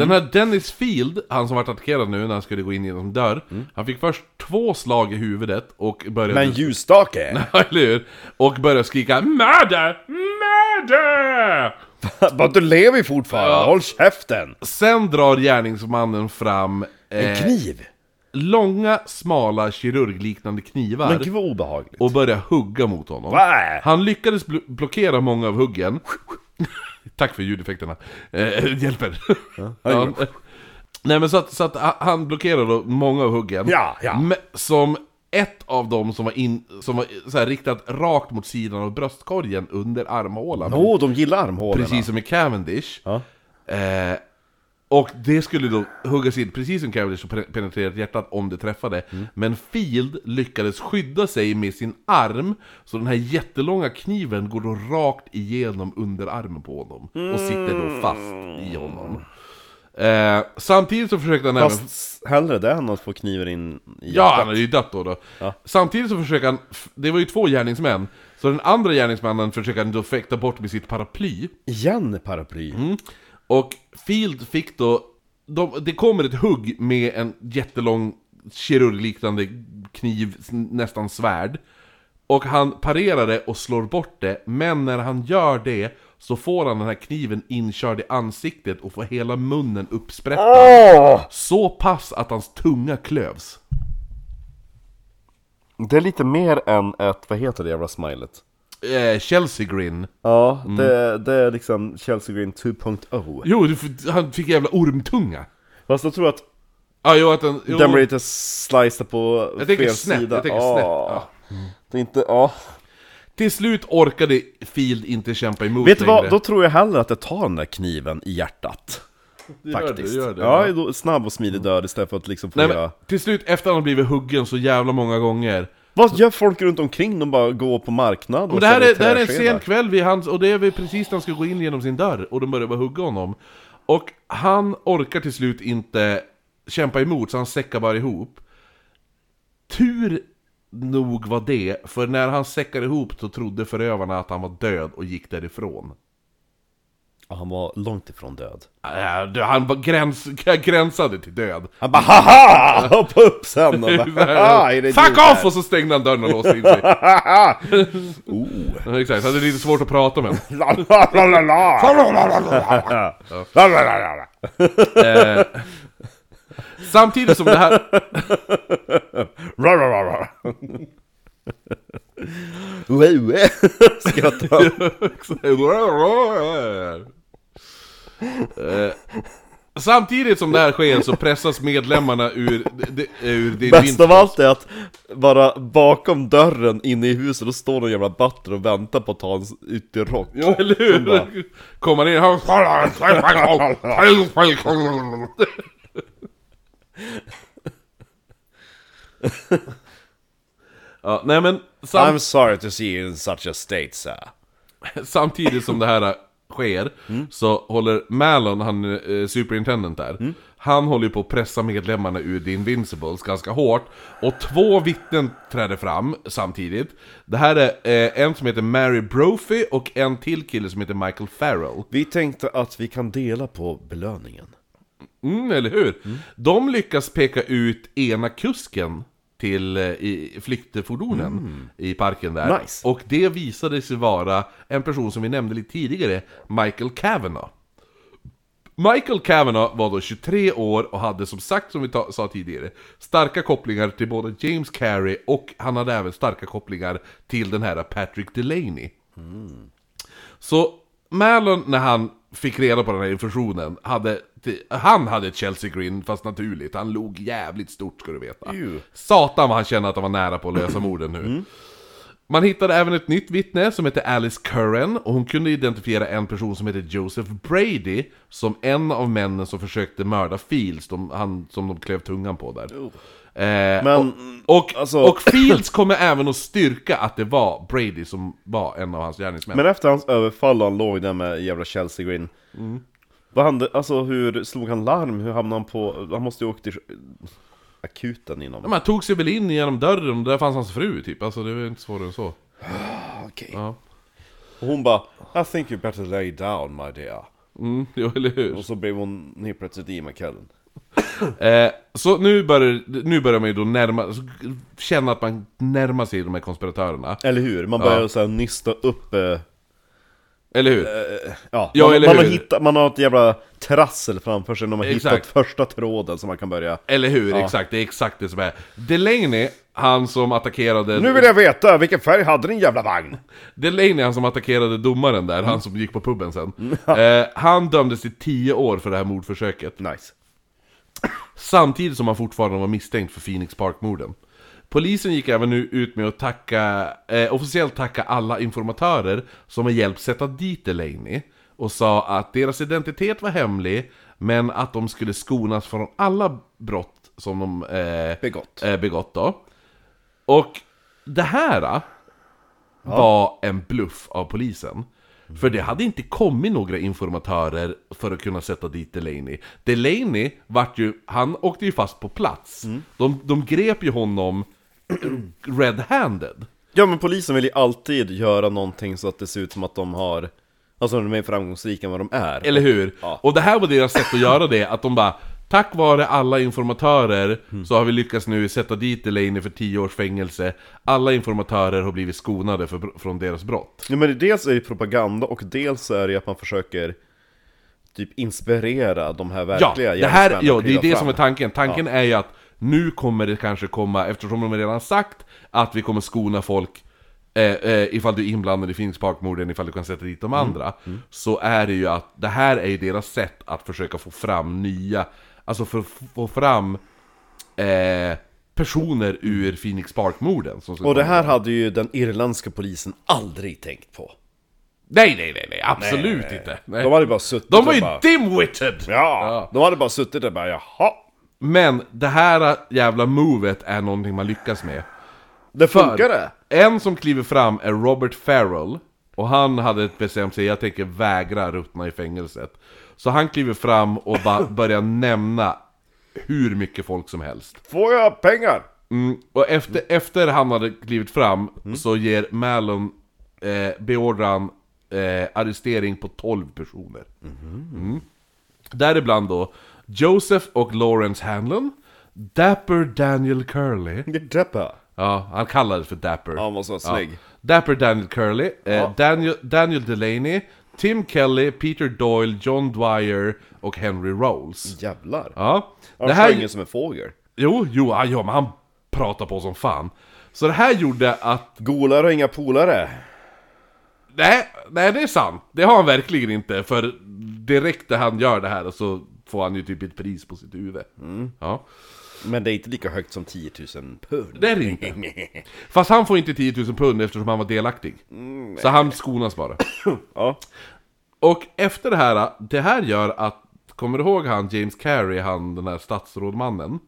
[SPEAKER 1] Den här Dennis Field, han som vart attackerad nu när han skulle gå in genom dörr Han fick först två slag i huvudet och började...
[SPEAKER 2] Men ljusstake!
[SPEAKER 1] Ja, Eller hur? Och började skrika 'Mörder! Mörder!'
[SPEAKER 2] Bara du lever ju fortfarande, håll käften!
[SPEAKER 1] Sen drar gärningsmannen fram
[SPEAKER 3] En
[SPEAKER 1] eh,
[SPEAKER 3] kniv.
[SPEAKER 1] långa, smala, kirurgliknande knivar
[SPEAKER 2] Men gud vad obehagligt!
[SPEAKER 1] och börjar hugga mot honom
[SPEAKER 2] Va?
[SPEAKER 1] Han lyckades bl- blockera många av huggen Tack för ljudeffekterna, eh, hjälper ja. Nej men så att, så att ha- han blockerade då många av huggen
[SPEAKER 2] Ja, ja.
[SPEAKER 1] Men Som ett av dem som var, in, som var så här, riktat rakt mot sidan av bröstkorgen under armhålan
[SPEAKER 2] Åh, de gillar armhålorna!
[SPEAKER 1] Precis som i Cavendish
[SPEAKER 2] Ja.
[SPEAKER 1] eh, Och det skulle då huggas in precis som Cavendish och pen- penetrera hjärtat om det träffade
[SPEAKER 2] Mm.
[SPEAKER 1] Men Field lyckades skydda sig med sin arm Så den här jättelånga kniven går då rakt igenom underarmen på honom Och sitter
[SPEAKER 2] Mm.
[SPEAKER 1] då fast i honom eh, Samtidigt så försökte han även
[SPEAKER 2] Fast hellre det än att få kniven in i
[SPEAKER 1] Ja,
[SPEAKER 2] hjärtat.
[SPEAKER 1] han hade ju dött då. då. Samtidigt så försöker han, f- det var ju två gärningsmän, så den andra gärningsmannen försöker han då fäkta bort med sitt paraply.
[SPEAKER 2] Igen paraply!
[SPEAKER 1] Mm. Och Field fick då, de, det kommer ett hugg med en jättelång kirurgliknande kniv, s- nästan svärd. Och han parerar det och slår bort det, men när han gör det så får han den här kniven inkörd i ansiktet och får hela munnen uppsprättad.
[SPEAKER 2] Ah!
[SPEAKER 1] Så pass att hans tunga klövs.
[SPEAKER 2] Det är lite mer än ett, vad heter det jävla smilet?
[SPEAKER 1] Eh, Chelsea Grin.
[SPEAKER 2] Ja,
[SPEAKER 1] Mm.
[SPEAKER 2] det, det är liksom Chelsea Green 2.0
[SPEAKER 1] Jo, du f- han fick jävla ormtunga.
[SPEAKER 2] Fast jag tror att
[SPEAKER 1] Ja, jo, att den... Jo,
[SPEAKER 2] den blir lite sliced på
[SPEAKER 1] jag tänker
[SPEAKER 2] fel
[SPEAKER 1] snett,
[SPEAKER 2] sida
[SPEAKER 1] jag tänker
[SPEAKER 2] Ja.
[SPEAKER 1] snett. Ja.
[SPEAKER 2] Det är inte, ja
[SPEAKER 1] Till slut orkade Field inte kämpa emot
[SPEAKER 2] Vet du vad,
[SPEAKER 1] längre.
[SPEAKER 2] då tror jag hellre att jag tar den där kniven i hjärtat
[SPEAKER 1] Du gör
[SPEAKER 2] Faktiskt
[SPEAKER 1] det, du gör det.
[SPEAKER 2] Ja, då, snabb och smidig död istället för att liksom få
[SPEAKER 1] Nej, men,
[SPEAKER 2] göra
[SPEAKER 1] till slut, efter han har blivit huggen så jävla många gånger.
[SPEAKER 2] Vad gör folk runt omkring? De bara går på marknad
[SPEAKER 1] Men
[SPEAKER 2] och
[SPEAKER 1] det, här
[SPEAKER 2] säljer
[SPEAKER 1] är, det här är en sen
[SPEAKER 2] träskedar.
[SPEAKER 1] kväll vid hans, och det är väl precis när han ska gå in genom sin dörr, och de börjar bara hugga honom. Och han orkar till slut inte kämpa emot, så han säckar bara ihop. Tur nog var det, för när han säckade ihop så trodde förövarna att han var död och gick därifrån.
[SPEAKER 2] Ja, Han var långt ifrån död
[SPEAKER 1] Äh, du, Han var gräns, gränsade till död.
[SPEAKER 2] Han bara haha! Hoppa upp sen och bara, haha, Ah, är det
[SPEAKER 1] Fuck
[SPEAKER 2] du där?"
[SPEAKER 1] off! Och så stängde han dörren och låste in sig.
[SPEAKER 2] Oh.
[SPEAKER 1] Ja, Exakt, han hade lite svårt att prata med honom.
[SPEAKER 2] La, la, la, la, la. La, la, la, la, la.
[SPEAKER 1] Eh, Samtidigt som det här...
[SPEAKER 2] La, la, la, la. Ue, ue. Skrattar han.
[SPEAKER 1] Eh, Samtidigt som det här sker så pressas medlemmarna ur, de, ur det
[SPEAKER 2] Bäst av allt är att bara bakom dörren inne i huset, då står någon jävla butler och väntar på att ta hans ytterrock.
[SPEAKER 1] Ja, eller
[SPEAKER 2] Som bara-
[SPEAKER 1] hur? Kommer in han... ja, nej men sam-
[SPEAKER 3] I'm sorry to see you in such a state sir.
[SPEAKER 1] samtidigt som det här sker så håller Malon, han eh, superintendent där, han håller ju på att pressa medlemmarna ur The Invincibles ganska hårt. Och två vittnen träder fram samtidigt. Det här är eh, en som heter Mary Brophy och en till kille som heter Michael Farrell.
[SPEAKER 2] Vi tänkte att vi kan dela på belöningen.
[SPEAKER 1] Mm, eller hur? De lyckas peka ut ena kusken till eh, i flyktfordonen i parken där.
[SPEAKER 2] Nice.
[SPEAKER 1] Och det visade sig vara en person som vi nämnde lite tidigare, Michael Kavanaugh. Michael Kavanaugh var då 23 år och hade som sagt, som vi ta- sa tidigare, starka kopplingar till både James Carey och han hade även starka kopplingar till den här Patrick Delaney. Så Malon, när han fick reda på den här informationen, hade, han hade ett Chelsea Green, fast naturligt. Han log jävligt stort, ska du veta.
[SPEAKER 2] Ew.
[SPEAKER 1] Satan vad han kände att han var nära på att lösa morden nu. Man hittade även ett nytt vittne som hette Alice Curran och hon kunde identifiera en person som hette Joseph Brady som en av männen som försökte mörda Fields, de, han, som de klev tungan på där. Eh,
[SPEAKER 2] Oh. Men,
[SPEAKER 1] och, och,
[SPEAKER 2] alltså-
[SPEAKER 1] och Fields kommer även att styrka att det var Brady som var en av hans gärningsmän.
[SPEAKER 2] men efter hans överfall och han låg där med jävla Chelsea Green. Vad hände, alltså hur slog han larm? Hur hamnade han på, han måste ju ha åkt till akuten
[SPEAKER 1] Ja,
[SPEAKER 2] inom...
[SPEAKER 1] men han tog sig väl in genom dörren och där fanns hans fru typ, alltså det var inte svårare än så.
[SPEAKER 3] Okej.
[SPEAKER 1] Ja.
[SPEAKER 2] Och hon bara,
[SPEAKER 3] I think you better lay down my dear.
[SPEAKER 1] Mm, jo, eller hur?
[SPEAKER 2] och så blev hon helt plötsligt i McKellen.
[SPEAKER 1] Eh, så nu börjar, nu börjar man ju då närma, känna att man närmar sig de här konspiratörerna.
[SPEAKER 2] Eller hur? Man börjar
[SPEAKER 1] Ja.
[SPEAKER 2] så här nysta upp... Eh,
[SPEAKER 1] Eller hur?
[SPEAKER 2] Ja,
[SPEAKER 1] Ja,
[SPEAKER 2] man,
[SPEAKER 1] eller
[SPEAKER 2] man, har
[SPEAKER 1] hur?
[SPEAKER 2] hittat, man har ett jävla trassel framför sig när man
[SPEAKER 1] Exakt.
[SPEAKER 2] hittat första tråden som man kan börja...
[SPEAKER 1] Eller hur? Exakt, det är exakt det som är. Delaney, han som attackerade...
[SPEAKER 3] Nu vill jag veta, vilken färg hade din jävla vagn?
[SPEAKER 1] Delaney, han som attackerade domaren där, han som gick på puben sen. eh, han dömdes till 10 år för det här mordförsöket.
[SPEAKER 2] Nice.
[SPEAKER 1] Samtidigt som han fortfarande var misstänkt för Phoenix Park-morden. Polisen gick även nu ut med att tacka, eh, officiellt tacka alla informatörer som har hjälpt sätta dit Delaney och sa att deras identitet var hemlig men att de skulle skonas från alla brott som de eh,
[SPEAKER 2] Begått.
[SPEAKER 1] Eh, begått då. Och det här eh, var en bluff av polisen. För det hade inte kommit några informatörer för att kunna sätta dit Delaney. Delaney vart ju, han åkte ju fast på plats. De, de grep ju honom red-handed.
[SPEAKER 2] Ja, men polisen vill ju alltid göra någonting så att det ser ut som att de har... Alltså de är mer framgångsrika än vad de är.
[SPEAKER 1] Eller hur?
[SPEAKER 2] Ja.
[SPEAKER 1] Och det här var deras sätt att göra det, att de bara Tack vare alla informatörer så har vi lyckats nu sätta dit Delaney för 10 års fängelse. Alla informatörer har blivit skonade för, från deras brott.
[SPEAKER 2] Ja, men dels är det propaganda och dels är det att man försöker typ inspirera de här
[SPEAKER 1] Ja,
[SPEAKER 2] verkliga
[SPEAKER 1] det här,
[SPEAKER 2] gärningsmännen
[SPEAKER 1] ja,
[SPEAKER 2] att
[SPEAKER 1] det är
[SPEAKER 2] kliva
[SPEAKER 1] det som är
[SPEAKER 2] fram.
[SPEAKER 1] tanken. Tanken är ju att nu kommer det kanske komma, eftersom de redan sagt att vi kommer skona folk eh, eh, ifall du är inblandad i Phoenix Park-morden, ifall du kan sätta dit de
[SPEAKER 2] Mm,
[SPEAKER 1] andra. Så är det ju att det här är ju deras sätt att försöka få fram nya, alltså för att få fram eh, personer ur Phoenix Park-morden. som ska
[SPEAKER 2] Och det
[SPEAKER 1] komma.
[SPEAKER 2] här hade ju den irländska polisen aldrig tänkt på.
[SPEAKER 1] Nej, nej, nej, nej, absolut inte. Nej.
[SPEAKER 2] De
[SPEAKER 1] De,
[SPEAKER 2] hade bara suttit
[SPEAKER 1] var
[SPEAKER 2] och
[SPEAKER 1] ju
[SPEAKER 2] bara...
[SPEAKER 1] dimwitted!
[SPEAKER 2] Ja, de hade bara suttit där och bara jaha.
[SPEAKER 1] Men det här jävla movet är någonting man lyckas med.
[SPEAKER 2] Det
[SPEAKER 1] För
[SPEAKER 2] funkar det?
[SPEAKER 1] En som kliver fram är Robert Farrell Och han hade bestämt sig, jag tänker vägra ruttna i fängelset Så han kliver fram och bara börjar nämna hur mycket folk som helst
[SPEAKER 3] Får jag pengar?
[SPEAKER 1] mm, Och efter, efter han hade klivit fram
[SPEAKER 2] Mm.
[SPEAKER 1] så ger Malon eh, beordran eh, arrestering på 12 personer
[SPEAKER 2] Mm-hmm.
[SPEAKER 1] Mm. Däribland då Joseph och Lawrence Hanlon Dapper Daniel Curley
[SPEAKER 2] Det deppa.
[SPEAKER 1] Ja, han kallades för Dapper.
[SPEAKER 2] Ja, han var så snygg.
[SPEAKER 1] Dapper Daniel Curley, eh, Daniel, Daniel Delaney, Tim Kelly, Peter Doyle, John Dwyer och Henry
[SPEAKER 2] Mm.
[SPEAKER 1] Rolls.
[SPEAKER 2] Jävlar.
[SPEAKER 1] Ja. Det
[SPEAKER 2] Annars är
[SPEAKER 1] här...
[SPEAKER 2] ingen som en fågel.
[SPEAKER 1] Jo, jo, ah, ja, men han pratar på som fan. Så det här gjorde att...
[SPEAKER 2] Golare och inga polare.
[SPEAKER 1] Nej, nej det är sant. Det har han verkligen inte. För direkt när han gör det här så får han ju typ ett pris på sitt huvud. Ja.
[SPEAKER 2] Men det är inte lika högt som 10 000 pund.
[SPEAKER 1] Det är det inte. Fast han får inte 10 000 pund eftersom han var delaktig. så han skonas bara.
[SPEAKER 2] Ja.
[SPEAKER 1] Och efter det här, det här gör att, kommer du ihåg han James Carey, han den här statsrådmannen?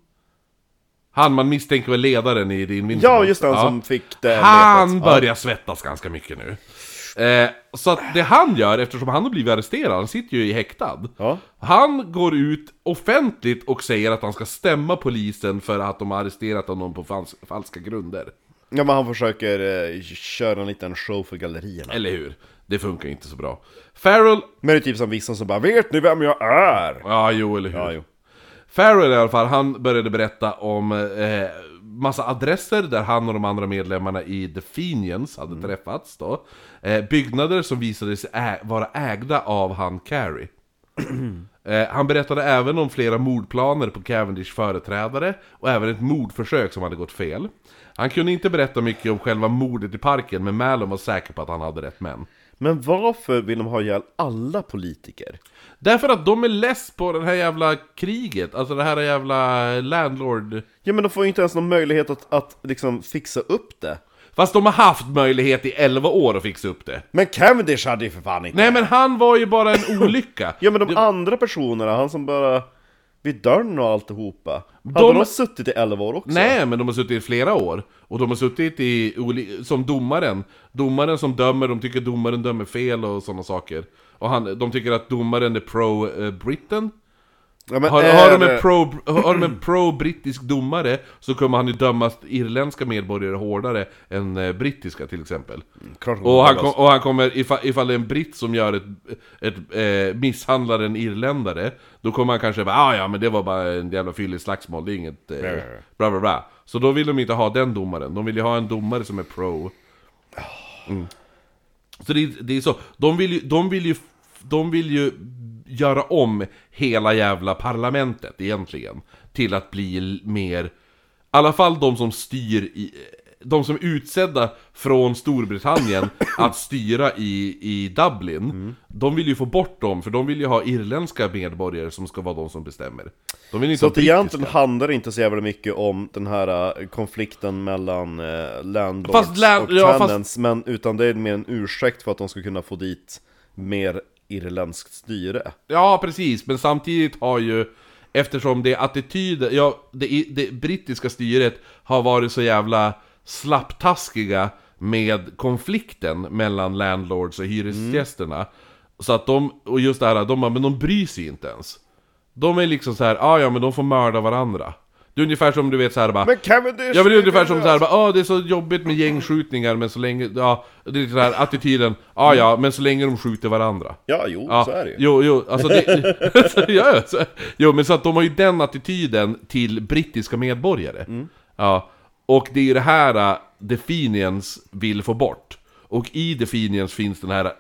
[SPEAKER 1] Han man misstänker var ledaren i din vinter.
[SPEAKER 2] ja, just han som fick det
[SPEAKER 1] Han
[SPEAKER 2] letat.
[SPEAKER 1] börjar svettas ganska mycket nu. Eh, så att det han gör, eftersom han har blivit arresterad, han sitter ju i häktad.
[SPEAKER 2] Ja.
[SPEAKER 1] Han går ut offentligt och säger att han ska stämma polisen för att de har arresterat honom på fals- falska grunder.
[SPEAKER 2] Ja men han försöker eh, köra en liten show för gallerierna.
[SPEAKER 1] Eller hur? Det funkar inte så bra. Farrell,
[SPEAKER 2] Men det är typ som vissa som bara 'Vet ni vem jag är?'
[SPEAKER 1] ja jo eller hur?
[SPEAKER 2] Ja, jo.
[SPEAKER 1] Farrell i alla fall, han började berätta om eh, massa adresser där han och de andra medlemmarna i The Fenians hade träffats då. Eh, byggnader som visade sig ä- vara ägda av han Carey. Eh, han berättade även om flera mordplaner på Cavendishs företrädare och även ett mordförsök som hade gått fel. Han kunde inte berätta mycket om själva mordet i parken, men Malum var säker på att han hade rätt män.
[SPEAKER 2] Men varför vill de ha ihjäl alla politiker?
[SPEAKER 1] Därför att de är less på det här jävla kriget, alltså det här jävla landlord...
[SPEAKER 2] Ja men de får ju inte ens någon möjlighet att, att liksom fixa upp det.
[SPEAKER 1] Fast de har haft möjlighet i 11 år att fixa upp det.
[SPEAKER 2] Men Cavendish hade ju för fan inte...
[SPEAKER 1] Nej men han var ju bara en olycka.
[SPEAKER 2] Ja men de andra personerna, han som bara... Vid dörren och alltihopa. Hade
[SPEAKER 1] De-
[SPEAKER 2] de, suttit i 11 år också?
[SPEAKER 1] Nej men de har suttit i flera år. Och de har suttit i, oli- som domaren. Domaren som dömer, de tycker domaren dömer fel och sådana saker. Och han, de tycker att domaren är pro-Britain.
[SPEAKER 2] Ja, men
[SPEAKER 1] Har,
[SPEAKER 2] är
[SPEAKER 1] har, de
[SPEAKER 2] det-
[SPEAKER 1] en pro, har de en pro-brittisk domare så kommer han ju döma irländska medborgare hårdare än eh, brittiska till exempel.
[SPEAKER 2] Klart de alltså.
[SPEAKER 1] Och han,
[SPEAKER 2] kommer
[SPEAKER 1] kom, och han kommer, ifall, ifall det är en britt som gör ett, ett eh, misshandlar en irländare Då kommer han kanske bara ah, ja men det var bara en jävla fyllig slagsmål, det är inget... Eh,
[SPEAKER 2] nej,
[SPEAKER 1] Bla, bla, bla. Så då vill de inte ha den domaren, de vill ju ha en domare som är pro mm. Så det, är- det är så, de vill, ju, de, vill ju, de vill ju göra om hela jävla parlamentet egentligen Till att bli l- mer, i alla fall de som styr i de som är utsedda från Storbritannien Mm. att styra i, i Dublin, de vill ju få bort dem, för de vill ju ha irländska medborgare som ska vara de som bestämmer. De vill inte
[SPEAKER 2] Så
[SPEAKER 1] ha
[SPEAKER 2] att
[SPEAKER 1] brittiska.
[SPEAKER 2] egentligen handlar det inte så jävla mycket om den här eh, konflikten mellan eh, landlords
[SPEAKER 1] Fast land-
[SPEAKER 2] och
[SPEAKER 1] ja, fast-
[SPEAKER 2] tenants, men utan det är mer en ursäkt för att de ska kunna få dit mer irländskt styre.
[SPEAKER 1] Ja, precis, men samtidigt har ju Eftersom det är attityder, ja, det, det brittiska styret har varit så jävla slapptaskiga med konflikten mellan landlords och hyresgästerna Så att de, och just det här, de bara, men de bryr sig inte ens De är liksom så här, ah, ja men de får mörda varandra Det är ungefär som du vet så här bara
[SPEAKER 2] Men Cavendish!
[SPEAKER 1] Ja men det är ungefär som såhär, ah det är så jobbigt med gängskjutningar men så länge, ja, det är den här attityden, ah, ja men så länge de skjuter varandra
[SPEAKER 2] Ja, jo,
[SPEAKER 1] Ja,
[SPEAKER 2] så är det ju.
[SPEAKER 1] Jo, jo, alltså det, så, ja, ja, så, jo, men så att de har ju den attityden till brittiska medborgare.
[SPEAKER 2] Mm.
[SPEAKER 1] Ja, och det är ju det här äh, Definians vill få bort. Och i Definians finns den här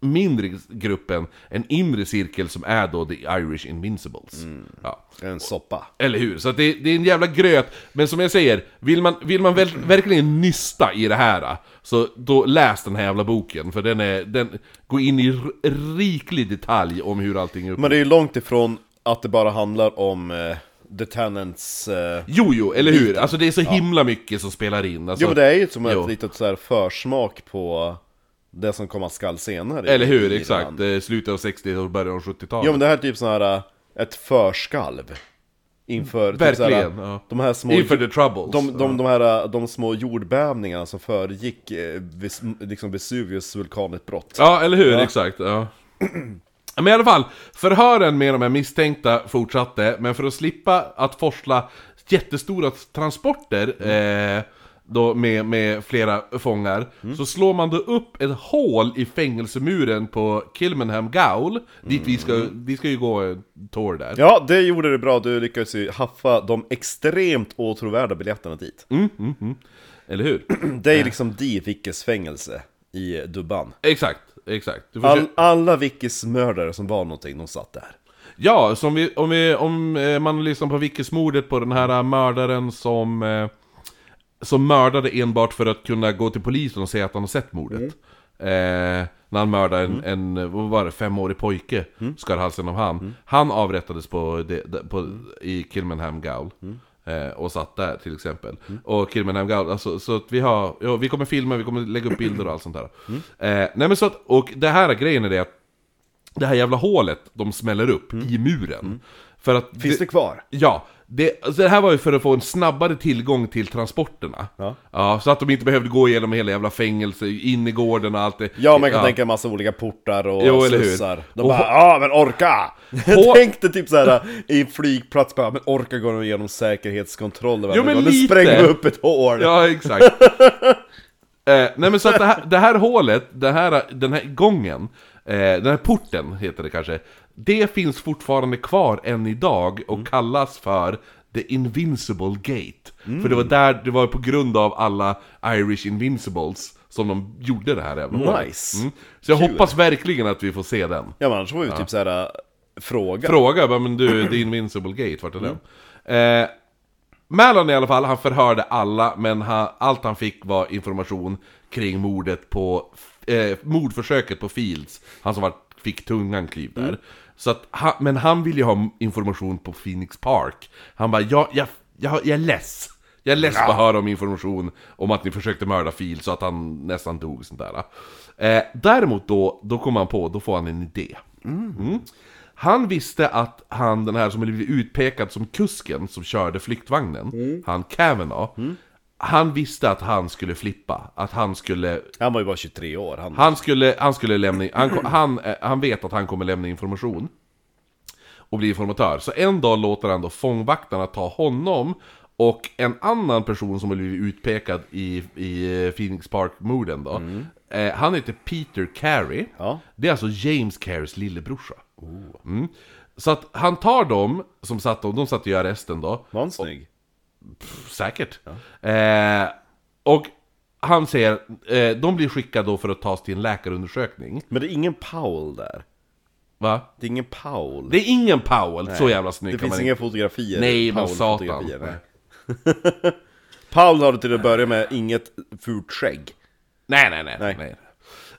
[SPEAKER 1] mindre gruppen, en inre cirkel som är då The Irish Invincibles.
[SPEAKER 2] Mm.
[SPEAKER 1] Ja.
[SPEAKER 2] En soppa.
[SPEAKER 1] Eller hur? Så att det, det är en jävla gröt. Men som jag säger, vill man, vill man väl, verkligen nysta i det här, så då läs den här jävla boken. För den är, den går in i r- riklig detalj om hur allting är uppe.
[SPEAKER 2] Men det är ju långt ifrån att det bara handlar om eh, the tenants... Eh...
[SPEAKER 1] Jo, jo, eller hur? Alltså det är så himla mycket som spelar in. Alltså,
[SPEAKER 2] Jo men det är ju som
[SPEAKER 1] Jo.
[SPEAKER 2] ett litet så här försmak på det som komma skall senare. i-
[SPEAKER 1] Eller hur?
[SPEAKER 2] i
[SPEAKER 1] Exakt.
[SPEAKER 2] Irland.
[SPEAKER 1] Eh, Slutet av 60-talet och början av 70-talet.
[SPEAKER 2] Jo men det här är typ sån här, äh, ett förskalv Inför typ så här,
[SPEAKER 1] Verkligen, ja.
[SPEAKER 2] de här små
[SPEAKER 1] Inför the troubles.
[SPEAKER 2] de, de, de här äh, de små jordbävningarna som föregick eh, vis, liksom Vesuvius vulkanutbrott
[SPEAKER 1] Ja, eller hur? Exakt. Ja. Men i alla fall, förhören med de här misstänkta fortsatte, men för att slippa att forsla jättestora transporter
[SPEAKER 2] Mm.
[SPEAKER 1] eh, då med, med flera fångar, så slår man då upp ett hål i fängelsemuren på Kilmenham Gaol, dit vi ska, vi ska ju gå en tour där.
[SPEAKER 2] Mm. Ja, det gjorde det bra, du lyckades ju haffa de extremt åtråvärda biljetterna dit
[SPEAKER 1] Eller hur?
[SPEAKER 2] Det är ju liksom de Vickes fängelse i Dubban
[SPEAKER 1] exakt, exakt. Du får
[SPEAKER 2] All,
[SPEAKER 1] se-
[SPEAKER 2] Alla Vickes mördare som var någonting, de satt där
[SPEAKER 1] Ja, som vi, om, vi, om eh, man lyssnar på Vickesmordet på den här mördaren som eh, som mördade enbart för att kunna gå till polisen och säga att han har sett mordet.
[SPEAKER 2] Mm.
[SPEAKER 1] Eh, när han mördade en, en, vad var det, femårig pojke,
[SPEAKER 2] Mm.
[SPEAKER 1] skar halsen av han. Han avrättades på, det- det- på,
[SPEAKER 2] Mm.
[SPEAKER 1] i Kilmenham Gaol. Eh, och satt där till exempel.
[SPEAKER 2] Mm.
[SPEAKER 1] Och Kilmenham Gaol, alltså, så att vi har, ja, vi kommer filma, vi kommer lägga upp bilder och allt sånt där.
[SPEAKER 2] Mm.
[SPEAKER 1] Eh, nej men så att, och det här grejen är det att det här jävla hålet de smäller upp i muren. För att
[SPEAKER 2] Mm. Finns det kvar?
[SPEAKER 1] Ja, det, alltså det här var ju för att få en snabbare tillgång till transporterna.
[SPEAKER 2] Ja.
[SPEAKER 1] så att de inte behövde gå igenom hela jävla fängelse, in i gården och allt det.
[SPEAKER 2] Ja, man kan tänka en massa olika portar och
[SPEAKER 1] Jo, eller hur?
[SPEAKER 2] slussar. De
[SPEAKER 1] Och-
[SPEAKER 2] bara ja men orka!
[SPEAKER 1] På-
[SPEAKER 2] Jag tänkte typ såhär i flygplats bara, men orka gå igenom säkerhetskontroller
[SPEAKER 1] Jo, men
[SPEAKER 2] Nu
[SPEAKER 1] lite.
[SPEAKER 2] spränger vi upp ett hål!
[SPEAKER 1] Ja, exakt. eh, nej men så att det här, det här hålet, det här, den här gången, eh, den här porten heter det kanske. Det finns fortfarande kvar än idag och kallas för The Invincible Gate. För det var där, det var på grund av alla Irish Invincibles som de gjorde det här jävla hålet.
[SPEAKER 2] Nice.
[SPEAKER 1] Mm. Så jag hoppas verkligen att vi får se den.
[SPEAKER 2] Ja, men annars var ju typ såhär, fråga.
[SPEAKER 1] fråga, bara, men du, det är Invincible Gate, vart är den? Eh, Mallon i alla fall, han förhörde alla, men han, allt han fick var information kring mordet på, eh, mordförsöket på Fields, han som var, fick tungan kliv där. Så att, han, men han vill ju ha information på Phoenix Park. Han bara, jag, jag, jag, jag är less. Jag är less på att höra om information om att ni försökte mörda Fields så att han nästan dog och sånt där. Eh, däremot då, då kom han på, då får han en idé. Mm. Han visste att han, den här som hade blivit utpekad som kusken som körde flyktvagnen, han Kavanaugh, han visste att han skulle flippa, att han skulle
[SPEAKER 2] Han var ju bara 23 år, han...
[SPEAKER 1] han skulle, han skulle lämna, han, ko- han, eh, han vet att han kommer lämna information. Och bli informatör. Så en dag låter han då fångvaktarna ta honom och en annan person som har blivit utpekad i, i eh, Phoenix Park-morden då. Eh, han heter Peter Carey.
[SPEAKER 2] Ja.
[SPEAKER 1] Det är alltså James Careys lillebrorsa. Mm. Så att han tar dem, som satt, de satt ju i arresten då.
[SPEAKER 2] Var han snygg?
[SPEAKER 1] Säkert. Eh, och han säger, eh, de blir skickade då för att tas till en läkarundersökning.
[SPEAKER 2] Men det är ingen Powell där.
[SPEAKER 1] Va?
[SPEAKER 2] Det är ingen Powell.
[SPEAKER 1] Det är ingen Powell, så jävla snygg
[SPEAKER 2] Det
[SPEAKER 1] kan
[SPEAKER 2] finns
[SPEAKER 1] man
[SPEAKER 2] inga
[SPEAKER 1] inte-
[SPEAKER 2] fotografier.
[SPEAKER 1] Nej men
[SPEAKER 2] Powell-fotografier,
[SPEAKER 1] satan.
[SPEAKER 2] nej. Powell har du till att börja med inget fult skägg.
[SPEAKER 1] Nej, nej, nej. nej.
[SPEAKER 2] Nej.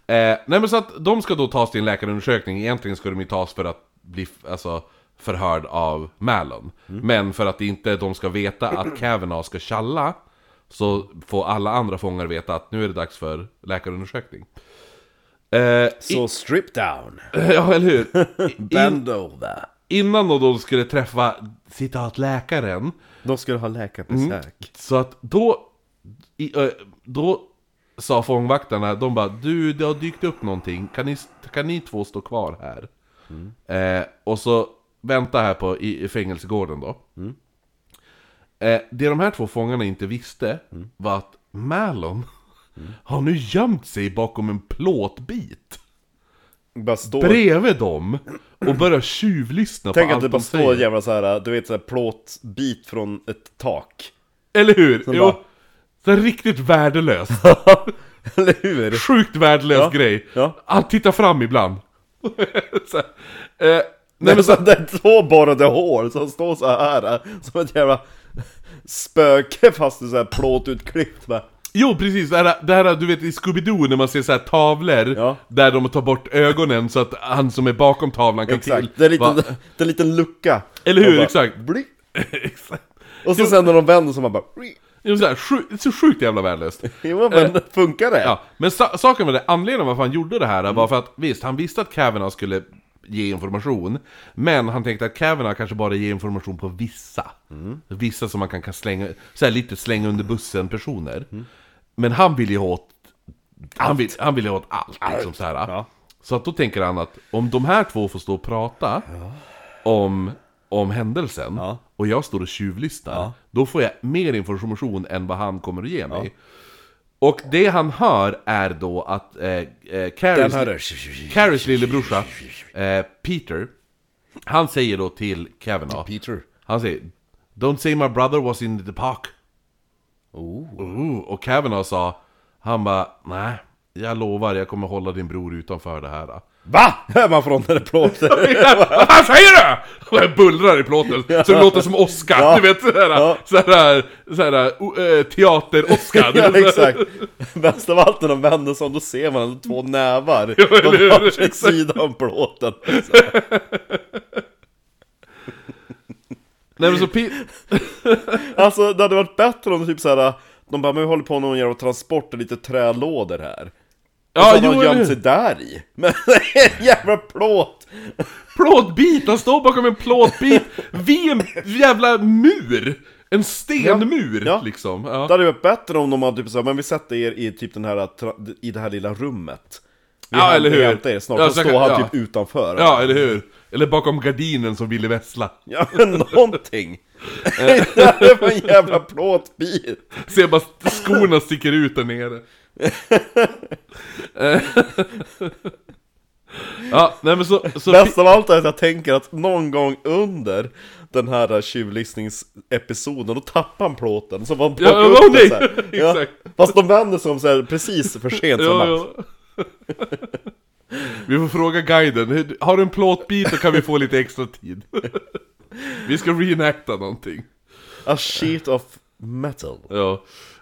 [SPEAKER 1] nej. Eh, nej men så att de ska då tas till en läkarundersökning, egentligen ska de ju tas för att bli f- alltså, förhörd av Mallon.
[SPEAKER 2] Mm.
[SPEAKER 1] Men för att inte de ska veta att Kavanaugh ska tjalla, så får alla andra fångar veta att nu är det dags för läkarundersökning. Eh,
[SPEAKER 2] Så strip down,
[SPEAKER 1] Ja, eller hur? In,
[SPEAKER 2] bend over.
[SPEAKER 1] innan då de skulle träffa citat läkaren,
[SPEAKER 2] De skulle ha läkarbesök.
[SPEAKER 1] så att då, i, ö, då sa fångvaktarna, de bara du, det har dykt upp någonting, kan ni, kan ni två stå kvar här?
[SPEAKER 2] Mm.
[SPEAKER 1] Eh, och så vänta här på, i, i fängelsegården då.
[SPEAKER 2] Mm.
[SPEAKER 1] Eh, det de här två fångarna inte visste
[SPEAKER 2] Mm.
[SPEAKER 1] var att Mallon har nu gömt sig bakom en plåtbit.
[SPEAKER 2] Mm. Bara står...
[SPEAKER 1] bredvid dem och börjar tjuvlyssna
[SPEAKER 2] Tänk
[SPEAKER 1] på
[SPEAKER 2] att
[SPEAKER 1] allt
[SPEAKER 2] det
[SPEAKER 1] de
[SPEAKER 2] bara står en
[SPEAKER 1] säger.
[SPEAKER 2] jävla såhär, du vet såhär plåtbit från ett tak.
[SPEAKER 1] Eller hur? Jo.
[SPEAKER 2] bara-
[SPEAKER 1] Så här riktigt värdelös.
[SPEAKER 2] Eller hur?
[SPEAKER 1] Sjukt värdelös
[SPEAKER 2] Ja,
[SPEAKER 1] grej.
[SPEAKER 2] ja.
[SPEAKER 1] Han tittar fram ibland. så här, eh, nej,
[SPEAKER 2] Nej
[SPEAKER 1] men
[SPEAKER 2] men
[SPEAKER 1] så,
[SPEAKER 2] så det är två borrade hår som står så här som ett jävla spöke fast i såhär plåtutklippt va?
[SPEAKER 1] jo precis, det här, det här du vet i Scooby-Doo när man ser så här tavlor
[SPEAKER 2] Ja.
[SPEAKER 1] där de tar bort ögonen så att han som är bakom tavlan kan till.
[SPEAKER 2] Exakt, det är, en liten,
[SPEAKER 1] Va?
[SPEAKER 2] det är en liten lucka.
[SPEAKER 1] Eller hur?
[SPEAKER 2] Och bara,
[SPEAKER 1] Exakt.
[SPEAKER 2] Bli.
[SPEAKER 1] Exakt.
[SPEAKER 2] Och så sen när de vänder så man bara...
[SPEAKER 1] Jo, så, här, sju, så sjukt jävla värdelöst.
[SPEAKER 2] Jo men funkar det?
[SPEAKER 1] Eh. Ja, men sa- saken var det, anledningen varför han gjorde det här var för att visst, han visste att Kavanaugh skulle ge information, men han tänkte att Kavanaugh kanske bara ger information på vissa. Vissa som man kan, kan slänga, så här lite slänga under bussen personer. Men han vill ju ha åt, han vill, han vill ju ha åt allt, liksom så här.
[SPEAKER 2] Ja.
[SPEAKER 1] Så att då tänker han att om de här två får stå och prata om, om händelsen,
[SPEAKER 2] Ja.
[SPEAKER 1] och jag står och tjuvlyssnar, då får jag mer information än vad han kommer att ge mig. Och det han hör är då att eh, eh, Carries,
[SPEAKER 3] Den hörde...
[SPEAKER 1] Carries lillebrorsa, eh, Peter, han säger då till Kavanaugh,
[SPEAKER 3] Peter.
[SPEAKER 1] han säger Don't say my brother was in the park. Ooh, och Kavanaugh sa, han bara nej, Jag lovar, jag kommer hålla din bror utanför det här.
[SPEAKER 2] Va? Man får det plåter.
[SPEAKER 1] Vad fan säger du? Och jag bullrar i plåten, så det låter som Oscar,
[SPEAKER 2] Ja.
[SPEAKER 1] du vet sådär,
[SPEAKER 2] Ja.
[SPEAKER 1] sådär, sådär o- eh, teater-Oscar
[SPEAKER 2] ja, exakt. Bäst av allt när de vänder sig om, då ser man två nävar
[SPEAKER 1] eller
[SPEAKER 2] på
[SPEAKER 1] hur?
[SPEAKER 2] varsin sida om plåten.
[SPEAKER 1] Nej men så pi-
[SPEAKER 2] Alltså det hade varit bättre om typ såhär, de bara 'Men vi håller på med någon jävla transport och lite trälådor här'
[SPEAKER 1] Ja,
[SPEAKER 2] och så hade
[SPEAKER 1] jo,
[SPEAKER 2] de
[SPEAKER 1] eller
[SPEAKER 2] gömt
[SPEAKER 1] hur?
[SPEAKER 2] sig där i. Men en jävla plåt!
[SPEAKER 1] plåtbit, han står bakom en plåtbit vid en jävla mur! En stenmur
[SPEAKER 2] Ja. Ja.
[SPEAKER 1] liksom.
[SPEAKER 2] Det
[SPEAKER 1] Ja.
[SPEAKER 2] hade varit bättre om de hade typ såhär, men vi sätter er i typ den här, tra- i det här lilla rummet Vi
[SPEAKER 1] Ja,
[SPEAKER 2] häm-
[SPEAKER 1] eller hur?
[SPEAKER 2] hämtar er snart,
[SPEAKER 1] Ja,
[SPEAKER 2] och
[SPEAKER 1] så
[SPEAKER 2] står
[SPEAKER 1] kan-
[SPEAKER 2] han
[SPEAKER 1] ja.
[SPEAKER 2] typ utanför
[SPEAKER 1] ja, eller hur? Eller bakom gardinen som Ville Vessla.
[SPEAKER 2] ja men någonting! det här var en jävla plåtbit!
[SPEAKER 1] Ser bara st- skorna sticker ut där nere. Eh. ja, nej men så... så
[SPEAKER 2] Bäst av allt är att jag tänker att någon gång under den här tjuvlyssningsepisoden, då tappar han plåten, så var han
[SPEAKER 1] Ja,
[SPEAKER 2] plockar
[SPEAKER 1] åh,
[SPEAKER 2] upp den
[SPEAKER 1] nej!
[SPEAKER 2] så här. Ja.
[SPEAKER 1] Exakt.
[SPEAKER 2] Fast de vänder sig om så här precis för sent, så
[SPEAKER 1] Jo,
[SPEAKER 2] han bara,
[SPEAKER 1] jo. Vi får fråga guiden, Hur- har du en plåtbit så kan vi få lite extra tid. Vi ska reenacta någonting.
[SPEAKER 2] A sheet Ah, of metal.
[SPEAKER 1] Ja.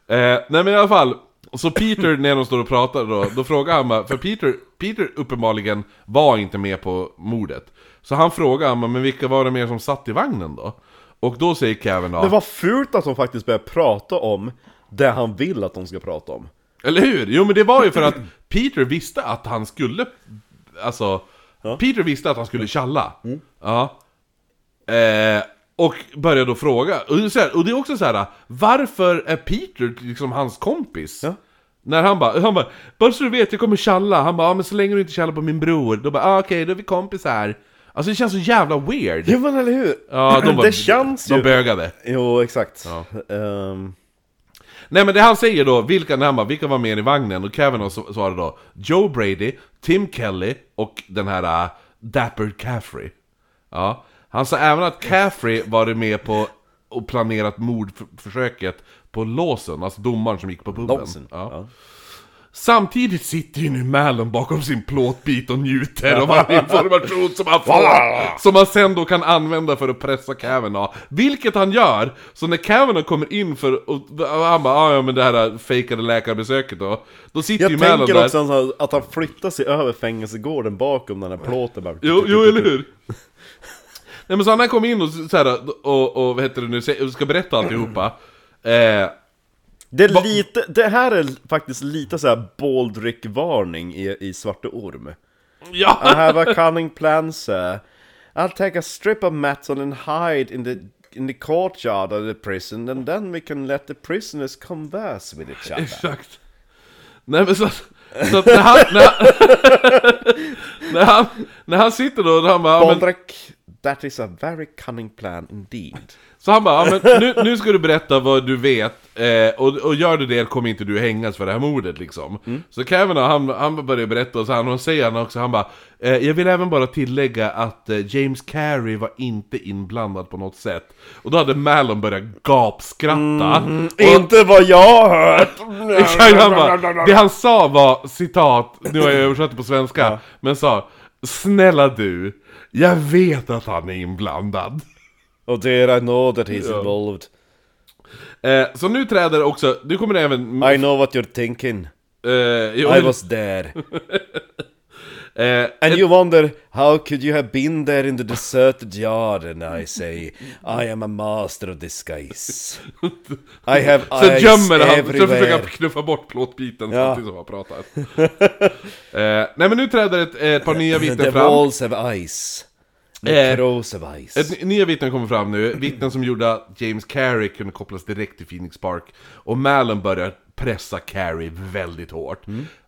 [SPEAKER 1] Eh, nej men i alla fall, så Peter när de står och pratar då, då frågar han bara, för Peter, Peter uppenbarligen var inte med på mordet. Så han frågar han bara, men vilka var det mer som satt i vagnen då? Och då säger Kevin
[SPEAKER 2] Det
[SPEAKER 1] då,
[SPEAKER 2] var fult att de faktiskt började prata om det han vill att de ska prata om.
[SPEAKER 1] eller hur? Jo men det var ju för att Peter visste att han skulle, alltså, Peter visste att han skulle tjalla.
[SPEAKER 2] Mm.
[SPEAKER 1] Ja. Eh, och börjar då fråga, och det är så här- och det är också så här: varför är Peter liksom hans kompis?
[SPEAKER 2] Ja.
[SPEAKER 1] När han bara, han bara, bara så du vet jag kommer tjalla, han bara, ah, men så länge du inte tjallar på min bror, då bara, ah, okej då är vi kompisar. Alltså det känns så jävla weird.
[SPEAKER 2] Jo men eller hur?
[SPEAKER 1] Ja, de bara,
[SPEAKER 2] det känns
[SPEAKER 1] De
[SPEAKER 2] ju.
[SPEAKER 1] bögade.
[SPEAKER 2] Jo exakt. Ehm,
[SPEAKER 1] Nej men det han säger då, vilka, när han bara, vilka var med i vagnen? Och Kavanaugh sv- svarade då Joe Brady, Tim Kelly och den här äh, Dapper Caffrey. Ja. Han sa även att Caffrey var med på och planerat mordförsöket på Lawson, alltså domaren som gick på puben.
[SPEAKER 2] Lawson,
[SPEAKER 1] Ja. Samtidigt sitter ju nu Mallon bakom sin plåtbit och njuter av all information som han får. Som han sen då kan använda för att pressa Kavanaugh. Vilket han gör. Så när Kavanaugh kommer in för och, och han bara ah, ja men det här fejkade läkarbesöket då. Då sitter ju
[SPEAKER 2] jag
[SPEAKER 1] Mallon
[SPEAKER 2] tänker
[SPEAKER 1] där.
[SPEAKER 2] också så här att han flyttar sig över fängelsegården bakom den här plåten bara.
[SPEAKER 1] Jo, jo eller hur? Nej men så när han kom in och så här, och, och vad heter det nu, sä- och ska berätta alltihopa. Eh,
[SPEAKER 2] Det, är lite, det här är faktiskt lite så här Baldrick-varning i, i Svarte Orm.
[SPEAKER 1] ja!
[SPEAKER 2] I have a cunning plan, sir. I'll take a strip of metal and hide in the in the courtyard of the prison, and then we can let the prisoners converse with each other.
[SPEAKER 1] Exakt. Nej men så att, så att när, han, när, han, när han... När han sitter då, då han bara, ja, men,
[SPEAKER 2] Baldrick, that is a very cunning plan indeed.
[SPEAKER 1] så han bara, ja, men nu, nu ska du berätta vad du vet, eh, och, och gör du det kommer inte du hängas för det här mordet liksom. Så Kevin han, han börjar berätta, och så han, och säger han också, han bara, eh, jag vill även bara tillägga att eh, James Carey var inte inblandad på något sätt. Och då hade Malon börjat gapskratta. Och-
[SPEAKER 2] Inte vad jag hört!
[SPEAKER 1] Exakt, han bara, det han sa var citat, nu har jag översatt det på svenska, men sa Snälla du, jag vet att han är inblandad.
[SPEAKER 2] Och dear, I know that he's involved.
[SPEAKER 1] Eh, så nu träder också, nu kommer det även...
[SPEAKER 2] I know what you're thinking.
[SPEAKER 1] Eh, jo,
[SPEAKER 2] I was there.
[SPEAKER 1] eh,
[SPEAKER 2] And you wonder, how could you have been there in the deserted yard? And I say, I am a master of disguise. I have
[SPEAKER 1] sen
[SPEAKER 2] eyes
[SPEAKER 1] gömmer han, sen försöker
[SPEAKER 2] everywhere.
[SPEAKER 1] han knuffa bort plåtbiten
[SPEAKER 2] Ja.
[SPEAKER 1] samtidigt som han pratar. eh, nej men nu träder ett, ett par nya
[SPEAKER 2] The
[SPEAKER 1] vittnen fram.
[SPEAKER 2] walls have eyes.
[SPEAKER 1] Eh,
[SPEAKER 2] The crows have eyes.
[SPEAKER 1] Ett, nya vittnen kommer fram nu, vittnen som gjorde att James Carey kunde kopplas direkt till Phoenix Park. Och Malin börjar pressa Carey väldigt hårt.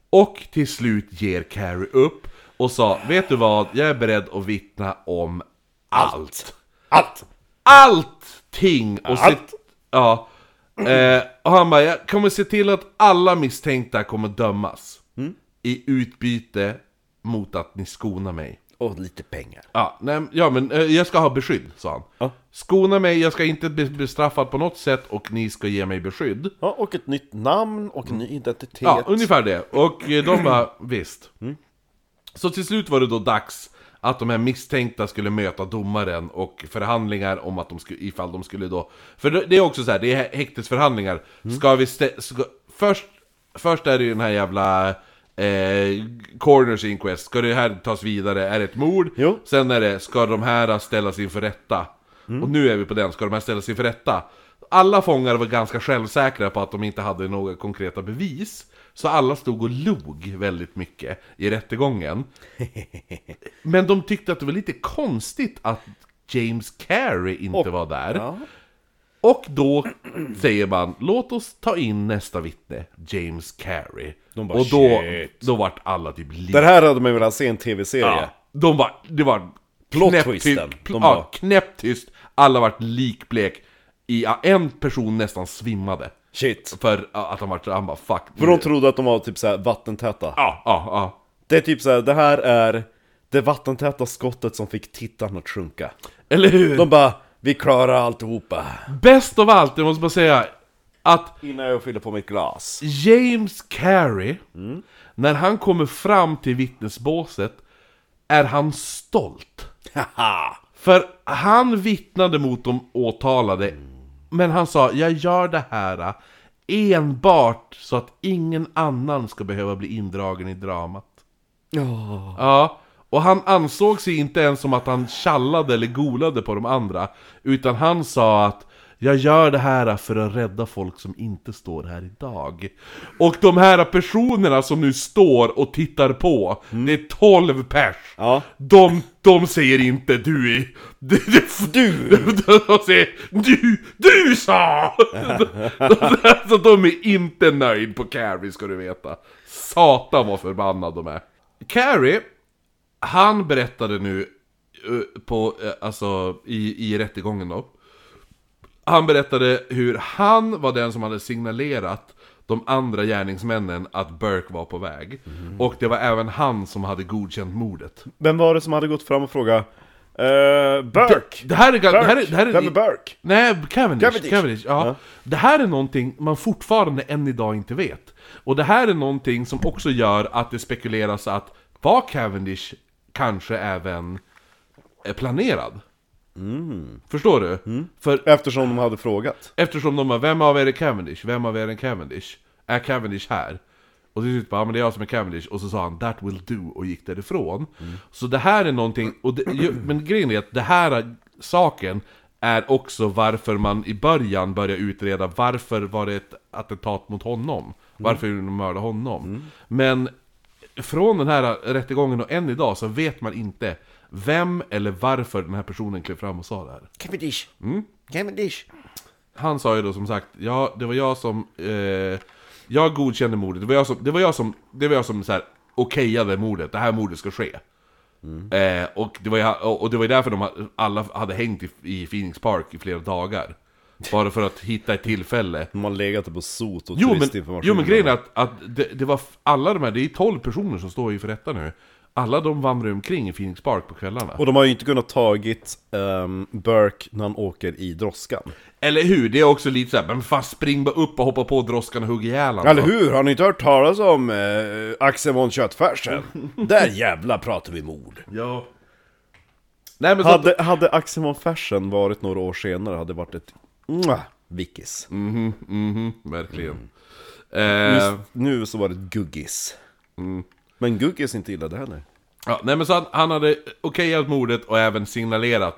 [SPEAKER 1] Och till slut ger Carey upp och sa Vet du vad, jag är beredd att vittna om allt.
[SPEAKER 2] Allt!
[SPEAKER 1] Allting! Och se-
[SPEAKER 2] Allt.
[SPEAKER 1] ja. Eh, och han bara, jag kommer se till att alla misstänkta kommer dömas. I utbyte mot att ni skonar mig.
[SPEAKER 3] och lite pengar.
[SPEAKER 1] Ja, nej, ja men eh, jag ska ha beskydd, sa han.
[SPEAKER 2] Ja.
[SPEAKER 1] Skona mig, jag ska inte bli bestraffad på något sätt och ni ska ge mig beskydd.
[SPEAKER 4] Ja, och ett nytt namn och en ny identitet.
[SPEAKER 1] Ja, ungefär det. Och eh, de bara, visst. Så till slut var det då dags att de här misstänkta skulle möta domaren och förhandlingar om att de skulle, ifall de skulle då... För det det är också så här, det är häktesförhandlingar. Ska vi stä- ska, först, först är det ju den här jävla... Eh, corners inquest, ska det här tas vidare? Är det ett mord?
[SPEAKER 4] Jo.
[SPEAKER 1] Sen är det, ska de här ställas inför rätta?
[SPEAKER 2] Mm.
[SPEAKER 1] Och nu är vi på den, ska de här ställas inför rätta? Alla fångar var ganska självsäkra på att de inte hade några konkreta bevis. Så alla stod och log väldigt mycket i rättegången. Men de tyckte att det var lite konstigt att James Carey inte var där. Och då säger man, låt oss ta in nästa vittne, James Carey.
[SPEAKER 2] De bara,
[SPEAKER 1] och då,
[SPEAKER 2] "Shit."
[SPEAKER 1] då vart alla typ
[SPEAKER 2] Det
[SPEAKER 1] lika.
[SPEAKER 2] här hade man ju velat se i en tv-serie.
[SPEAKER 1] Ja. De var, det var
[SPEAKER 2] Plot-twisten.
[SPEAKER 1] knäpptyst.
[SPEAKER 2] De
[SPEAKER 1] ja,
[SPEAKER 2] bara-
[SPEAKER 1] knäpptyst. Alla vart likblek. I, ja, en person nästan svimmade.
[SPEAKER 2] Shit.
[SPEAKER 1] För ja, att han vart, han bara fuck.
[SPEAKER 2] För de trodde att de var typ såhär vattentäta.
[SPEAKER 1] Ja, ja, ja.
[SPEAKER 2] Det är typ såhär, det här är det vattentäta skottet som fick tittarna att sjunka.
[SPEAKER 1] Eller hur?
[SPEAKER 2] De bara, vi klarar alltihopa.
[SPEAKER 1] Bäst av allt, jag måste bara säga att
[SPEAKER 2] Innan jag fyller på mitt glas.
[SPEAKER 1] James Carey,
[SPEAKER 2] Mm.
[SPEAKER 1] när han kommer fram till vittnesbåset, är han stolt. För han vittnade mot de åtalade, men han sa jag gör det här enbart så att ingen annan ska behöva bli indragen i dramat. Ja, och han ansåg sig inte ens som att han tjallade eller golade på de andra, utan han sa att jag gör det här för att rädda folk som inte står här idag. Och de här personerna som nu står och tittar på, det är 12 pers.
[SPEAKER 2] Ja.
[SPEAKER 1] De, de säger inte du är... Du! du. De säger du, du sa! Så de är inte nöjd på Carrie ska du veta. Satan vad förbannad de är. Carrie, han berättade nu eh, på, eh, alltså i, i rättegången då. Han berättade hur han var den som hade signalerat de andra gärningsmännen att Burke var på väg. Och det var även han som hade godkänt mordet.
[SPEAKER 2] Vem var det som hade gått fram och frågat? Uh, Burke!
[SPEAKER 1] Det här är... ga- Det här är, det här är
[SPEAKER 2] Vem är Burke?
[SPEAKER 1] Nej, Cavendish. Cavendish.
[SPEAKER 2] Cavendish.
[SPEAKER 1] ja. Det här är någonting man fortfarande än idag inte vet. Och det här är någonting som också gör att det spekuleras att var Cavendish kanske även eh, planerad? Förstår du? För
[SPEAKER 2] Eftersom de hade frågat.
[SPEAKER 1] eftersom de bara, vem av er är Cavendish? Vem av er är Cavendish? Är Cavendish här? Och till slut bara, ja men det är jag som är Cavendish, och så sa han 'That will do' och gick därifrån. Så det här är någonting, och det, ju, men grejen är att det här saken är också varför man i början börjar utreda varför var det ett attentat mot honom? Varför mm. de mördade honom? Men från den här rättegången och än idag så vet man inte vem eller varför den här personen klev fram och sa det här.
[SPEAKER 3] Cavendish! Mm? Cavendish!
[SPEAKER 1] Han sa ju då som sagt, ja, det var jag som... Eh, jag godkände mordet, det var jag som... Det var jag som, det var jag som så här, okejade mordet, det här mordet ska ske.
[SPEAKER 2] Mm.
[SPEAKER 1] Eh, och, det var ju, och och det var ju därför de ha- alla hade hängt i, i Phoenix Park i flera dagar. Bara för att hitta ett tillfälle.
[SPEAKER 2] De har legat på sot och
[SPEAKER 1] Jo men,
[SPEAKER 2] turistinformation.
[SPEAKER 1] jo, men grejen är att, att det, det var f- alla de här, det är 12 personer som står inför rätta nu. Alla de vandrar omkring i Phoenix Park på kvällarna.
[SPEAKER 2] Och de har ju inte kunnat tagit ehm, Burke när han åker i droskan.
[SPEAKER 1] Eller hur? Det är också lite såhär, men fan spring bara upp och hoppa på droskan och hugg ihjäl honom.
[SPEAKER 2] Eller hur? Har ni inte hört talas om eh, Axel von Köttfärsen?
[SPEAKER 3] Där jävla pratar vi mord!
[SPEAKER 1] Ja. Nej men så att,
[SPEAKER 2] hade, hade Axel von Fersen varit några år senare hade det varit ett mwah, vickis.
[SPEAKER 1] verkligen. Eh,
[SPEAKER 2] Mm. Just nu så var det ett guggis. Mm. Men guggis inte gillade heller.
[SPEAKER 1] ja, nej men så han, han hade okejat mordet och även signalerat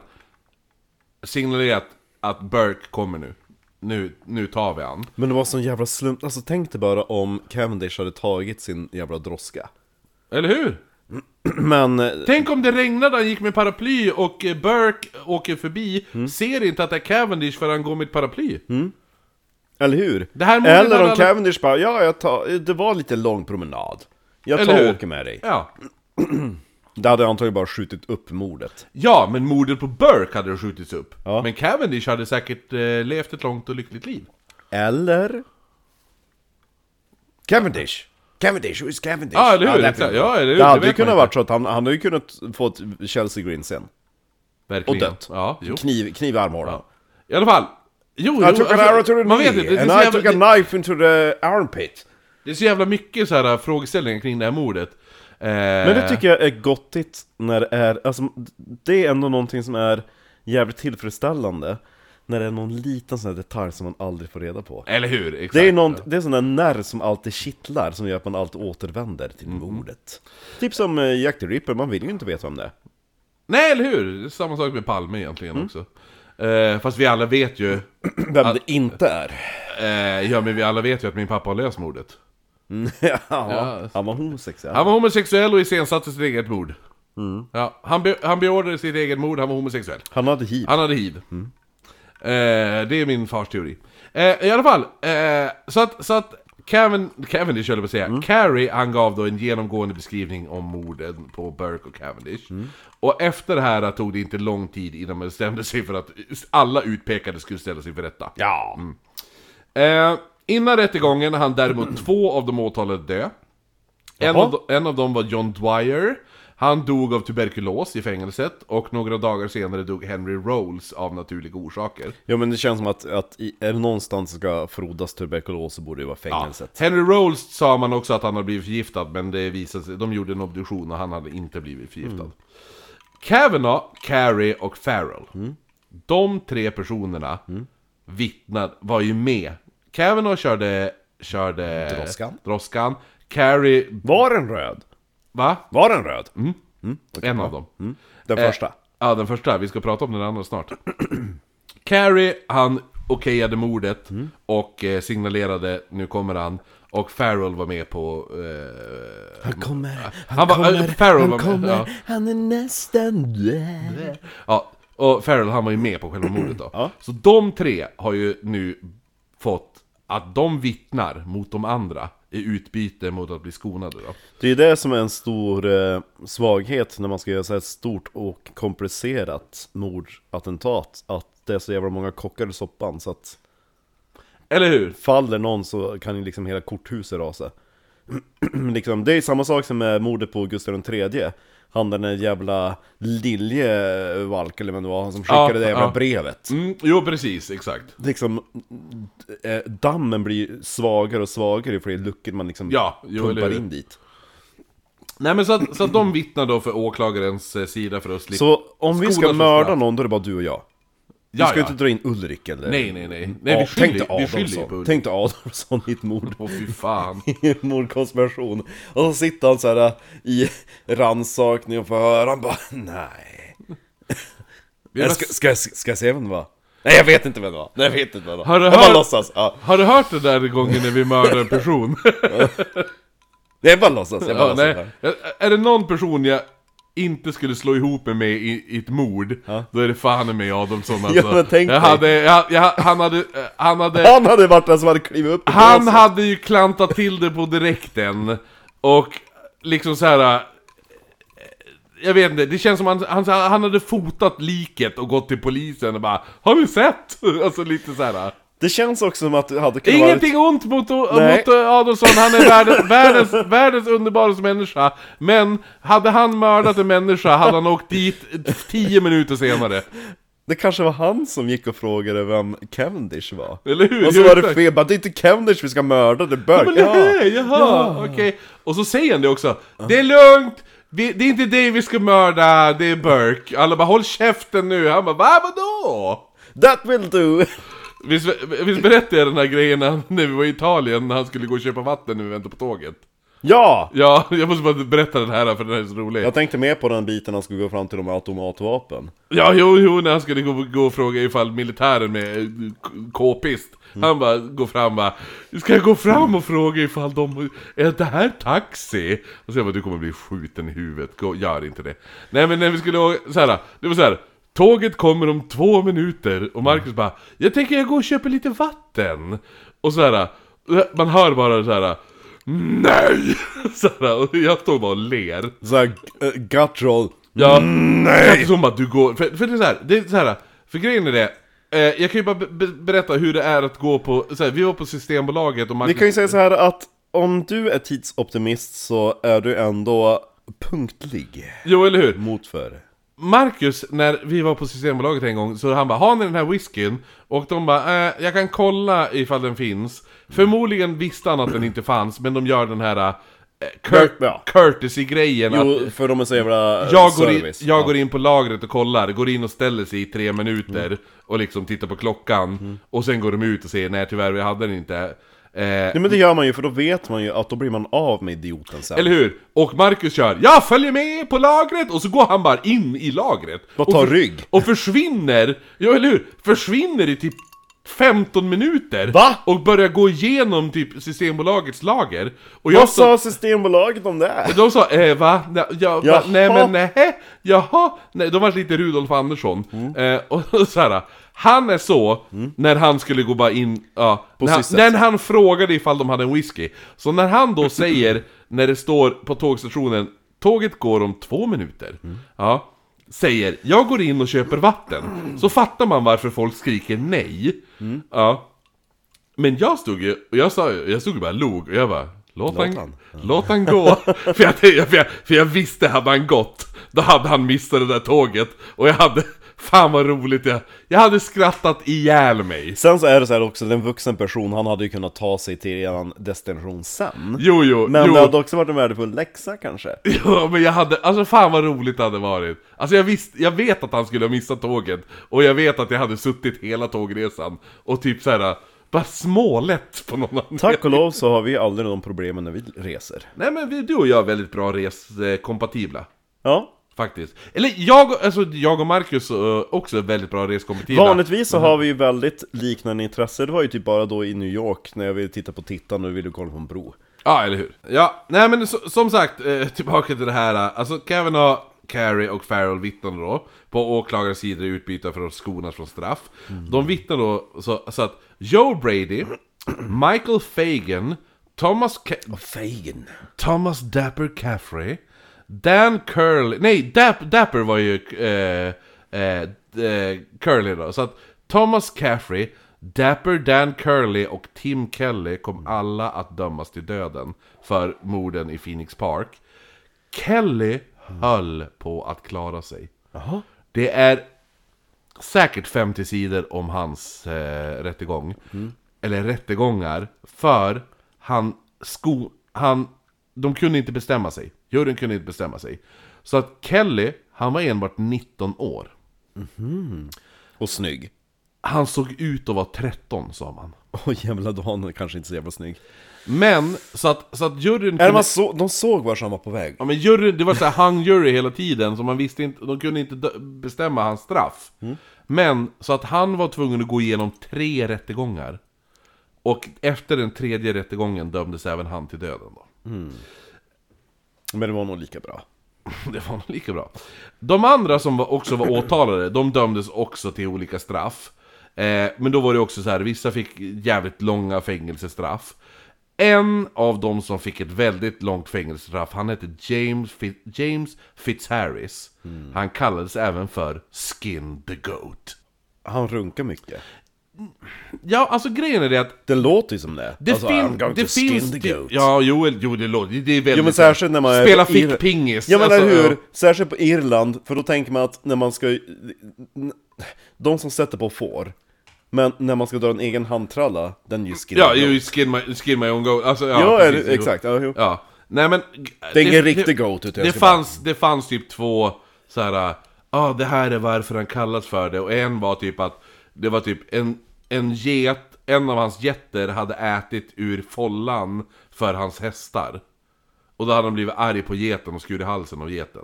[SPEAKER 1] signalerat att Burke kommer nu. Nu, nu tar vi han.
[SPEAKER 2] Men det var sån jävla slump, alltså tänk dig bara om Cavendish hade tagit sin jävla droska.
[SPEAKER 1] Eller hur?
[SPEAKER 2] Men, eh,
[SPEAKER 1] Tänk om det regnade, han gick med paraply och eh, Burke åker förbi,
[SPEAKER 2] Mm.
[SPEAKER 1] ser inte att det är Cavendish för han går med ett paraply.
[SPEAKER 2] eller hur?
[SPEAKER 1] Det här mordet
[SPEAKER 2] eller om
[SPEAKER 1] hade-
[SPEAKER 2] Cavendish bara, ja jag tar, det var lite lång promenad. Jag
[SPEAKER 1] Eller
[SPEAKER 2] tar
[SPEAKER 1] hur?
[SPEAKER 2] och åker med dig.
[SPEAKER 1] Ja.
[SPEAKER 2] Det hade antagligen bara skjutit upp mordet.
[SPEAKER 1] ja, men mordet på Burke hade skjutits upp.
[SPEAKER 2] Ja.
[SPEAKER 1] Men Cavendish hade säkert eh, levt ett långt och lyckligt liv.
[SPEAKER 2] Eller? Cavendish!
[SPEAKER 3] Cavendish, who is Cavendish?
[SPEAKER 2] Ah.
[SPEAKER 1] Ja, eller hur?
[SPEAKER 3] det är
[SPEAKER 1] Exakt.
[SPEAKER 3] bra.
[SPEAKER 1] ja, eller hur?
[SPEAKER 2] Det hade ju
[SPEAKER 1] vet man
[SPEAKER 2] kunnat
[SPEAKER 1] inte.
[SPEAKER 2] varit så att han, han hade ju kunnat få ett Chelsea Green sen.
[SPEAKER 1] Verkligen.
[SPEAKER 2] och dött.
[SPEAKER 1] Ja, jo.
[SPEAKER 2] Kniv, kniv i armhålan.
[SPEAKER 1] Ja. I alla fall. Jo, jo
[SPEAKER 2] I took an
[SPEAKER 1] alltså,
[SPEAKER 2] arrow to the
[SPEAKER 1] man vet
[SPEAKER 2] knee,
[SPEAKER 1] inte. Det, det, är
[SPEAKER 2] and
[SPEAKER 1] så
[SPEAKER 2] I took a
[SPEAKER 1] jävla, det,
[SPEAKER 2] knife into the armpit.
[SPEAKER 1] det är så jävla mycket så här äh, frågeställningar kring det här mordet. Eh,
[SPEAKER 2] Men det tycker jag är gottigt när det är, alltså det är ändå någonting som är jävligt tillfredsställande. När det är någon liten sån här detalj som man aldrig får reda på.
[SPEAKER 1] Eller hur? Exakt.
[SPEAKER 2] Det är, någon, det är sån där nerv som alltid kittlar, som gör att man alltid återvänder till
[SPEAKER 1] Mm.
[SPEAKER 2] mordet. Typ som eh, Jack the Ripper, man vill ju inte veta om det är.
[SPEAKER 1] Nej, eller hur? Det är samma sak med Palme egentligen
[SPEAKER 2] Mm.
[SPEAKER 1] också. Eh, fast vi alla vet ju...
[SPEAKER 2] Vem det inte är.
[SPEAKER 1] Eh, ja, men vi alla vet ju att min pappa har löst mordet.
[SPEAKER 2] ja, han var homosexuell.
[SPEAKER 1] Han var homosexuell och iscensatte sitt eget mord.
[SPEAKER 2] Mm.
[SPEAKER 1] Ja, han, be han beordrade sitt eget mord, han var homosexuell.
[SPEAKER 2] Han hade hiv. Mm.
[SPEAKER 1] Han hade hiv. Eh, det är min fars teori. Eh, I alla fall, eh, så att, så att Kevin, Cavendish höll jag på att säga,
[SPEAKER 2] Mm.
[SPEAKER 1] Carrie han gav då en genomgående beskrivning om morden på Burke och Cavendish.
[SPEAKER 2] Mm.
[SPEAKER 1] Och efter det här tog det inte lång tid innan man bestämde sig för att alla utpekade skulle ställa sig för rätta.
[SPEAKER 2] Ja. mm.
[SPEAKER 1] Eh, innan rättegången hann däremot två av de åtalade dö. En
[SPEAKER 2] Jaha.
[SPEAKER 1] av, de- en av dem var John Dwyer. Han dog av tuberkulos i fängelset och några dagar senare dog Henry Rolls av naturliga orsaker.
[SPEAKER 2] Ja men det känns som att, att i, är det någonstans ska frodas tuberkulos så borde det vara fängelset.
[SPEAKER 1] Henry Rolls sa man också att han hade blivit förgiftad, men det visade sig, de gjorde en obduktion och han hade inte blivit förgiftad. Kavanaugh, Carey och Farrell. De tre personerna vittnade, var ju med. Kavanaugh körde... körde
[SPEAKER 3] Droskan.
[SPEAKER 1] Droskan. Carey,
[SPEAKER 2] Var den röd?
[SPEAKER 1] va?
[SPEAKER 2] Var den röd?
[SPEAKER 1] en av dem.
[SPEAKER 2] Mm. Den
[SPEAKER 1] Mm. Eh,
[SPEAKER 2] första?
[SPEAKER 1] Ja, den första. Vi ska prata om den andra snart. Carrie, han okejade mordet
[SPEAKER 2] Mm.
[SPEAKER 1] och eh, signalerade nu kommer han. Och Farrell var med på... Eh,
[SPEAKER 3] Han kommer, han,
[SPEAKER 1] Han var-
[SPEAKER 3] kommer,
[SPEAKER 1] äh, Farrell var
[SPEAKER 3] han
[SPEAKER 1] med,
[SPEAKER 3] kommer,
[SPEAKER 1] ja.
[SPEAKER 3] han är nästan där.
[SPEAKER 1] ja, och Farrell han var ju med på själva mordet då. Så de tre har ju nu fått att de vittnar mot de andra i utbyte mot att bli skonade då.
[SPEAKER 2] Det är ju det som är en stor eh, svaghet när man ska göra så här ett stort och komplicerat mordattentat. Att det är så jävla många kockar i soppan så att
[SPEAKER 1] Eller hur?
[SPEAKER 2] faller någon så kan ju liksom hela korthuset rasa. liksom, det är samma sak som med mordet på Gustav III. Han den där jävla Liljevalk eller vem det var, han som skickade
[SPEAKER 1] Ja,
[SPEAKER 2] det jävla
[SPEAKER 1] ja.
[SPEAKER 2] brevet.
[SPEAKER 1] Mm, jo, precis, exakt.
[SPEAKER 2] liksom, eh, dammen blir svagare och svagare ju fler luckor man liksom
[SPEAKER 1] Ja, jo, eller
[SPEAKER 2] pumpar
[SPEAKER 1] hur.
[SPEAKER 2] in dit.
[SPEAKER 1] Nej men så att, så att de vittnar då för åklagarens eh, sida för att slippa...
[SPEAKER 2] Så om vi ska
[SPEAKER 1] Skolan som
[SPEAKER 2] mörda
[SPEAKER 1] straff.
[SPEAKER 2] någon, då är det bara du och jag. Du
[SPEAKER 1] Ja,
[SPEAKER 2] ska
[SPEAKER 1] ja.
[SPEAKER 2] inte dra in Ulrik eller...
[SPEAKER 1] Nej, nej, nej. nej vi
[SPEAKER 2] Mm. Ja,
[SPEAKER 1] skyller,
[SPEAKER 2] tänk dig
[SPEAKER 1] vi skyller ju på
[SPEAKER 2] Adolfsson,
[SPEAKER 1] Ulrik.
[SPEAKER 2] tänk dig Adolfsson i ett mord.
[SPEAKER 1] Åh fy fan.
[SPEAKER 2] i en mordkonspiration. Och så sitter han så här äh, i rannsakning och förhör, han bara nej.
[SPEAKER 1] bara-
[SPEAKER 2] Jag ska, ska, jag- ska jag se vem det var? Nej jag vet inte vem det var, nej jag vet inte vem det var.
[SPEAKER 1] Har du
[SPEAKER 2] jag bara
[SPEAKER 1] hört-
[SPEAKER 2] låtsas, ja.
[SPEAKER 1] Har du hört det där gången när vi mördade en person?
[SPEAKER 2] Nej jag bara låtsas, jag bara
[SPEAKER 1] ja,
[SPEAKER 2] låtsas.
[SPEAKER 1] nej. Är det någon person jag inte skulle slå ihop mig med i, i ett mord, då är det fan i mig Adolfsson alltså.
[SPEAKER 2] Ja, men tänk
[SPEAKER 1] jag
[SPEAKER 2] dig.
[SPEAKER 1] hade, jag, jag, han hade, eh, han hade,
[SPEAKER 2] Han hade varit den som hade klivit upp i
[SPEAKER 1] han
[SPEAKER 2] båset.
[SPEAKER 1] hade ju klantat till det på direkten. Och liksom så här. eh, Jag vet inte, det känns som han, han, han hade fotat liket och gått till polisen och bara Har ni sett? Alltså lite så här.
[SPEAKER 2] Det känns också som att du hade kunnat
[SPEAKER 1] Ingenting ont mot,
[SPEAKER 2] Nej.
[SPEAKER 1] mot eh, Adolfsson, han är världens, världens, världens underbaraste människa. Men hade han mördat en människa hade han åkt dit tio minuter senare.
[SPEAKER 2] Det kanske var han som gick och frågade vem Cavendish var.
[SPEAKER 1] Eller hur?
[SPEAKER 2] Och så
[SPEAKER 1] Jo,
[SPEAKER 2] var det
[SPEAKER 1] exakt.
[SPEAKER 2] fel, bara det är inte Cavendish vi ska mörda, det är
[SPEAKER 1] Men
[SPEAKER 2] Burke. Ja.
[SPEAKER 1] nej, jaha, okej. Och så säger han det också. Det är lugnt! Vi, det är inte dig vi ska mörda, det är Burke. Alla bara håll käften nu. Han bara va, vadå?
[SPEAKER 2] That will do!
[SPEAKER 1] Visst, visst berättade jag den här grejen när när vi var i Italien när han skulle gå och köpa vatten när vi väntade på tåget?
[SPEAKER 2] Ja!
[SPEAKER 1] Ja, jag måste bara berätta den här för den här är så rolig.
[SPEAKER 2] Jag tänkte mer på den biten han skulle gå fram till de här automatvapen.
[SPEAKER 1] Ja, jo, jo, när han skulle gå, gå och fråga ifall militären med eh, k- k-pist Han bara går fram bara Ska jag gå fram och fråga ifall de... Är det här taxi? Och så jag bara, du kommer bli skjuten i huvudet, gå, gör inte det Nej men när vi skulle åka, så här, det var så här Tåget kommer om två minuter och Marcus bara Jag tänker jag går och köper lite vatten Och så här, man hör bara så här NEJ! Så här, och jag står bara och ler
[SPEAKER 2] Såhär, uh, gut roll.
[SPEAKER 1] Ja, nej! Som att du går, för, för det är så här, det är så här, för grejen är det, eh, jag kan ju bara be- be- berätta hur det är att gå på, så här, vi var på Systembolaget och
[SPEAKER 2] Vi
[SPEAKER 1] Magnus...
[SPEAKER 2] kan ju säga så här att om du är tidsoptimist så är du ändå punktlig
[SPEAKER 1] Jo, eller hur?
[SPEAKER 2] mot för.
[SPEAKER 1] Marcus, när vi var på Systembolaget en gång, så han bara 'Har ni den här whiskyn?' Och de bara eh, 'Jag kan kolla ifall den finns' Förmodligen visste han att den inte fanns, men de gör den här eh, cur-
[SPEAKER 2] Ja.
[SPEAKER 1] courtesy-grejen att
[SPEAKER 2] Jo, för de är så jävla eh,
[SPEAKER 1] jag, går in,
[SPEAKER 2] service.
[SPEAKER 1] jag
[SPEAKER 2] Ja.
[SPEAKER 1] går in på lagret och kollar, går in och ställer sig i tre minuter
[SPEAKER 2] Mm.
[SPEAKER 1] och liksom tittar på klockan och sen går de ut och säger 'Nej tyvärr, vi hade den inte' eh,
[SPEAKER 2] Nej men det gör man ju för då vet man ju att då blir man av med idioten sen.
[SPEAKER 1] Eller hur? Och Marcus kör 'Jag följer med på lagret!' och så går han bara in i lagret.
[SPEAKER 2] Bara
[SPEAKER 1] Och
[SPEAKER 2] tar
[SPEAKER 1] för-
[SPEAKER 2] rygg.
[SPEAKER 1] Och försvinner, ja eller hur? Försvinner i typ 15 minuter.
[SPEAKER 2] Va?
[SPEAKER 1] Och börjar gå igenom typ Systembolagets lager. Och
[SPEAKER 2] Vad
[SPEAKER 1] stod-
[SPEAKER 2] sa Systembolaget om det?
[SPEAKER 1] de sa eh, va? Nej, ja, va?
[SPEAKER 2] Jaha.
[SPEAKER 1] nej men nej, jaha? Nej, de var lite Rudolf Andersson. Eh, och så här, han är så när han skulle gå bara in, ja, när, han,
[SPEAKER 2] sitt sätt.
[SPEAKER 1] när han frågade ifall de hade en whisky. Så när han då säger, när det står på tågstationen, tåget går om två minuter. Ja, säger, jag går in och köper vatten. Så fattar man varför folk skriker nej. Ja. Men jag stod ju, och jag sa ju- jag stod ju bara log och jag bara Låt, han,
[SPEAKER 2] han.
[SPEAKER 1] låt han gå! för, jag, tänkte- för, jag, för jag visste, hade han gått Då hade han missat det där tåget Och jag hade, fan vad roligt jag Jag hade skrattat ihjäl mig
[SPEAKER 2] Sen så är det så här också, den vuxen person, han hade ju kunnat ta sig till en destination sen.
[SPEAKER 1] Jo jo,
[SPEAKER 2] Men
[SPEAKER 1] jo,
[SPEAKER 2] det hade också varit en värdefull läxa kanske.
[SPEAKER 1] jo men jag hade, alltså fan vad roligt det hade varit Alltså jag visste, jag vet att han skulle ha missat tåget Och jag vet att jag hade suttit hela tågresan Och typ såhär, bara smålett på någon annan
[SPEAKER 2] Tack och lov så har vi aldrig de problemen när vi reser.
[SPEAKER 1] Nej men vi, du och jag är väldigt bra reskompatibla
[SPEAKER 2] Ja.
[SPEAKER 1] Faktiskt. Eller jag, och- alltså, jag och Marcus eh, också är väldigt bra reskompatibla.
[SPEAKER 2] Vanligtvis så har vi ju väldigt liknande intressen, det var ju typ bara då i New York när jag ville titta på Tittan och ville kolla på en bro.
[SPEAKER 1] Ja, eller hur? Ja, nej men så, som sagt, eh, tillbaka till det här. eh, Alltså Kavanaugh, Carey och Farrell vittnar då på åklagarens sida i utbyte för att skonas från straff. De vittnar då så, så att Joe Brady, Michael Fagan, Thomas, Ca-
[SPEAKER 3] Fagen.
[SPEAKER 1] Thomas Dapper Caffrey, Dan Curly, nej Dap, Dapper var ju eh, eh, eh, Curly då, så att Thomas Caffrey, Dapper Dan Curly och Tim Kelly kom alla att dömas till döden för morden i Phoenix Park. Kelly höll på att klara sig. Det är säkert 50 sidor om hans eh, rättegång. Eller rättegångar. För han sko... Han... De kunde inte bestämma sig. Juryn kunde inte bestämma sig. Så att Kelly, han var enbart 19 år.
[SPEAKER 2] Och snygg.
[SPEAKER 1] Han såg ut att vara 13, sa man.
[SPEAKER 2] Och jävla Dan är kanske inte så jävla snygg.
[SPEAKER 1] Men, så att, så att juryn...
[SPEAKER 2] Eller
[SPEAKER 1] kunde-
[SPEAKER 2] man så, de såg vart han var på väg.
[SPEAKER 1] Ja men jury, det var så här hung jury hela tiden, så man visste inte, de kunde inte dö- bestämma hans straff. Men, så att han var tvungen att gå igenom tre rättegångar. Och efter den tredje rättegången dömdes även han till döden då.
[SPEAKER 2] Men det var nog lika bra.
[SPEAKER 1] Det var nog lika bra. De andra som var, också var åtalade, de dömdes också till olika straff. Eh, men då var det också så här, vissa fick jävligt långa fängelsestraff. En av dem som fick ett väldigt långt fängelsestraff, han hette James, Fi- James Fitzharris.
[SPEAKER 2] Mm.
[SPEAKER 1] Han kallades även för Skin the Goat.
[SPEAKER 2] Han runkar mycket.
[SPEAKER 1] Ja, alltså grejen är det att
[SPEAKER 2] Det låter ju som det.
[SPEAKER 1] det,
[SPEAKER 2] Alltså,
[SPEAKER 1] fin-
[SPEAKER 2] I'm going
[SPEAKER 1] det
[SPEAKER 2] to skin
[SPEAKER 1] finns...
[SPEAKER 2] the
[SPEAKER 1] typ-
[SPEAKER 2] goat.
[SPEAKER 1] Ja, jo, eller- jo det, låter, det är väldigt...
[SPEAKER 2] Jo men särskilt när man är...
[SPEAKER 1] Spela
[SPEAKER 2] på Ir-
[SPEAKER 1] fickpingis.
[SPEAKER 2] Ja men
[SPEAKER 1] Alltså,
[SPEAKER 2] eller hur?
[SPEAKER 1] ja.
[SPEAKER 2] Särskilt på Irland, för då tänker man att när man ska... De som sätter på får, men när man ska dra en egen handtralla, den ju skriver
[SPEAKER 1] Ja, ju skin my, skin my own goat. Alltså, ja,
[SPEAKER 2] Ja,
[SPEAKER 1] precis,
[SPEAKER 2] eller-
[SPEAKER 1] jo.
[SPEAKER 2] exakt. Ja, jo.
[SPEAKER 1] Ja. Nej men...
[SPEAKER 2] Det är ingen riktig goat, utan jag
[SPEAKER 1] det
[SPEAKER 2] ska bara-
[SPEAKER 1] fanns, det fanns typ två så här. Ja, ah, det här är varför han kallas för det. Och en var typ att... Det var typ en, en get... En av hans getter hade ätit ur follan för hans hästar. Och då hade han blivit arg på geten och skurit halsen av geten.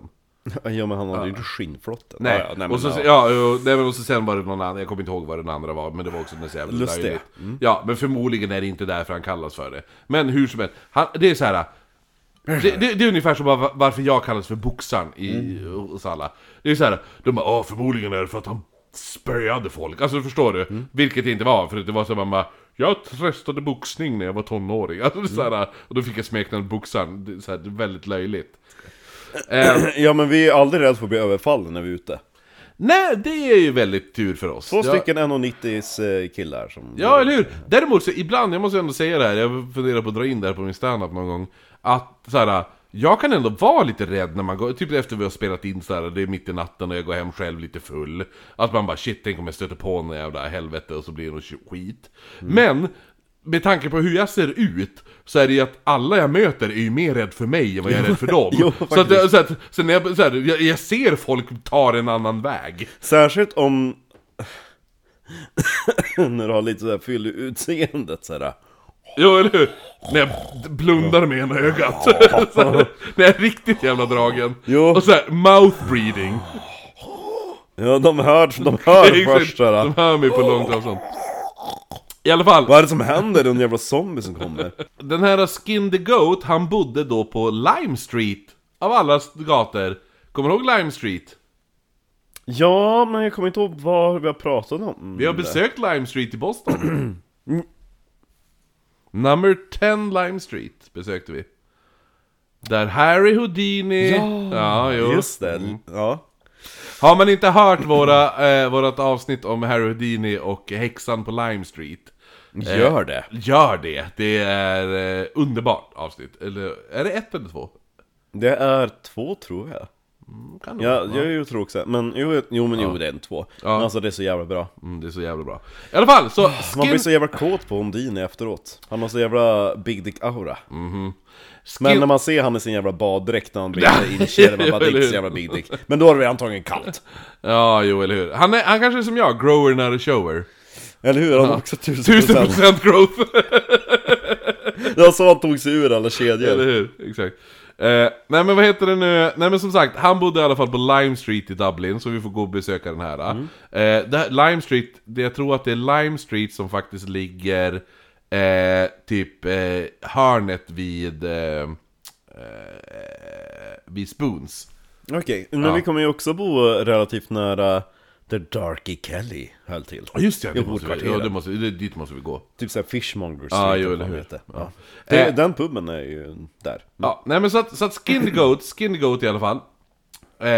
[SPEAKER 2] Ja men han hade ju inte skinnflotten.
[SPEAKER 1] Nej,
[SPEAKER 2] Ja, ja, nej, men,
[SPEAKER 1] och, så,
[SPEAKER 2] ja.
[SPEAKER 1] ja. jo, nej men och så sen var det någon annan, jag kommer inte ihåg vad den andra var, men det var också något så jävla
[SPEAKER 2] Just det.
[SPEAKER 1] löjligt.
[SPEAKER 2] Mm.
[SPEAKER 1] Ja, men förmodligen är det inte därför han kallas för det. Men hur som helst, han, det är så här. Det, det, det är ungefär som var- varför jag kallas för boxaren i,
[SPEAKER 2] Mm.
[SPEAKER 1] hos alla. Det är så här, de bara "Ah, förmodligen är det för att han spöade folk. Alltså förstår du?
[SPEAKER 2] Mm.
[SPEAKER 1] Vilket det inte var, för det var så att man bara jag testade boxning när jag var tonåring. Alltså, det är så
[SPEAKER 2] Mm.
[SPEAKER 1] här, och då fick jag smeknamnet boxaren. Det är så här, det är väldigt löjligt. Eh,
[SPEAKER 2] ja men vi är aldrig rädda för att bli överfallna när vi är ute.
[SPEAKER 1] Nej, det är ju väldigt tur för oss.
[SPEAKER 2] Två
[SPEAKER 1] Ja.
[SPEAKER 2] stycken 1,90s eh, killar som...
[SPEAKER 1] Ja, eller hur? Däremot så ibland, jag måste ändå säga det här, jag funderar på att dra in det här på min standup någon gång Att så här, jag kan ändå vara lite rädd när man går, typ efter vi har spelat in så här, det är mitt i natten och jag går hem själv lite full Att man bara shit, tänk om jag stöter på någon jävla helvete och så blir det något skit
[SPEAKER 2] Mm.
[SPEAKER 1] Men, med tanke på hur jag ser ut så är det ju att alla jag möter är ju mer rädd för mig än vad jag är rädd för dem.
[SPEAKER 2] Jo,
[SPEAKER 1] så att, jag- så att så när jag, så här, jag, jag ser folk tar en annan väg.
[SPEAKER 2] Särskilt om... när du har lite sådär fyll i utseendet sådär.
[SPEAKER 1] Jo, eller hur? När jag blundar med ena ögat. Så här, När jag är riktigt jävla dragen.
[SPEAKER 2] Jo.
[SPEAKER 1] Och så här, mouth breathing.
[SPEAKER 2] Ja, de hör, de hör först sådär.
[SPEAKER 1] De hör mig på långt avstånd. I alla fall,
[SPEAKER 2] Vad är det som händer? Det är en jävla zombie som kommer.
[SPEAKER 1] den här Skin the Goat, han bodde då på Lime Street. Av alla gator. Kommer du ihåg Lime Street?
[SPEAKER 2] Ja, men jag kommer inte ihåg vad vi har pratat om.
[SPEAKER 1] Vi har besökt Lime Street i Boston. Number 10 Lime Street besökte vi. Där Harry Houdini... Ja, jo.
[SPEAKER 2] Just det, ja.
[SPEAKER 1] Har man inte hört våra, eh, vårat avsnitt om Harry Houdini och häxan på Lime Street? Eh.
[SPEAKER 2] Gör det.
[SPEAKER 1] Gör det! Det är eh, underbart avsnitt. Eller är det ett eller två? Mm,
[SPEAKER 2] Det är två tror jag.
[SPEAKER 1] Kan det
[SPEAKER 2] Ja,
[SPEAKER 1] vara?
[SPEAKER 2] jag är ju tråkig men jo, jo men jo det är en två. Men alltså det är så jävla bra.
[SPEAKER 1] Mm, det är så jävla bra. I alla fall, så... Skin...
[SPEAKER 2] Man blir så jävla kåt på Ondine efteråt. Han har så jävla Big Dick-aura.
[SPEAKER 1] Mhm. skin...
[SPEAKER 2] Men när man ser han i sin jävla baddräkt när han blir inkörd, man bara det är inte så jävla Big Dick. Men då är det antagligen kallt.
[SPEAKER 1] Ja, jo, eller hur. Han, är, han kanske är som jag, grower not a shower.
[SPEAKER 2] Eller hur? Han har också tusen procent.
[SPEAKER 1] 1000% growth!
[SPEAKER 2] Jag sa han tog sig ur alla
[SPEAKER 1] Eller
[SPEAKER 2] kedjor.
[SPEAKER 1] hur? Exakt. Eh, nej men vad heter det nu? Nej men som sagt, han bodde i alla fall på Lime Street i Dublin, så vi får gå och besöka den här. Eh, det här Lime Street, det, jag tror att det är Lime Street som faktiskt ligger eh, typ eh, hörnet vid, eh, eh, vid Spoons.
[SPEAKER 2] Okej, men vi kommer ju också bo relativt nära där Darky Kelly höll till.
[SPEAKER 1] Ja just det,
[SPEAKER 2] I
[SPEAKER 1] det måste vi, ja,
[SPEAKER 2] Hortkvarteret.
[SPEAKER 1] det måste, det, dit måste vi gå.
[SPEAKER 2] Typ såhär Fishmonger Street,
[SPEAKER 1] Ja, jo,
[SPEAKER 2] eller typ, vad fan
[SPEAKER 1] eller hur.
[SPEAKER 2] det heter.
[SPEAKER 1] Ja.
[SPEAKER 2] Ja. Det,
[SPEAKER 1] Eh,
[SPEAKER 2] Den puben är ju där.
[SPEAKER 1] Ja, nej men så att, så att Skin the Goat, Skin the Goat i alla fall. Eh,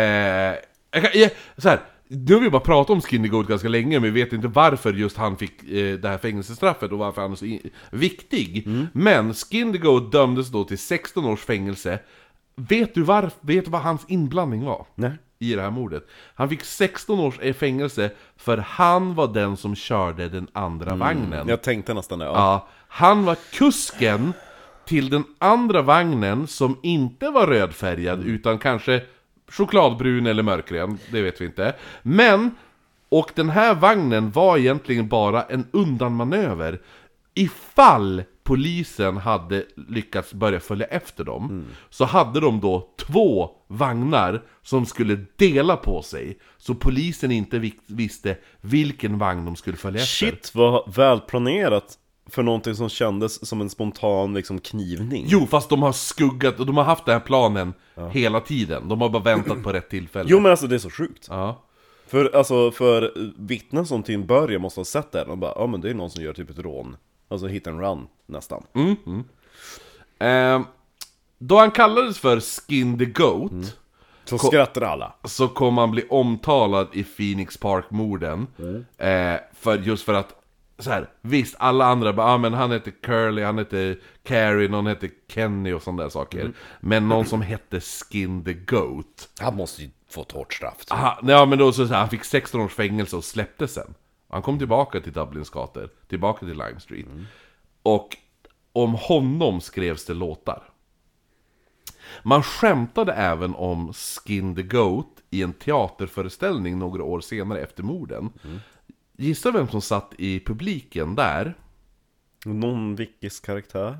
[SPEAKER 1] jag kan, jag, så här, nu har vi bara pratat om Skin the Goat ganska länge, men vi vet inte varför just han fick eh, det här fängelsestraffet och varför han är så i- viktig. Men Skin the Goat dömdes då till 16 års fängelse. Vet du varf, vet du vad hans inblandning var?
[SPEAKER 2] Nej.
[SPEAKER 1] I det här mordet. Han fick 16 års eh, fängelse för han var den som körde den andra vagnen.
[SPEAKER 2] Jag tänkte nästan det. Ja.
[SPEAKER 1] Mm. Ja, han var kusken till den andra vagnen som inte var rödfärgad utan kanske chokladbrun eller mörkgrön, det vet vi inte. Men, och den här vagnen var egentligen bara en undanmanöver ifall polisen hade lyckats börja följa efter dem så hade de då två vagnar som skulle dela på sig så polisen inte vik- visste vilken vagn de skulle följa efter.
[SPEAKER 2] Shit vad välplanerat för någonting som kändes som en spontan liksom knivning.
[SPEAKER 1] Jo, fast de har skuggat och de har haft den här planen hela tiden. De har bara väntat på rätt tillfälle.
[SPEAKER 2] Jo men alltså det är så sjukt.
[SPEAKER 1] Ja.
[SPEAKER 2] För, alltså, för vittnen som till en början måste ha sett det här, de bara ja men det är någon som gör typ ett rån. Alltså hit and run nästan.
[SPEAKER 1] Mm. Ehm, då han kallades för Skin the Goat
[SPEAKER 2] Så skrattar alla.
[SPEAKER 1] så kom han bli omtalad i Phoenix Park-morden. Eh, för, just för att, så här, visst alla andra bara ah, men han hette Curly, han hette Carrie, någon hette Kenny och sådana där saker. Men någon som hette Skin the Goat.
[SPEAKER 3] Han måste ju få ett hårt straff.
[SPEAKER 2] Ah.
[SPEAKER 1] Aha, nej, men då så, så här, han fick 16 års fängelse och släpptes sen. Han kom tillbaka till Dublins gator, tillbaka till Lime Street. Och om honom skrevs det låtar. Man skämtade även om Skin the Goat i en teaterföreställning några år senare efter morden. Gissa vem som satt i publiken där?
[SPEAKER 2] Någon Vickis karaktär.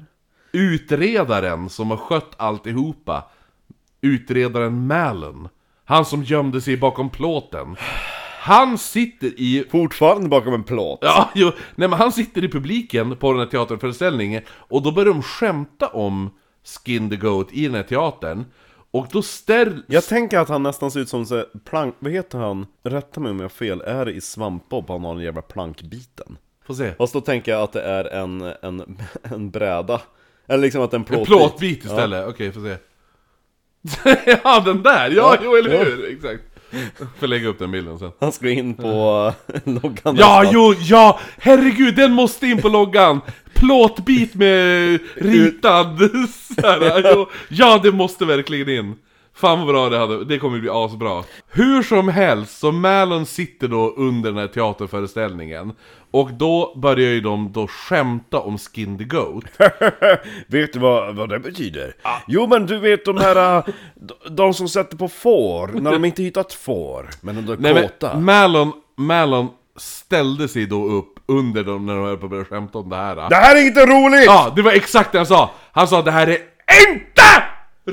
[SPEAKER 1] Utredaren som har skött alltihopa Utredaren Mallon Han som gömde sig bakom plåten Han sitter i...
[SPEAKER 2] Fortfarande bakom en plåt.
[SPEAKER 1] Ja, jo, nej men han sitter i publiken på den här teaterföreställningen Och då börjar de skämta om Skin the Goat i den här teatern Och då ställer...
[SPEAKER 2] Jag tänker att han nästan ser ut som så här, plank... Vad heter han? Rätta mig om jag har fel. Är det i Svampbob han har den jävla plankbiten?
[SPEAKER 1] Får se
[SPEAKER 2] Fast då tänker jag att det är en, en, en bräda. Eller liksom att det är en
[SPEAKER 1] En
[SPEAKER 2] plåtbit.
[SPEAKER 1] plåtbit istället, okej får se Ja, den där! Ja, jo eller hur! Exakt Får lägga upp den bilden sen.
[SPEAKER 4] Han ska in på
[SPEAKER 2] Mm.
[SPEAKER 4] loggan
[SPEAKER 1] Ja, jo, ja! Herregud, den måste in på loggan! Plåtbit med ritad så här, jo. Ja, det måste verkligen in! Fan vad bra det hade, det kommer bli asbra. Hur som helst, så Malon sitter då under den här teaterföreställningen. Och då börjar ju de då skämta om Skin the Goat.
[SPEAKER 2] Vet du vad, vad det betyder? Jo men du vet de här, äh, d- de som sätter på får, när de inte hittat får, men de är
[SPEAKER 1] Nej,
[SPEAKER 2] kåta.
[SPEAKER 1] men Malon, Malon ställde sig då upp under dem när de höll på att börja skämta om det här.
[SPEAKER 2] Det här är inte roligt!
[SPEAKER 1] Ja, det var exakt det han sa! Han sa det här är INTE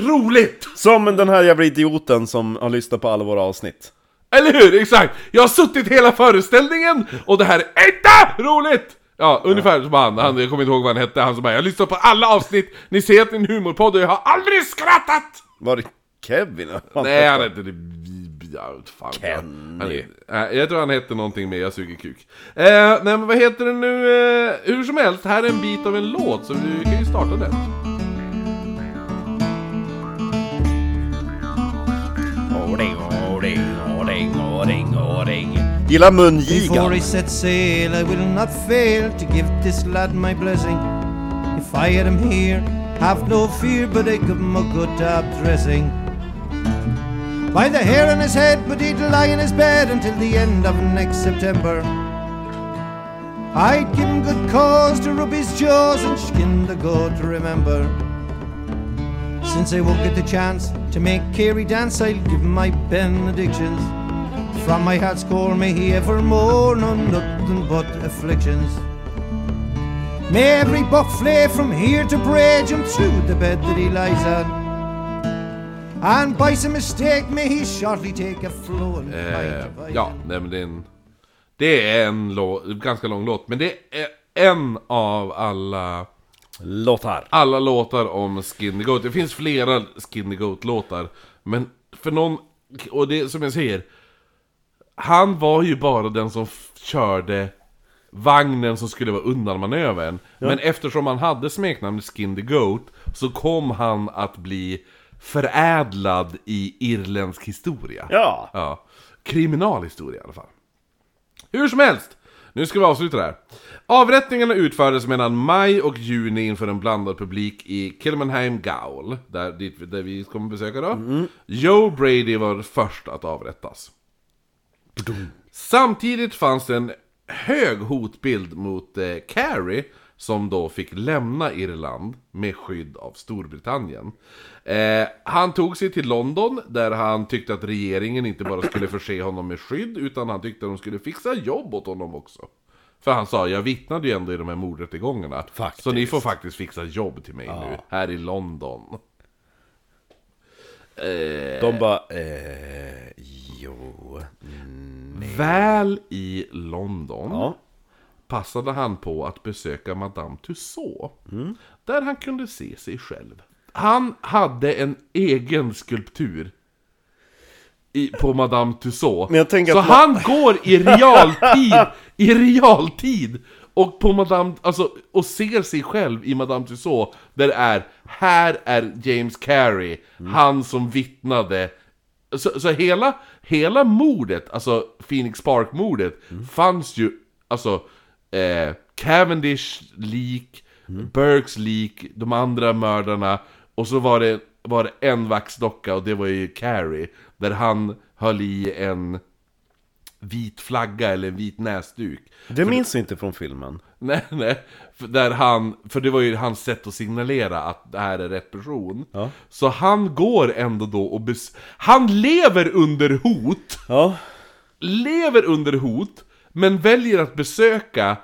[SPEAKER 1] roligt!
[SPEAKER 2] Som den här jävla idioten som har lyssnat på alla våra avsnitt.
[SPEAKER 1] Eller hur? Exakt! Jag har suttit hela föreställningen och det här är INTE roligt! Ja, ungefär som han, han, jag kommer inte ihåg vad han hette, han som bara 'Jag lyssnar på alla avsnitt, ni ser att det är en humorpodd och jag har ALDRIG skrattat!'
[SPEAKER 2] Var det Kevin?
[SPEAKER 1] Nej, han typ hette... Ja, vad fan. Kenny. Jag tror han hette någonting med Jag suger kuk. Eh, nej, men vad heter den nu? Eh, hur som helst, här är en bit av en låt, så vi kan ju starta den.
[SPEAKER 2] Gillar
[SPEAKER 5] Before
[SPEAKER 2] mungigan.
[SPEAKER 5] I set sail, I will not fail to give this lad my blessing. If I had him here, have no fear, but I give him a good dressing. By the hair on his head, but he'd lie in his bed until the end of next September. I'd give him good cause to rub his jaws and skin the goat, remember. Since I won't get the chance to make Carey dance, I'll give him my benedictions. From my heart's core may he evermore know nothing but afflictions. May every buck flay from here to Bray jump through the bed that he lies on. And by some mistake may he shortly take a flowing pint
[SPEAKER 1] Eh,
[SPEAKER 5] of ale.
[SPEAKER 1] ja, nej, men det är en... Det är en låt, ganska lång låt, men det är en av alla...
[SPEAKER 2] Låtar.
[SPEAKER 1] alla låtar om Skin the Goat. Det finns flera Skin the Goat-låtar. Men för någon... Och det är som jag säger. Han var ju bara den som f- körde vagnen som skulle vara undanmanövern. Men eftersom han hade smeknamnet Skin the Goat så kom han att bli förädlad i irländsk historia.
[SPEAKER 2] Ja.
[SPEAKER 1] Ja. Kriminalhistoria i alla fall. Hur som helst! Nu ska vi avsluta det här. Avrättningarna utfördes mellan maj och juni inför en blandad publik i Kilmanheim Gaol, där, dit, där vi kommer besöka då. Joe Brady var först att avrättas. Samtidigt fanns det en hög hotbild mot eh, Carrie som då fick lämna Irland med skydd av Storbritannien. Eh, han tog sig till London där han tyckte att regeringen inte bara skulle förse honom med skydd utan han tyckte att de skulle fixa jobb åt honom också. För han sa, jag vittnade ju ändå i de här mordrättegångarna. Så ni får faktiskt fixa jobb till mig nu, här i London.
[SPEAKER 2] De bara, eh, jo.
[SPEAKER 1] Väl i London
[SPEAKER 2] Ja.
[SPEAKER 1] passade han på att besöka Madame Tussaud. Där han kunde se sig själv. Han hade en egen skulptur. I, på Madame Tussaud.
[SPEAKER 2] Men jag tänker
[SPEAKER 1] så
[SPEAKER 2] att man-
[SPEAKER 1] han går i realtid, i realtid! Och på Madame, alltså, och ser sig själv i Madame Tussaud. Där det är, här är James Carey,
[SPEAKER 2] Mm.
[SPEAKER 1] han som vittnade. Så, så hela, hela mordet, alltså Phoenix Park-mordet,
[SPEAKER 2] Mm.
[SPEAKER 1] fanns ju, alltså, eh, Cavendish lik, Burkes lik, de andra mördarna. Och så var det, var det en vaxdocka, och det var ju Carey. Där han höll i en vit flagga eller en vit näsduk.
[SPEAKER 2] Det minns jag inte från filmen.
[SPEAKER 1] Nej, nej. För, där han, för det var ju hans sätt att signalera att det här är rätt person. Så han går ändå då och bes- Han lever under hot!
[SPEAKER 2] Ja.
[SPEAKER 1] Lever under hot, men väljer att besöka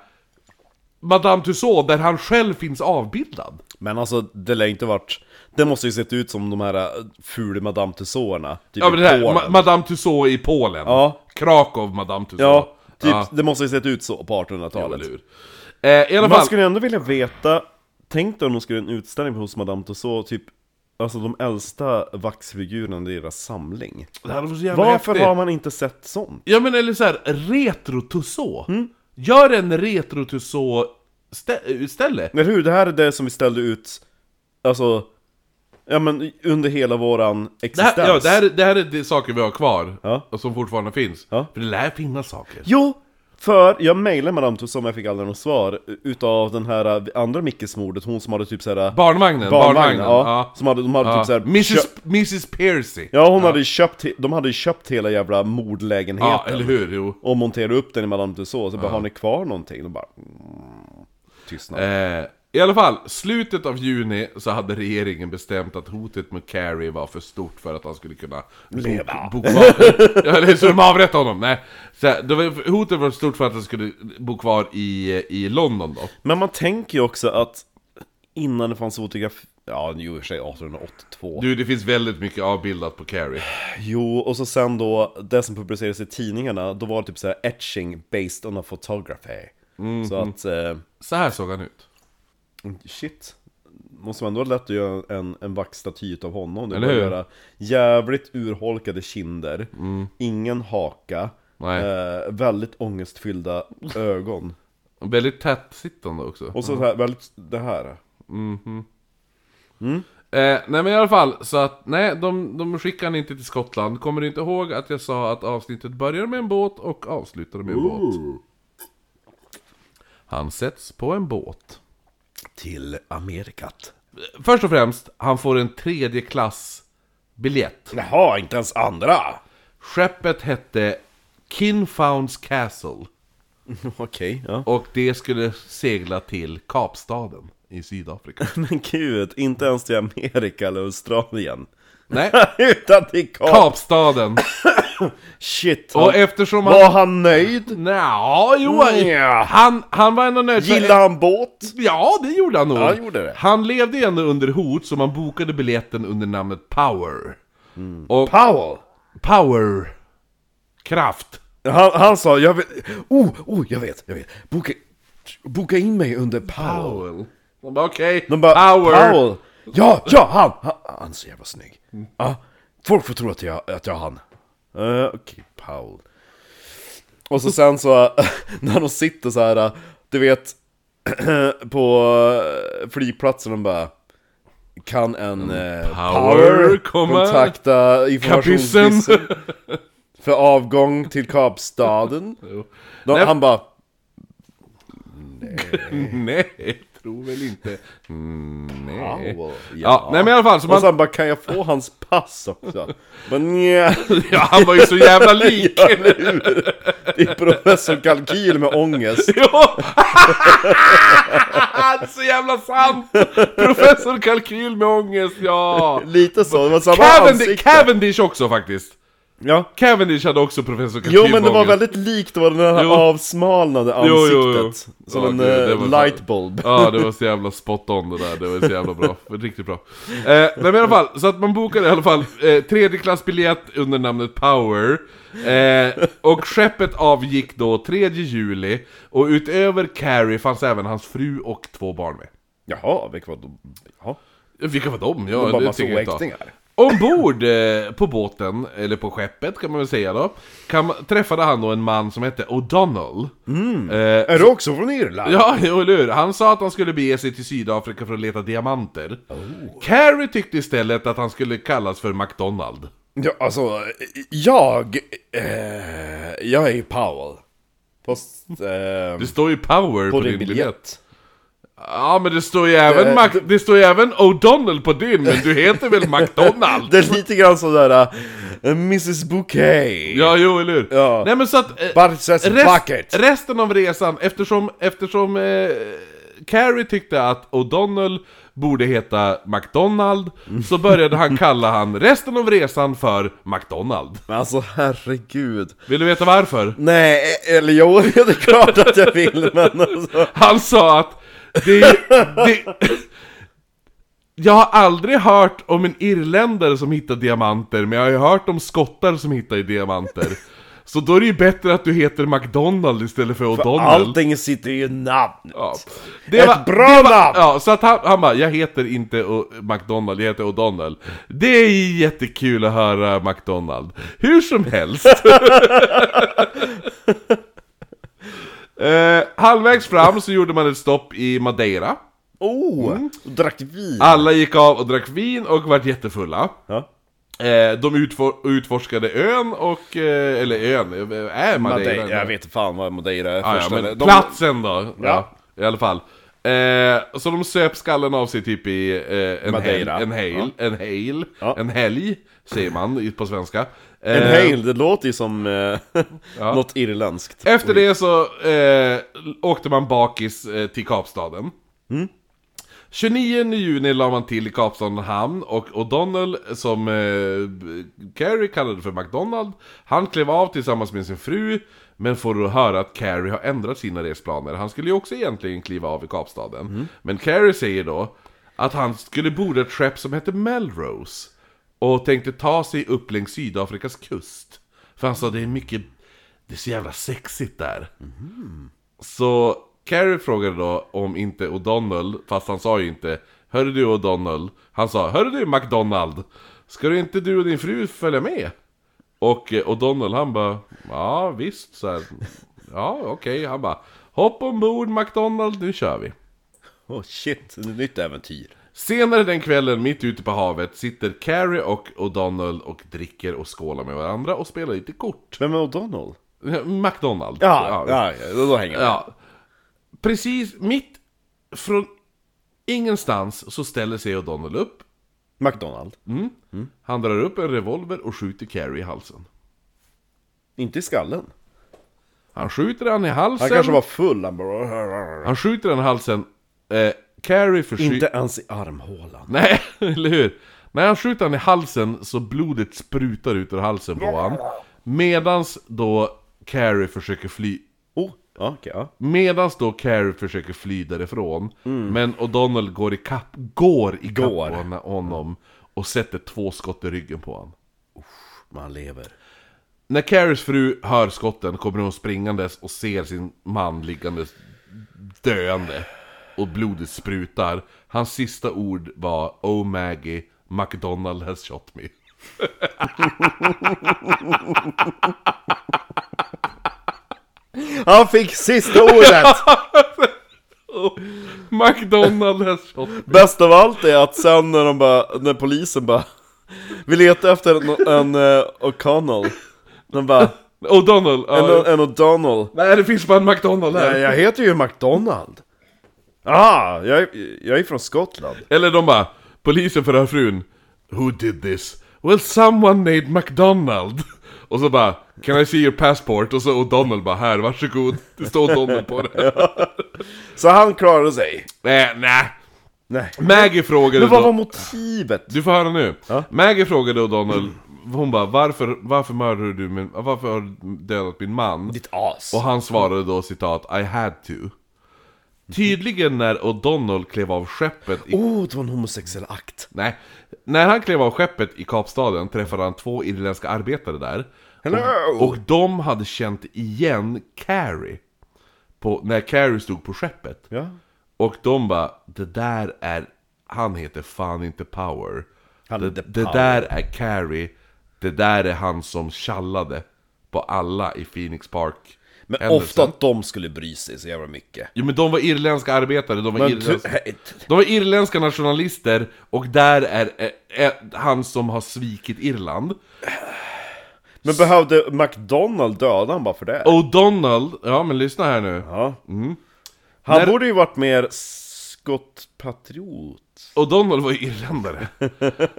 [SPEAKER 1] Madame Tussaud där han själv finns avbildad.
[SPEAKER 2] Men alltså, det lär inte varit... Det måste ju sett ut som de här äh, fula Madame Tussauderna. Typ
[SPEAKER 1] Ja men det
[SPEAKER 2] i
[SPEAKER 1] här,
[SPEAKER 2] Polen.
[SPEAKER 1] Ma- Madame Tussaud i Polen.
[SPEAKER 2] Ja.
[SPEAKER 1] Krakow, Madame Tussaud.
[SPEAKER 2] Ja, typ,
[SPEAKER 1] Ja,
[SPEAKER 2] det måste ju sett ut så på
[SPEAKER 1] eller
[SPEAKER 2] 1800-talet.
[SPEAKER 1] hur. Eh, I alla
[SPEAKER 2] Man
[SPEAKER 1] fall...
[SPEAKER 2] skulle ändå vilja veta, tänk dig om de skulle göra en utställning hos Madame Tussauds, typ Alltså de äldsta vaxfigurerna i deras samling.
[SPEAKER 1] Det här var så jävla
[SPEAKER 2] Varför
[SPEAKER 1] häftigt.
[SPEAKER 2] har man inte sett sånt?
[SPEAKER 1] Ja men eller såhär, retro Tussaud. Gör en retro Tussaud stä- ställe.
[SPEAKER 2] Eller hur? Det här är det som vi ställde ut, alltså Ja men under hela våran
[SPEAKER 1] Det här,
[SPEAKER 2] existens.
[SPEAKER 1] ja, det, här, det här är de saker vi har kvar,
[SPEAKER 2] Ja.
[SPEAKER 1] och som fortfarande finns.
[SPEAKER 2] Ja.
[SPEAKER 1] För det lär finnas saker.
[SPEAKER 2] Jo! För jag mejlade Madame Tussauds men jag fick aldrig något svar Utav den här eh, andra Mickesmordet, hon som hade typ såhär
[SPEAKER 1] Barnvagnen, barnvagnen,
[SPEAKER 2] ja,
[SPEAKER 1] ja.
[SPEAKER 2] Som hade, de hade
[SPEAKER 1] Ja.
[SPEAKER 2] typ såhär
[SPEAKER 1] Mrs, Mrs Percy!
[SPEAKER 2] Ja hon hade ju köpt, he- de hade ju köpt hela jävla mordlägenheten
[SPEAKER 1] Ja, eller hur? Jo.
[SPEAKER 2] Och monterade upp den i Madame Tussauds, så bara har ni kvar någonting? De bara mm, Tystnad
[SPEAKER 1] Eh, I alla fall, slutet av juni så hade regeringen bestämt att hotet mot Carrie var för stort för att han skulle kunna... Leva! Bo, bo kvar. ja, eller så de avrättade honom, nej. Så, det var, hotet var för stort för att han skulle bo kvar i, i London då.
[SPEAKER 2] Men man tänker ju också att Innan det fanns fotografi... Ja, jo i och för sig 1882
[SPEAKER 1] Du, det finns väldigt mycket avbildat på Carrie.
[SPEAKER 2] Jo, och så sen då, det som publicerades i tidningarna, då var det typ såhär etching based on a photography.
[SPEAKER 1] Mm.
[SPEAKER 2] Så att, eh,
[SPEAKER 1] Så här såg han ut.
[SPEAKER 2] shit. Måste man ändå ha lätt att göra en, en vaxstaty av honom. Det
[SPEAKER 1] Eller
[SPEAKER 2] var
[SPEAKER 1] hur?
[SPEAKER 2] Göra jävligt urholkade kinder, ingen haka,
[SPEAKER 1] Mm. Nej.
[SPEAKER 2] eh, väldigt ångestfyllda ögon.
[SPEAKER 1] Väldigt tätsittande också.
[SPEAKER 2] Och så, så här, väldigt, det här.
[SPEAKER 1] Eh, nej men i alla fall, så att nej, de, de skickar han inte till Skottland. Kommer du inte ihåg att jag sa att avsnittet började med en båt och avslutade med en båt? Han sätts på en båt.
[SPEAKER 3] Till Amerikat.
[SPEAKER 1] Först och främst, han får en tredje klass biljett.
[SPEAKER 2] Jaha, inte ens andra!
[SPEAKER 1] Skeppet hette Kinfounds Castle.
[SPEAKER 2] Okej, ja.
[SPEAKER 1] Och det skulle segla till Kapstaden i Sydafrika.
[SPEAKER 2] Men gud, inte ens till Amerika eller Australien.
[SPEAKER 1] Nej,
[SPEAKER 2] Utan till Kap!
[SPEAKER 1] Kapstaden.
[SPEAKER 2] Shit!
[SPEAKER 1] Och
[SPEAKER 2] han-
[SPEAKER 1] eftersom han...
[SPEAKER 2] Var han nöjd?
[SPEAKER 1] Nja, jo,
[SPEAKER 2] Nja.
[SPEAKER 1] han, han var ändå nöjd.
[SPEAKER 2] Gillade han båt?
[SPEAKER 1] Ja, det gjorde han nog.
[SPEAKER 2] Ja, han gjorde det.
[SPEAKER 1] Han levde ju ändå under hot, så man bokade biljetten under namnet Power. Och
[SPEAKER 2] Powell!
[SPEAKER 1] Power... Kraft.
[SPEAKER 2] Han, han sa, jag vet...
[SPEAKER 3] Oh, oh, jag vet, jag vet. Boka, boka in mig under Powell.
[SPEAKER 1] Powell. De bara okej,
[SPEAKER 2] De bara,
[SPEAKER 1] Power.
[SPEAKER 2] Powell!
[SPEAKER 3] Ja, ja, han! Han, han är så jävla snygg. Ja, folk får tro att jag, att jag är han.
[SPEAKER 2] Eh, Okej, Powell. Och så sen så, eh, när de sitter så här, eh, du vet, på eh, flygplatsen, de bara... Kan en eh,
[SPEAKER 1] Mm, Power
[SPEAKER 2] power
[SPEAKER 1] komma?
[SPEAKER 2] kontakta informationsskissen
[SPEAKER 1] Kapissen.
[SPEAKER 2] för avgång till Kapstaden?
[SPEAKER 1] Jo.
[SPEAKER 2] De,
[SPEAKER 1] Nej.
[SPEAKER 2] han bara,
[SPEAKER 1] nej, tror väl inte. Mm, nej.
[SPEAKER 2] Powell,
[SPEAKER 1] Ja, nej men i alla fall, så
[SPEAKER 2] Och
[SPEAKER 1] man,
[SPEAKER 2] sen bara, kan jag få hans pass också? Men nja,
[SPEAKER 1] ja, han var ju så jävla lik!
[SPEAKER 2] ja, eller hur? Det är professor Kalkyl med ångest.
[SPEAKER 1] Jo! Det är så jävla sant! Professor Kalkyl med ångest, ja!
[SPEAKER 2] Lite så, det var samma
[SPEAKER 1] Cavendish,
[SPEAKER 2] ansikte.
[SPEAKER 1] Cavendish också faktiskt!
[SPEAKER 2] Ja.
[SPEAKER 1] Cavendish hade också Professor Kalkyl
[SPEAKER 2] Jo men det
[SPEAKER 1] med
[SPEAKER 2] var
[SPEAKER 1] ångest.
[SPEAKER 2] väldigt likt, det var det här
[SPEAKER 1] Jo.
[SPEAKER 2] avsmalnade
[SPEAKER 1] Jo,
[SPEAKER 2] ansiktet.
[SPEAKER 1] jo, jo.
[SPEAKER 2] Som
[SPEAKER 1] Ja,
[SPEAKER 2] en
[SPEAKER 1] gud, det var
[SPEAKER 2] eh,
[SPEAKER 1] så-
[SPEAKER 2] lightbulb.
[SPEAKER 1] Ja, det var så jävla spot on det där, det var så jävla bra, riktigt bra. Eh, nej men i alla fall, så att man bokade i alla fall eh, tredjeklassbiljett under namnet Power. Eh, och skeppet avgick då 3 juli, och utöver Carrie fanns även hans fru och två barn med.
[SPEAKER 2] Jaha, vilket var då? Jaha.
[SPEAKER 1] Vilka var de? Ja,
[SPEAKER 2] Det var
[SPEAKER 1] det
[SPEAKER 2] massa
[SPEAKER 1] tycker jag inte.
[SPEAKER 2] oäktingar.
[SPEAKER 1] Ombord eh, på båten, eller på skeppet kan man väl säga då, kan, man- träffade han då en man som hette O'Donnell. Eh,
[SPEAKER 2] Är du också från Irland?
[SPEAKER 1] Ja, jo, eller hur? Han sa att han skulle bege sig till Sydafrika för att leta diamanter. Oh. Carrie tyckte istället att han skulle kallas för McDonald.
[SPEAKER 2] Ja, alltså, jag... Eh, jag är Powell. Fast... Eh,
[SPEAKER 1] Det står ju Power på,
[SPEAKER 2] på
[SPEAKER 1] din
[SPEAKER 2] din
[SPEAKER 1] biljett.
[SPEAKER 2] biljett.
[SPEAKER 1] Ja, men det står ju även, Mac- det står ju även O'Donnell på din, men du heter väl McDonald?
[SPEAKER 2] Det är lite grann sådär, eh, Mrs Bouquet.
[SPEAKER 1] Ja, jo, eller hur?
[SPEAKER 2] Ja.
[SPEAKER 1] Nej, men så att... eh,
[SPEAKER 2] Barces
[SPEAKER 1] Rest,
[SPEAKER 2] bucket.
[SPEAKER 1] resten av resan, eftersom, eftersom eh, Carrie tyckte att O'Donnell borde heta McDonald, så började han kalla han resten av resan för McDonald.
[SPEAKER 2] Men alltså herregud.
[SPEAKER 1] Vill du veta varför?
[SPEAKER 2] Nej, e- eller jo, det är klart att jag vill men alltså.
[SPEAKER 1] Han sa att det, det, Jag har aldrig hört om en irländare som hittar diamanter, men jag har ju hört om skottar som hittar diamanter. Så då är det ju bättre att du heter McDonald istället för O'Donnell.
[SPEAKER 2] Allting sitter ju i namnet.
[SPEAKER 1] Ja.
[SPEAKER 2] Ett bra
[SPEAKER 1] det var,
[SPEAKER 2] namn!
[SPEAKER 1] Ja, så att han, han bara, jag heter inte O- McDonald, jag heter O'Donnell. Det är jättekul att höra McDonald. Hur som helst. eh, halvvägs fram så gjorde man ett stopp i Madeira.
[SPEAKER 2] Oh! Och drack vin!
[SPEAKER 1] Alla gick av och drack vin och vart jättefulla.
[SPEAKER 2] Ja.
[SPEAKER 1] Eh, de utfor- utforskade ön och... Eh, eller ön, eh, är Madeira?
[SPEAKER 2] Madeira, jag vet inte fan vad Madeira är
[SPEAKER 1] Ah,
[SPEAKER 2] först,
[SPEAKER 1] ja,
[SPEAKER 2] eller-
[SPEAKER 1] men
[SPEAKER 2] de-
[SPEAKER 1] platsen då! Ja. I alla fall. Eh, så de söp skallen av sig typ i eh, en helg,
[SPEAKER 2] Madeira.
[SPEAKER 1] en helg, en helg,
[SPEAKER 2] Ja.
[SPEAKER 1] en helg, säger man i- på svenska. Eh,
[SPEAKER 2] En hail, det låter ju som eh, något irländskt.
[SPEAKER 1] Efter det så eh, åkte man bakis eh, till Kapstaden. 29 juni la man till i Kapstaden hamn och O'Donnell, som eh, Carrie kallade för McDonald, han klev av tillsammans med sin fru, men får höra att Carrie har ändrat sina resplaner. Han skulle ju också egentligen kliva av i Kapstaden. Men Carrie säger då att han skulle borda ett skepp som hette Melrose och tänkte ta sig upp längs Sydafrikas kust. För han sa det är mycket, det är så jävla sexigt där. Så Carrie frågade då om inte O'Donnell, fast han sa ju inte Hörru du O'Donnell, han sa Hörru du McDonald, ska du inte du och din fru följa med? Och eh, O'Donnell han bara Ja visst, så här, ja okej, han bara Hopp ombord McDonald, nu kör vi.
[SPEAKER 2] Oh shit, ett nytt äventyr.
[SPEAKER 1] Senare den kvällen, mitt ute på havet, sitter Carrie och O'Donnell och dricker och skålar med varandra och spelar lite kort.
[SPEAKER 2] Vem är O'Donnell?
[SPEAKER 1] McDonald.
[SPEAKER 2] Ja, ja, då, då hänger jag med.
[SPEAKER 1] Ja. Precis mitt från ingenstans så ställer sig O'Donnell upp.
[SPEAKER 2] McDonald.
[SPEAKER 1] Han drar upp en revolver och skjuter Carrie i halsen.
[SPEAKER 2] Inte i skallen.
[SPEAKER 1] Han skjuter han i halsen.
[SPEAKER 2] Han kanske var full, han bara...
[SPEAKER 1] han skjuter han i halsen. Eh, Carrie försvinner...
[SPEAKER 2] Inte ens i armhålan.
[SPEAKER 1] Nej, eller hur? När han skjuter han i halsen så blodet sprutar ut ur halsen på han. Medans då Carrie försöker fly
[SPEAKER 2] Oh, ja, okej, ja.
[SPEAKER 1] Medan då Carrie försöker fly därifrån Men O'Donnell går i kapp, går i kapp
[SPEAKER 2] Mm. Går.
[SPEAKER 1] på hon- honom Och sätter två skott i ryggen på honom
[SPEAKER 2] Man lever.
[SPEAKER 1] När Carries fru hör skotten kommer hon springandes och ser sin man liggandes döende Och blodet sprutar Hans sista ord var Oh Maggie, McDonald has shot me
[SPEAKER 2] Han fick sista ordet!
[SPEAKER 1] McDonald has shot me
[SPEAKER 2] Bäst av allt är att sen när de bara, när polisen bara Vi letar efter en, en eh, O'Connell De bara,
[SPEAKER 1] O'Donnell,
[SPEAKER 2] en,
[SPEAKER 1] ja,
[SPEAKER 2] en O'Donnell
[SPEAKER 1] nej det finns bara en McDonald här
[SPEAKER 2] Nej, jag heter ju McDonald Ah, jag, är- jag är från Skottland
[SPEAKER 1] Eller de bara, polisen förhör frun Who did this? Well someone named McDonald Och så bara, can I see your passport? Och så O'Donnell bara, här varsågod Det står O'Donnell på det
[SPEAKER 2] Så han klarade sig
[SPEAKER 1] Nej, nej
[SPEAKER 2] Nej
[SPEAKER 1] Maggie frågade
[SPEAKER 2] Men vad var
[SPEAKER 1] då,
[SPEAKER 2] motivet?
[SPEAKER 1] Du får höra nu
[SPEAKER 2] Ja.
[SPEAKER 1] Maggie frågade O'Donnell Hon bara, varför, varför mördade du min, varför har du dödat min man?
[SPEAKER 2] Ditt as
[SPEAKER 1] Och han svarade då citat, I had to Tydligen när O'Donnell klev av skeppet i
[SPEAKER 2] Oh, det var en homosexuell akt
[SPEAKER 1] Nej. När han klev av skeppet i Kapstaden träffade han två irländska arbetare där. Och, och de hade känt igen Carrie. På, när Carrie stod på skeppet.
[SPEAKER 2] Ja
[SPEAKER 1] Och de bara, det där är, han heter fan inte Power.
[SPEAKER 2] Han
[SPEAKER 1] det,
[SPEAKER 2] heter
[SPEAKER 1] det
[SPEAKER 2] Power."
[SPEAKER 1] där är Carrie. Det där är han som tjallade på alla i Phoenix Park.
[SPEAKER 2] Men
[SPEAKER 1] Händelsen.
[SPEAKER 2] ofta att de skulle bry sig så jävla mycket
[SPEAKER 1] Jo men de var irländska arbetare, de var
[SPEAKER 2] Men du,
[SPEAKER 1] irländska... De var irländska nationalister och där är, är, är han som har svikit Irland.
[SPEAKER 2] men behövde McDonald döda han bara för det?
[SPEAKER 1] O'Donnell, ja men lyssna här nu.
[SPEAKER 2] Ja. Han
[SPEAKER 1] När-
[SPEAKER 2] borde ju varit mer skottpatriot.
[SPEAKER 1] O'Donnell var ju irländare.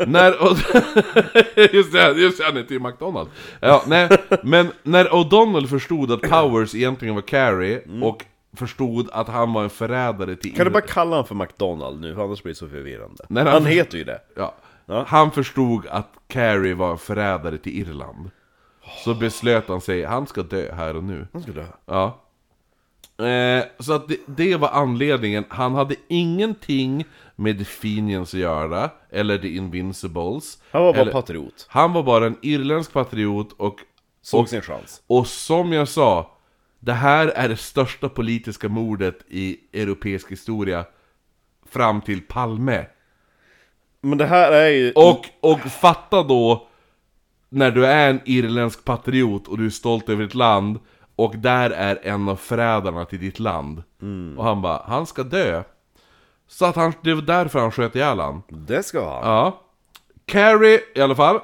[SPEAKER 1] när O'D- just det, just det, han hette ju McDonald. Ja, nej, men när O'Donnell förstod att Powers egentligen var Carrie och förstod att han var en förrädare till
[SPEAKER 2] Mm. Kan du
[SPEAKER 1] Irland-
[SPEAKER 2] bara kalla honom för McDonald nu, för annars blir det så förvirrande.
[SPEAKER 1] Nej,
[SPEAKER 2] han,
[SPEAKER 1] han-
[SPEAKER 2] heter ju det.
[SPEAKER 1] Ja.
[SPEAKER 2] Ja.
[SPEAKER 1] Han förstod att Carrie var en förrädare till Irland. Så beslöt han sig, han ska dö här och nu.
[SPEAKER 2] Oh. Han skulle dö.
[SPEAKER 1] Ja. Eh, så att det, det var anledningen. Han hade ingenting med The Fenians att göra, eller The Invincibles.
[SPEAKER 2] Han var bara
[SPEAKER 1] eller,
[SPEAKER 2] patriot.
[SPEAKER 1] Han var bara en irländsk patriot och,
[SPEAKER 2] Såg
[SPEAKER 1] och,
[SPEAKER 2] sin chans.
[SPEAKER 1] och som jag sa, det här är det största politiska mordet i europeisk historia fram till Palme.
[SPEAKER 2] Men det här är ju...
[SPEAKER 1] Och, och fatta då när du är en irländsk patriot och du är stolt över ditt land och där är en av förrädarna till ditt land. Och han bara, han ska dö. Så att han, det var därför han sköt ihjäl han.
[SPEAKER 2] Det ska han.
[SPEAKER 1] Ja. Carrie i alla fall.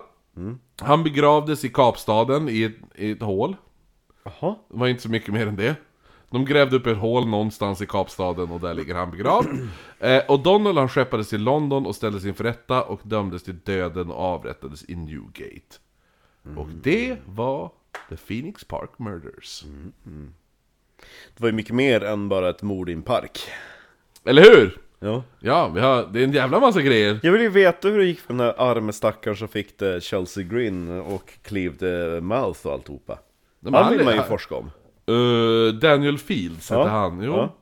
[SPEAKER 1] Han begravdes i Kapstaden i ett, i ett hål.
[SPEAKER 2] Jaha.
[SPEAKER 1] Det var inte så mycket mer än det. De grävde upp ett hål någonstans i Kapstaden och där ligger han begravd. Eh, och Donald han skeppades till London och ställdes inför rätta och dömdes till döden och avrättades i Newgate. Och det var The Phoenix Park Murders.
[SPEAKER 2] Mm. Det var ju mycket mer än bara ett mord i en park.
[SPEAKER 1] Eller hur?
[SPEAKER 2] Ja.
[SPEAKER 1] Ja, vi har, det är en jävla massa grejer.
[SPEAKER 2] Jag vill ju veta hur det gick för den där arme stackaren som fick det Chelsea Green och cleaved mouth och alltihopa.
[SPEAKER 1] Men
[SPEAKER 2] Han vill man ju
[SPEAKER 1] han-
[SPEAKER 2] forska om.
[SPEAKER 1] Eh, Daniel Fields hette
[SPEAKER 2] Ja.
[SPEAKER 1] han, jo. Ja.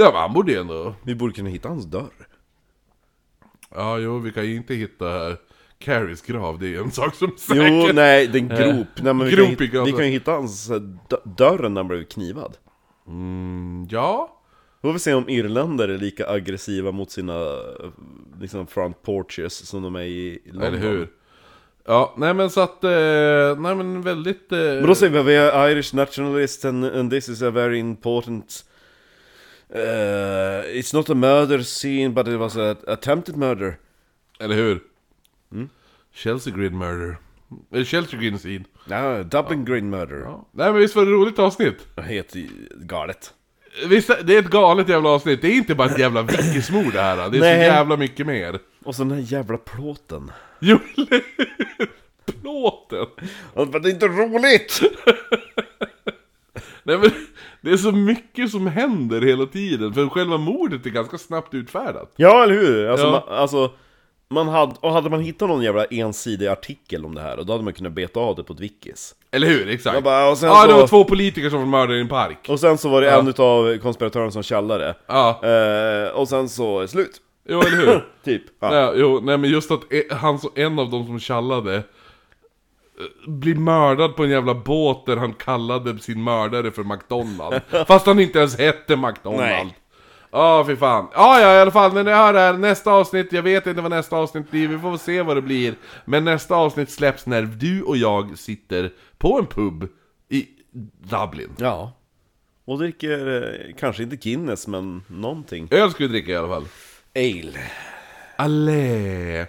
[SPEAKER 2] Ja.
[SPEAKER 1] ja, men han borde ju ändå...
[SPEAKER 2] Vi borde kunna hitta hans dörr.
[SPEAKER 1] Ja, jo, vi kan ju inte hitta Carries grav, det är ju en sak som säker.
[SPEAKER 2] Jo, nej, den grop. Nej, men vi,
[SPEAKER 1] Eh, grop
[SPEAKER 2] kan,
[SPEAKER 1] i
[SPEAKER 2] hitta,
[SPEAKER 1] gatan.
[SPEAKER 2] vi kan ju hitta hans eh, dö- dörren när han blev knivad.
[SPEAKER 1] Ja,
[SPEAKER 2] Då får vi se om irländare är lika aggressiva mot sina eh, liksom, front porches som de är i London.
[SPEAKER 1] eller hur? Ja, nej men så att... Eh, nej men väldigt... Eh,
[SPEAKER 2] Men då säger vi att vi är Irish nationalists and, and this is a very important eh, It's not a murder scene but it was an attempted murder
[SPEAKER 1] Eller hur?
[SPEAKER 2] Mm.
[SPEAKER 1] Chelsea Green Murder. Eh, Chelsea Green Scene.
[SPEAKER 2] Ja, Dublin Green murder
[SPEAKER 1] Ja. Nej men visst var det ett roligt avsnitt?
[SPEAKER 2] Det heter galet
[SPEAKER 1] Visst, det är ett galet jävla avsnitt. Det är inte bara ett jävla vickesmord det här. Det är så
[SPEAKER 2] Nej.
[SPEAKER 1] jävla mycket mer.
[SPEAKER 2] Och så den här jävla plåten
[SPEAKER 1] Jo, eller hur? Plåten!
[SPEAKER 2] Men det är inte roligt!
[SPEAKER 1] Nej men, det är så mycket som händer hela tiden. För själva mordet är ganska snabbt utfärdat.
[SPEAKER 2] Ja, eller hur? Alltså,
[SPEAKER 1] Ja.
[SPEAKER 2] man, alltså man hade, och hade man hittat någon jävla ensidig artikel om det här, och då hade man kunnat beta av det på ett wikis
[SPEAKER 1] Eller hur? Exakt.
[SPEAKER 2] Jag bara, och sen
[SPEAKER 1] ja, det
[SPEAKER 2] så-
[SPEAKER 1] var två politiker som var mördade i en park.
[SPEAKER 2] Och sen så var det en av konspiratörerna som tjallade
[SPEAKER 1] Ja,
[SPEAKER 2] Eh, Och sen så, slut!
[SPEAKER 1] jo eller hur?
[SPEAKER 2] Typ ja.
[SPEAKER 1] Nej, jo, nej men just att e- han, som- en av dem som tjallade eh, blir mördad på en jävla båt där han kallade sin mördare för McDonald. Fast han inte ens hette McDonald.
[SPEAKER 2] Nej.
[SPEAKER 1] Ja, fy fan. Ja, ja, i alla fall, när ni hör det här, nästa avsnitt, jag vet inte vad nästa avsnitt blir, vi får väl se vad det blir. Men nästa avsnitt släpps när du och jag sitter på en pub i Dublin.
[SPEAKER 2] Ja. Och dricker eh, kanske inte Guinness, men någonting.
[SPEAKER 1] Öl ska vi dricka i alla fall.
[SPEAKER 2] Ale.
[SPEAKER 1] Allé!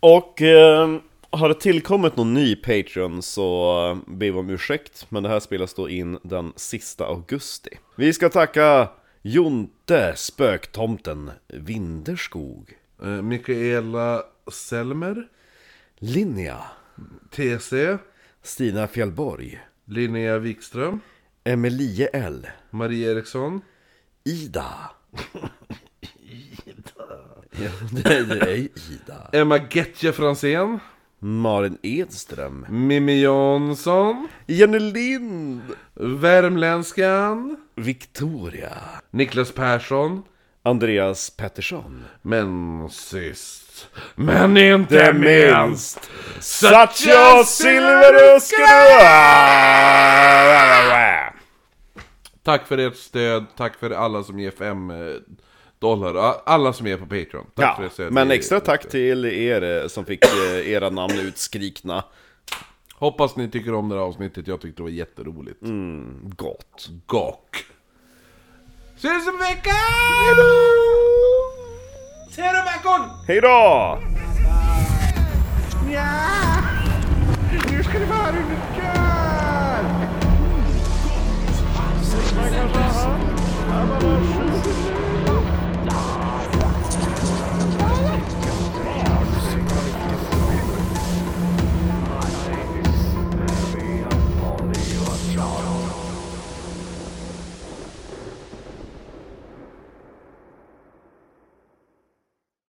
[SPEAKER 2] Och eh, har det tillkommit någon ny Patreon så eh, ber vi om ursäkt, men det här spelas då in den sista augusti. Vi ska tacka Jonte, Spöktomten, Vinderskog,
[SPEAKER 1] Eh, Mikaela Selmer,
[SPEAKER 2] Linnea,
[SPEAKER 1] TC.
[SPEAKER 2] Stina Fjällborg,
[SPEAKER 1] Linnea Wikström,
[SPEAKER 2] Emelie L,
[SPEAKER 1] Marie Eriksson,
[SPEAKER 2] Ida. Ida. Ja, det det är ju Ida.
[SPEAKER 1] Emma Getje Franzén,
[SPEAKER 2] Malin Edström.
[SPEAKER 1] Mimmi Jansson,
[SPEAKER 2] Jenny Lind!
[SPEAKER 1] Värmländskan,
[SPEAKER 3] er
[SPEAKER 2] Victoria.
[SPEAKER 1] Niklas Persson,
[SPEAKER 2] Andreas Pettersson.
[SPEAKER 1] men sist, men
[SPEAKER 2] Det
[SPEAKER 1] inte minst,
[SPEAKER 2] minst! Satya Silveröskerö!
[SPEAKER 1] Tack för ert stöd, tack för alla som ger 5 dollar, a- alla som är på Patreon. Tack för
[SPEAKER 2] Ja,
[SPEAKER 1] ert stöd.
[SPEAKER 2] men
[SPEAKER 1] Det-
[SPEAKER 2] extra tack till er eh, som fick eh, era namn utskrikna.
[SPEAKER 1] Hoppas ni tycker om det här avsnittet, jag tyckte det var jätteroligt.
[SPEAKER 2] Gott.
[SPEAKER 1] Gok. Ses om veckan! Hejdå! Ses om veckan!
[SPEAKER 2] Hej då!